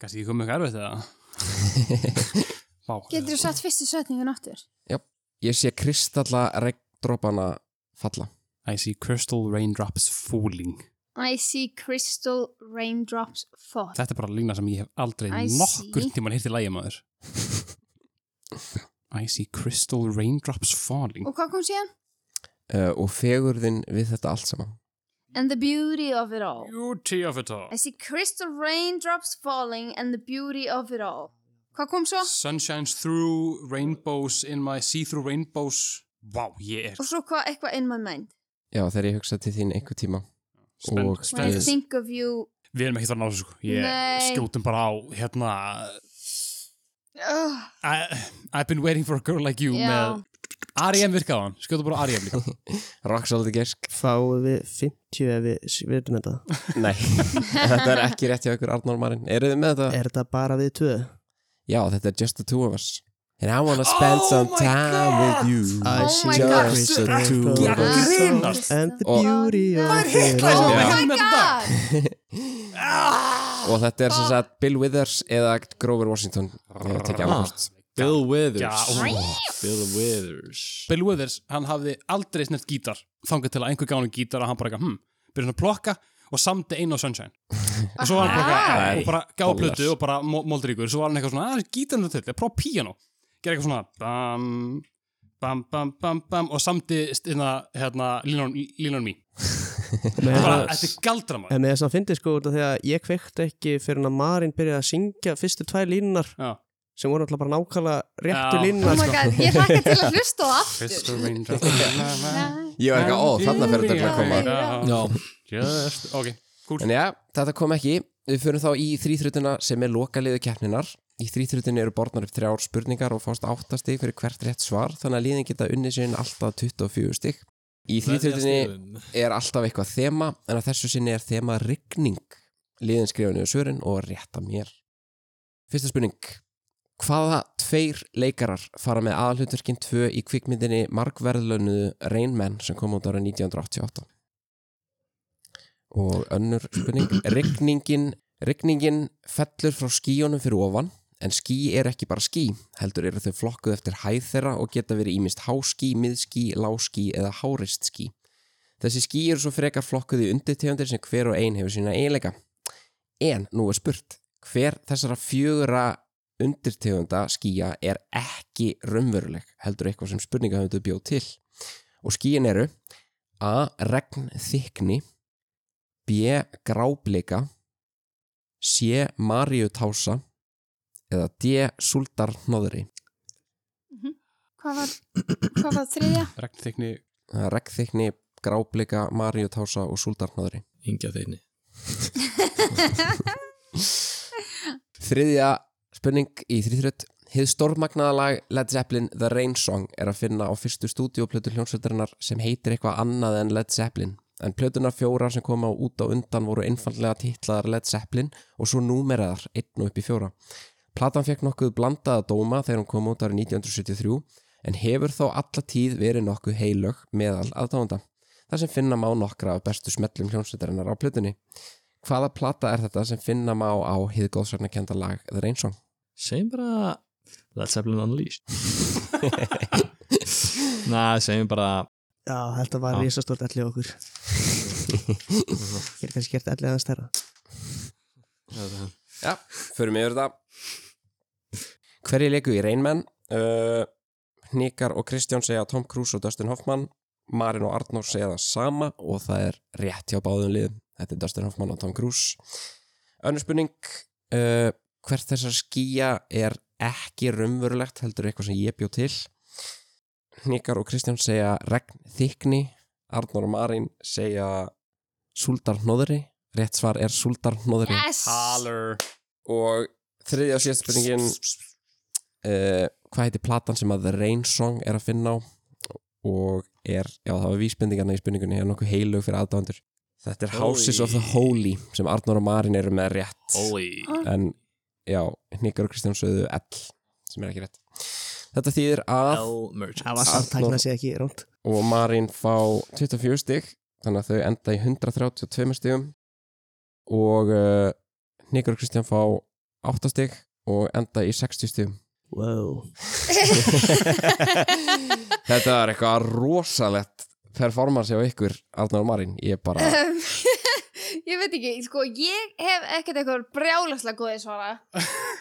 Speaker 5: Kanski ég kom með eitthvað erfitt eða? Vá.
Speaker 4: Getur þú satt fyrstu sötningu náttur?
Speaker 1: Ég sé kristalla regndrópana falla
Speaker 5: I see crystal raindrops falling.
Speaker 4: I see crystal raindrops fall
Speaker 5: Þetta er bara lína sem ég hef aldrei
Speaker 4: I
Speaker 5: nokkur
Speaker 4: see.
Speaker 5: tíman hýrt í lægi maður. I see crystal raindrops falling.
Speaker 4: Og hvað kom síðan?
Speaker 1: uh, og fegurðin við þetta allt saman
Speaker 4: And the beauty of it all
Speaker 5: Beauty of it all.
Speaker 4: I see crystal raindrops falling and the beauty of it all Hvað kom svo?
Speaker 5: Sun shines through rainbows in my see-through rainbows. Vá, ég er
Speaker 4: Og svo hvað eitthvað in my mind
Speaker 1: Já, þegar ég hugsa til þín einhvern tíma
Speaker 5: spennt.
Speaker 1: Og-
Speaker 4: When I
Speaker 5: spennt.
Speaker 4: think of you
Speaker 5: Við erum ekki þarna á þessu sko. Ég
Speaker 4: Nei.
Speaker 5: skjótum bara á hérna
Speaker 4: Ugh,
Speaker 5: I, I've been waiting for a girl like you
Speaker 4: Já.
Speaker 5: með R.E.M. virkaðan. Skjótum bara á E R.E.M. líka.
Speaker 1: Rocksaldi Gersk
Speaker 2: Fáum við 50 ef við s- vitum þetta
Speaker 1: Nei, þetta er ekki rétt hjá ykkur Arnór Marín Eru þið með þetta?
Speaker 2: Er þetta bara við tvö?
Speaker 1: Já, þetta er Just the Two of Us And I wanna spend some time with you
Speaker 4: Oh my God.
Speaker 2: Just
Speaker 1: Þetta er
Speaker 2: the two
Speaker 1: ekki
Speaker 2: of us.
Speaker 4: grínast.
Speaker 2: And the
Speaker 1: Og-
Speaker 2: beauty of
Speaker 4: Það er
Speaker 2: it
Speaker 5: Hitler
Speaker 4: Oh
Speaker 2: all.
Speaker 5: Já.
Speaker 4: my
Speaker 5: Með
Speaker 4: god
Speaker 1: Og þetta er sem sagt Bill Withers eða Grover Washington Ég tekja ákvæmst
Speaker 6: Bill Withers
Speaker 5: Já, oh ó.
Speaker 6: Bill Withers
Speaker 5: Bill Withers, hann hafði aldrei snert gítar þangað til að einhver gáði gítar og hann bara eitthvað, hm, byrja svona að plokka og samdi einu á Sunshine og svo var hann bara, eitthvað, "Ah,"
Speaker 1: Nei.
Speaker 5: og bara gáði
Speaker 1: Bólas.
Speaker 5: plötu og bara móldríkur, svo var hann eitthvað svona að gítarinn er til, ég prófa píano gera eitthvað svona bam, bam, bam, bam, bam og samdi hérna, hérna, línan mý
Speaker 2: Með
Speaker 5: bara,
Speaker 2: það-
Speaker 5: þetta er galdra maður
Speaker 2: En með þess að fyndi sko út af því að ég kveikti ekki fyrir hann að Marín byrjaði að syngja fyrstu tvær línunar
Speaker 5: Já.
Speaker 2: sem voru alltaf bara nákvæmlega
Speaker 5: Já.
Speaker 2: réttu
Speaker 4: Oh my
Speaker 2: línunar sko.
Speaker 4: god, ég hlakka til að hlusta á það aftur
Speaker 5: Crystal [laughs] raindrops, la, la, la.
Speaker 1: Ég var eitthvað, ó, þarna fer þetta að koma
Speaker 5: Já, just, ok
Speaker 1: En já, þetta kom ekki Við förum þá í þrýþrutina sem er lokaliðu keppninar Í þrýþrutinu eru borðnar upp þrjár spurningar og fást áttastig fyrir hvert rétt svar þannig að liðin geta unnið sér inn alltaf 24 stig Í þrýþrutinni er alltaf eitthvað þema en að þessu sinni er þema rigning liðin skrifa niður svörin og rétta mér Fyrsta spurning Hvaða tveir leikarar fara með aðalhutverkin tvö í kvikmyndinni markverðlönu Rain Man sem kom út ára 1988 og önnur spurning Rigningin, rigningin fellur frá skíunum fyrir ofan en skí er ekki bara skí heldur eru þau flokkuð eftir hæð þeirra og geta verið ímist háskí, miðskí, láskí eða hárist skí Þessi ský eru svo frekar flokkuð í undirtegundir sem hver og ein hefur sína eiginleika. En nú er spurt, hver þessara fjögura undirtegunda skýja er ekki raunveruleg, heldur eitthvað sem spurningahöndu bjóð til. Og skýin eru A. Regnþykni B. Grábleika C. Maríutása eða D. Suldarnóðri.
Speaker 4: Hvað var, hvað var þriðja?
Speaker 5: Regnþykni
Speaker 1: Regnþykni, grábleika, maríutása og suldarnóðri.
Speaker 6: Inga þeirni
Speaker 1: Þriðja spurning í þrýþrött Hið stórmagnaða lag Led Zeppelin The Rain Song er að finna á fyrstu stúdíoplötu hljónsveitarinnar sem heitir eitthvað annað en Led Zeppelin en plötuna fjórar sem koma út á undan voru einfallega titlaðar Led Zeppelin og svo númeraðar einn og upp í fjóra Platan fekk nokkuð blandaða dóma þegar hún kom út árið 1973 en hefur þó alla tíð verið nokkuð heilög meðal aðdáðanda þar sem finna má nokkra af bestu smellum hljónsveitarinnar á plötunni Hvaða plata er þetta sem finna má á hið góðsvarnakenda lag The Rain Song?
Speaker 6: Segjum bara Let's Zeppelin [laughs] Unleashed Næ, segjum bara
Speaker 2: Já, þetta var
Speaker 6: Já.
Speaker 2: risastórt ellið okkur.
Speaker 6: [laughs]
Speaker 2: Ég er kannski gert ellið aðeins stærra.
Speaker 1: Já, förum yfir þetta Hverju leiku í Rain Man? Uh, Hnikar og Kristján segja Tom Cruise og Dustin Hoffman Marin og Arnór segja það sama og það er rétt hjá báðum liðum Þetta er Dustin Hoffman og Tom Cruise Önnur spurning uh, Hvert þessar skýja er ekki raunverulegt heldur eitthvað sem ég bjó til Hnikar og Kristján segja regnþykni Arnór og Marin segja súldarhnóðri Rétt svar er súldarhnóðri
Speaker 4: Yes [laughs]
Speaker 5: Haller
Speaker 1: Og þriðja og eh, síðast spurningin uh, Hvað heitir platan sem að The Rain Song er að finna á og er, já það var vísbendingarna í spurningunni er nokkuð heilug fyrir aðdándur þetta er
Speaker 6: Holy.
Speaker 1: Houses of the Holy sem Arnur og Marin eru með rétt
Speaker 6: Óli
Speaker 1: en já, Hnikkar og Kristján sögðu L sem er ekki rétt þetta þýðir að
Speaker 2: Það
Speaker 6: Merchants
Speaker 2: var samt tækna sig ekki rámt
Speaker 1: og Marín fá 24 stygg þannig að þau enda í 132 stygum og uh, Nikur og Kristján fá 8 stygg og enda í 60 stygum
Speaker 2: Wow
Speaker 1: Þetta er eitthvað rosalegt performance á ykkur Arnar og Marín ég
Speaker 2: [laughs]
Speaker 1: bara,
Speaker 4: Um, [laughs] ég veit ekki, sko, ég hef ekkert eitthvað brjálaslega góðið svara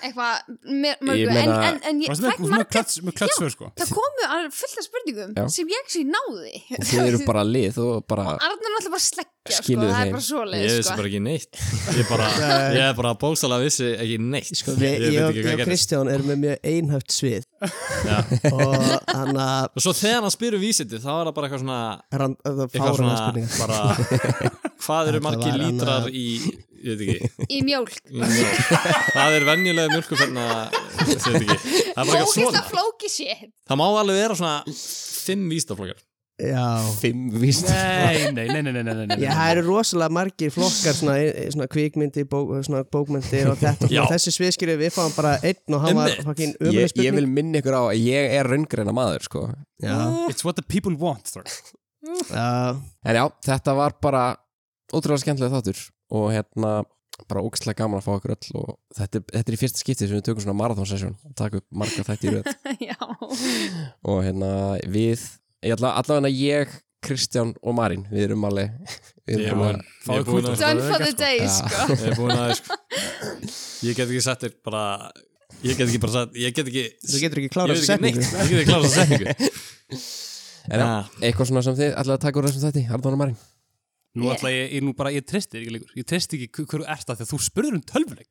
Speaker 4: eitthvað mér- mörgu
Speaker 1: Ég
Speaker 4: en,
Speaker 1: meina-
Speaker 4: en, en ég
Speaker 5: Varstu með-
Speaker 4: fekk
Speaker 5: varstu með
Speaker 4: margar
Speaker 5: klats- með klatsför sko
Speaker 4: það komu alveg fullt af spurningum
Speaker 1: Já.
Speaker 4: sem ég ekki náði
Speaker 1: þið eru bara lið og bara,
Speaker 4: Arnar er náttúrulega bara sleggja, sko,
Speaker 1: Skiluðu þeim.
Speaker 4: það er bara
Speaker 6: Ég
Speaker 4: svoleið
Speaker 6: veist
Speaker 4: sko.
Speaker 6: bara ekki neitt Ég bara,
Speaker 2: Nei.
Speaker 6: ég er bara bóksalega vissi ekki neitt
Speaker 2: Sko, við, ég,
Speaker 6: veit
Speaker 2: og-
Speaker 6: ekki
Speaker 2: ég
Speaker 6: hvað
Speaker 2: og
Speaker 6: gerist
Speaker 2: Kristján erum með mjög einhæft svið
Speaker 6: Já.
Speaker 2: og hann að
Speaker 6: Og svo þegar hann spyrir vísindi þá er það bara eitthvað svona
Speaker 2: rann- það
Speaker 6: eitthvað
Speaker 2: fára hann
Speaker 6: svona
Speaker 2: spurningar [laughs]
Speaker 6: bara, hvað eru
Speaker 2: Þetta
Speaker 6: margir
Speaker 2: var annað-
Speaker 6: lítrar í ég veit ekki
Speaker 4: í mjólk
Speaker 6: það er venjulega mjölkuferna ég veit ekki það er bara eitthvað svona
Speaker 4: Ógislega flóki shit [laughs]
Speaker 6: það má alveg vera svona fimm vísindaflokkar
Speaker 2: Já,
Speaker 1: fimm víst
Speaker 5: Nei,
Speaker 4: [laughs]
Speaker 5: nei, nei, nei, nei, nei, nei, nei.
Speaker 2: Já, það eru rosalega margir flokkar svona, svona kvikmyndir, bók, svona bókmyndir og þetta,
Speaker 6: Já.
Speaker 2: svona, þessi sviðskjöru við fáum bara einn og hann var
Speaker 6: Einmitt.
Speaker 2: fucking
Speaker 1: ég,
Speaker 2: ömuleg
Speaker 1: ég
Speaker 2: spurning
Speaker 1: vil minna ykkur á að ég er raungreina maður sko
Speaker 2: Já,
Speaker 5: It's what the people want sir.
Speaker 2: já,
Speaker 1: En já, þetta var bara ótrúlega skemmtilega þáttur og hérna bara ógstlega gaman að fá okkur öll og þetta, er- þetta er í fyrsta skipti sem við tökum svona marathonsessjón að taka upp marga þætti í röð
Speaker 2: [laughs]
Speaker 4: Já,
Speaker 1: og hérna við, ég ætla allavega ég, Kristján og Marín við erum alveg við erum
Speaker 6: Ég er
Speaker 1: búin að-
Speaker 6: búinn- ég er búinn að-
Speaker 4: done for the day
Speaker 1: Já.
Speaker 4: sko.
Speaker 6: ég er búin að sko, ég get ekki sagt þér bara ég get ekki bara sagt ég get ekki
Speaker 2: þú
Speaker 6: ég
Speaker 2: getur ekki
Speaker 6: veit
Speaker 2: klárað
Speaker 6: ekki neitt
Speaker 2: setningu
Speaker 6: ég get ekki klára þessa setningu
Speaker 1: En já, eitthvað svona sem þið ætlaði að taka úr þessum þætti, Arnón og Marín
Speaker 5: Nú
Speaker 4: Ég-
Speaker 5: ætla ég, ég nú bara, ég treysti þér ekki lengur Ég treysti ekki hver- hverju ert það þegar þú spurður um tölvuleik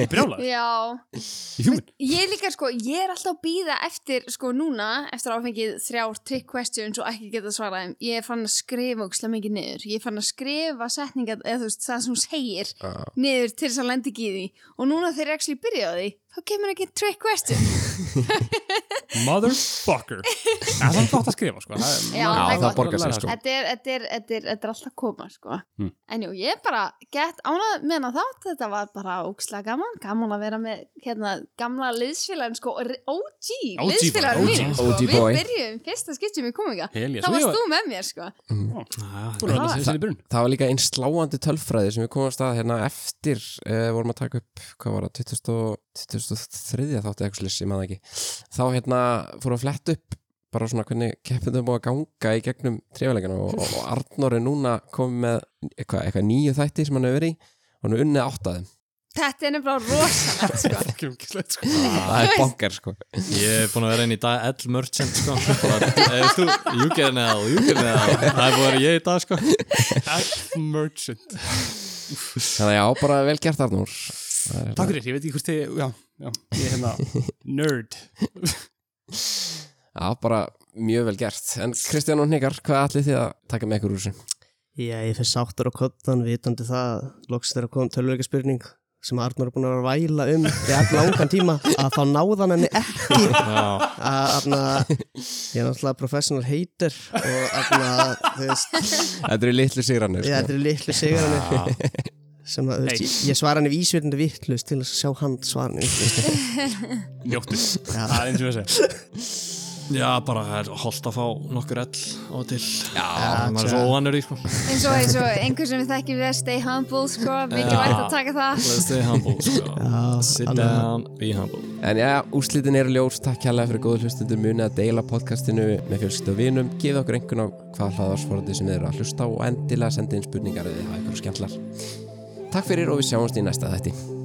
Speaker 5: Ég
Speaker 4: [laughs]
Speaker 5: brjálaði,
Speaker 4: Já,
Speaker 5: ég hjúmin
Speaker 4: ég líka sko, ég er alltaf að býða eftir sko núna, eftir að hafa fengið þrjár trick questions og ekki geta svarað þeim ég er fann að skrifa ógislega mikið niður ég er fann að skrifa setninga, eða þú veist það sem hún segir, niður til þess að lenda ekki í því og núna þegar ég actually byrja á því þá kemur ekki trick question [laughs]
Speaker 5: Motherfucker Það er samt gott að skrifa sko Það er-
Speaker 4: Já,
Speaker 5: maður-
Speaker 4: það er gott.
Speaker 1: borgar sig, sko.
Speaker 4: þetta er, þetta er, þetta er, þetta er alltaf koma sko.
Speaker 5: Mm.
Speaker 4: en jú, ég er bara gett ánað með hana þátt, þetta var bara ógislega gaman gaman að vera með hérna, gamla liðsfélagin, sko, OG, OG
Speaker 5: OG,
Speaker 4: liðsfélagin
Speaker 5: OG.
Speaker 4: mín, sko,
Speaker 1: OG
Speaker 4: við
Speaker 1: boy.
Speaker 4: byrjum fyrsta skiptum í kominga,
Speaker 5: Helja,
Speaker 4: þá varst þú með mér sko.
Speaker 5: Þú erum að þessi í byrjun
Speaker 1: Það var líka einn sláandi tölfræði sem við komum að stað hérna eftir uh, vorum að taka upp, hvað var það, 20 og- 23. þáttu eitthvað slis, ég maður ekki þá hérna fórum við að fletta upp bara svona hvernig keppindum búið að ganga í gegnum trefilegina og, og Arnór er núna komið með eitthvað, eitthvað nýju þætti sem hann hefur verið í og hann er unnið átt að þeim
Speaker 4: þetta er nefnilega rosalegt sko.
Speaker 5: Ekki um kislegt sko
Speaker 1: það er bonkar sko
Speaker 6: ég er búin að vera einn í dag L merchant sko bara, eh, þú you get an L you get an L það er búin að vera ég í dag sko
Speaker 5: Act merchant
Speaker 1: þannig að já, bara vel gert Arnór Það er-
Speaker 5: Takk fyrir, ég veit ekki hvort þið, já, já Ég er
Speaker 4: [laughs]
Speaker 5: hérna, nerd
Speaker 1: Já, bara mjög vel gert en Kristján og Hnikar, hvað ætlið þið að taka með ykkur úr þessu?
Speaker 2: Já, ég fyrir sáttur á kottan vitandi það, loks þegar kom tölvöka spurning sem Arnur er búin að vera að væla um í allan langan tíma að þá náðan henni ekki
Speaker 6: já
Speaker 2: að afna, ég er náttúrulega professional hater og afna, þú veist
Speaker 1: Þetta eru litlu sko. sigrannir
Speaker 2: Já, þetta eru litlu sigaranir sem að, þú veist,
Speaker 5: Nei.
Speaker 2: ég, ég svara henni vísverðinu vittlust til að sjá hann svara henni vitlaust.
Speaker 5: Njóttu Það er eins og ég segi
Speaker 6: já bara það er holdt að fá nokkur L á til já
Speaker 2: Já,
Speaker 6: maður er svo óanur í sko
Speaker 4: eins og eins og einhver sem við þekkjum við stay humble, sko, mikið vært að taka það
Speaker 6: let's stay humble sko sit
Speaker 2: alveg.
Speaker 6: down be humble
Speaker 1: En já, úrslitin eru ljós, takk hérlega fyrir góðu hlustundu muni að deila podcastinu með fjölskyldu og vinum, gefa okkur einhvern á hvað hlaðarsforði sem þið eru að hlusta á og endilega senda inn spurningar eða eitthvað skemmtlar Takk fyrir og við sjáumst í næsta þætti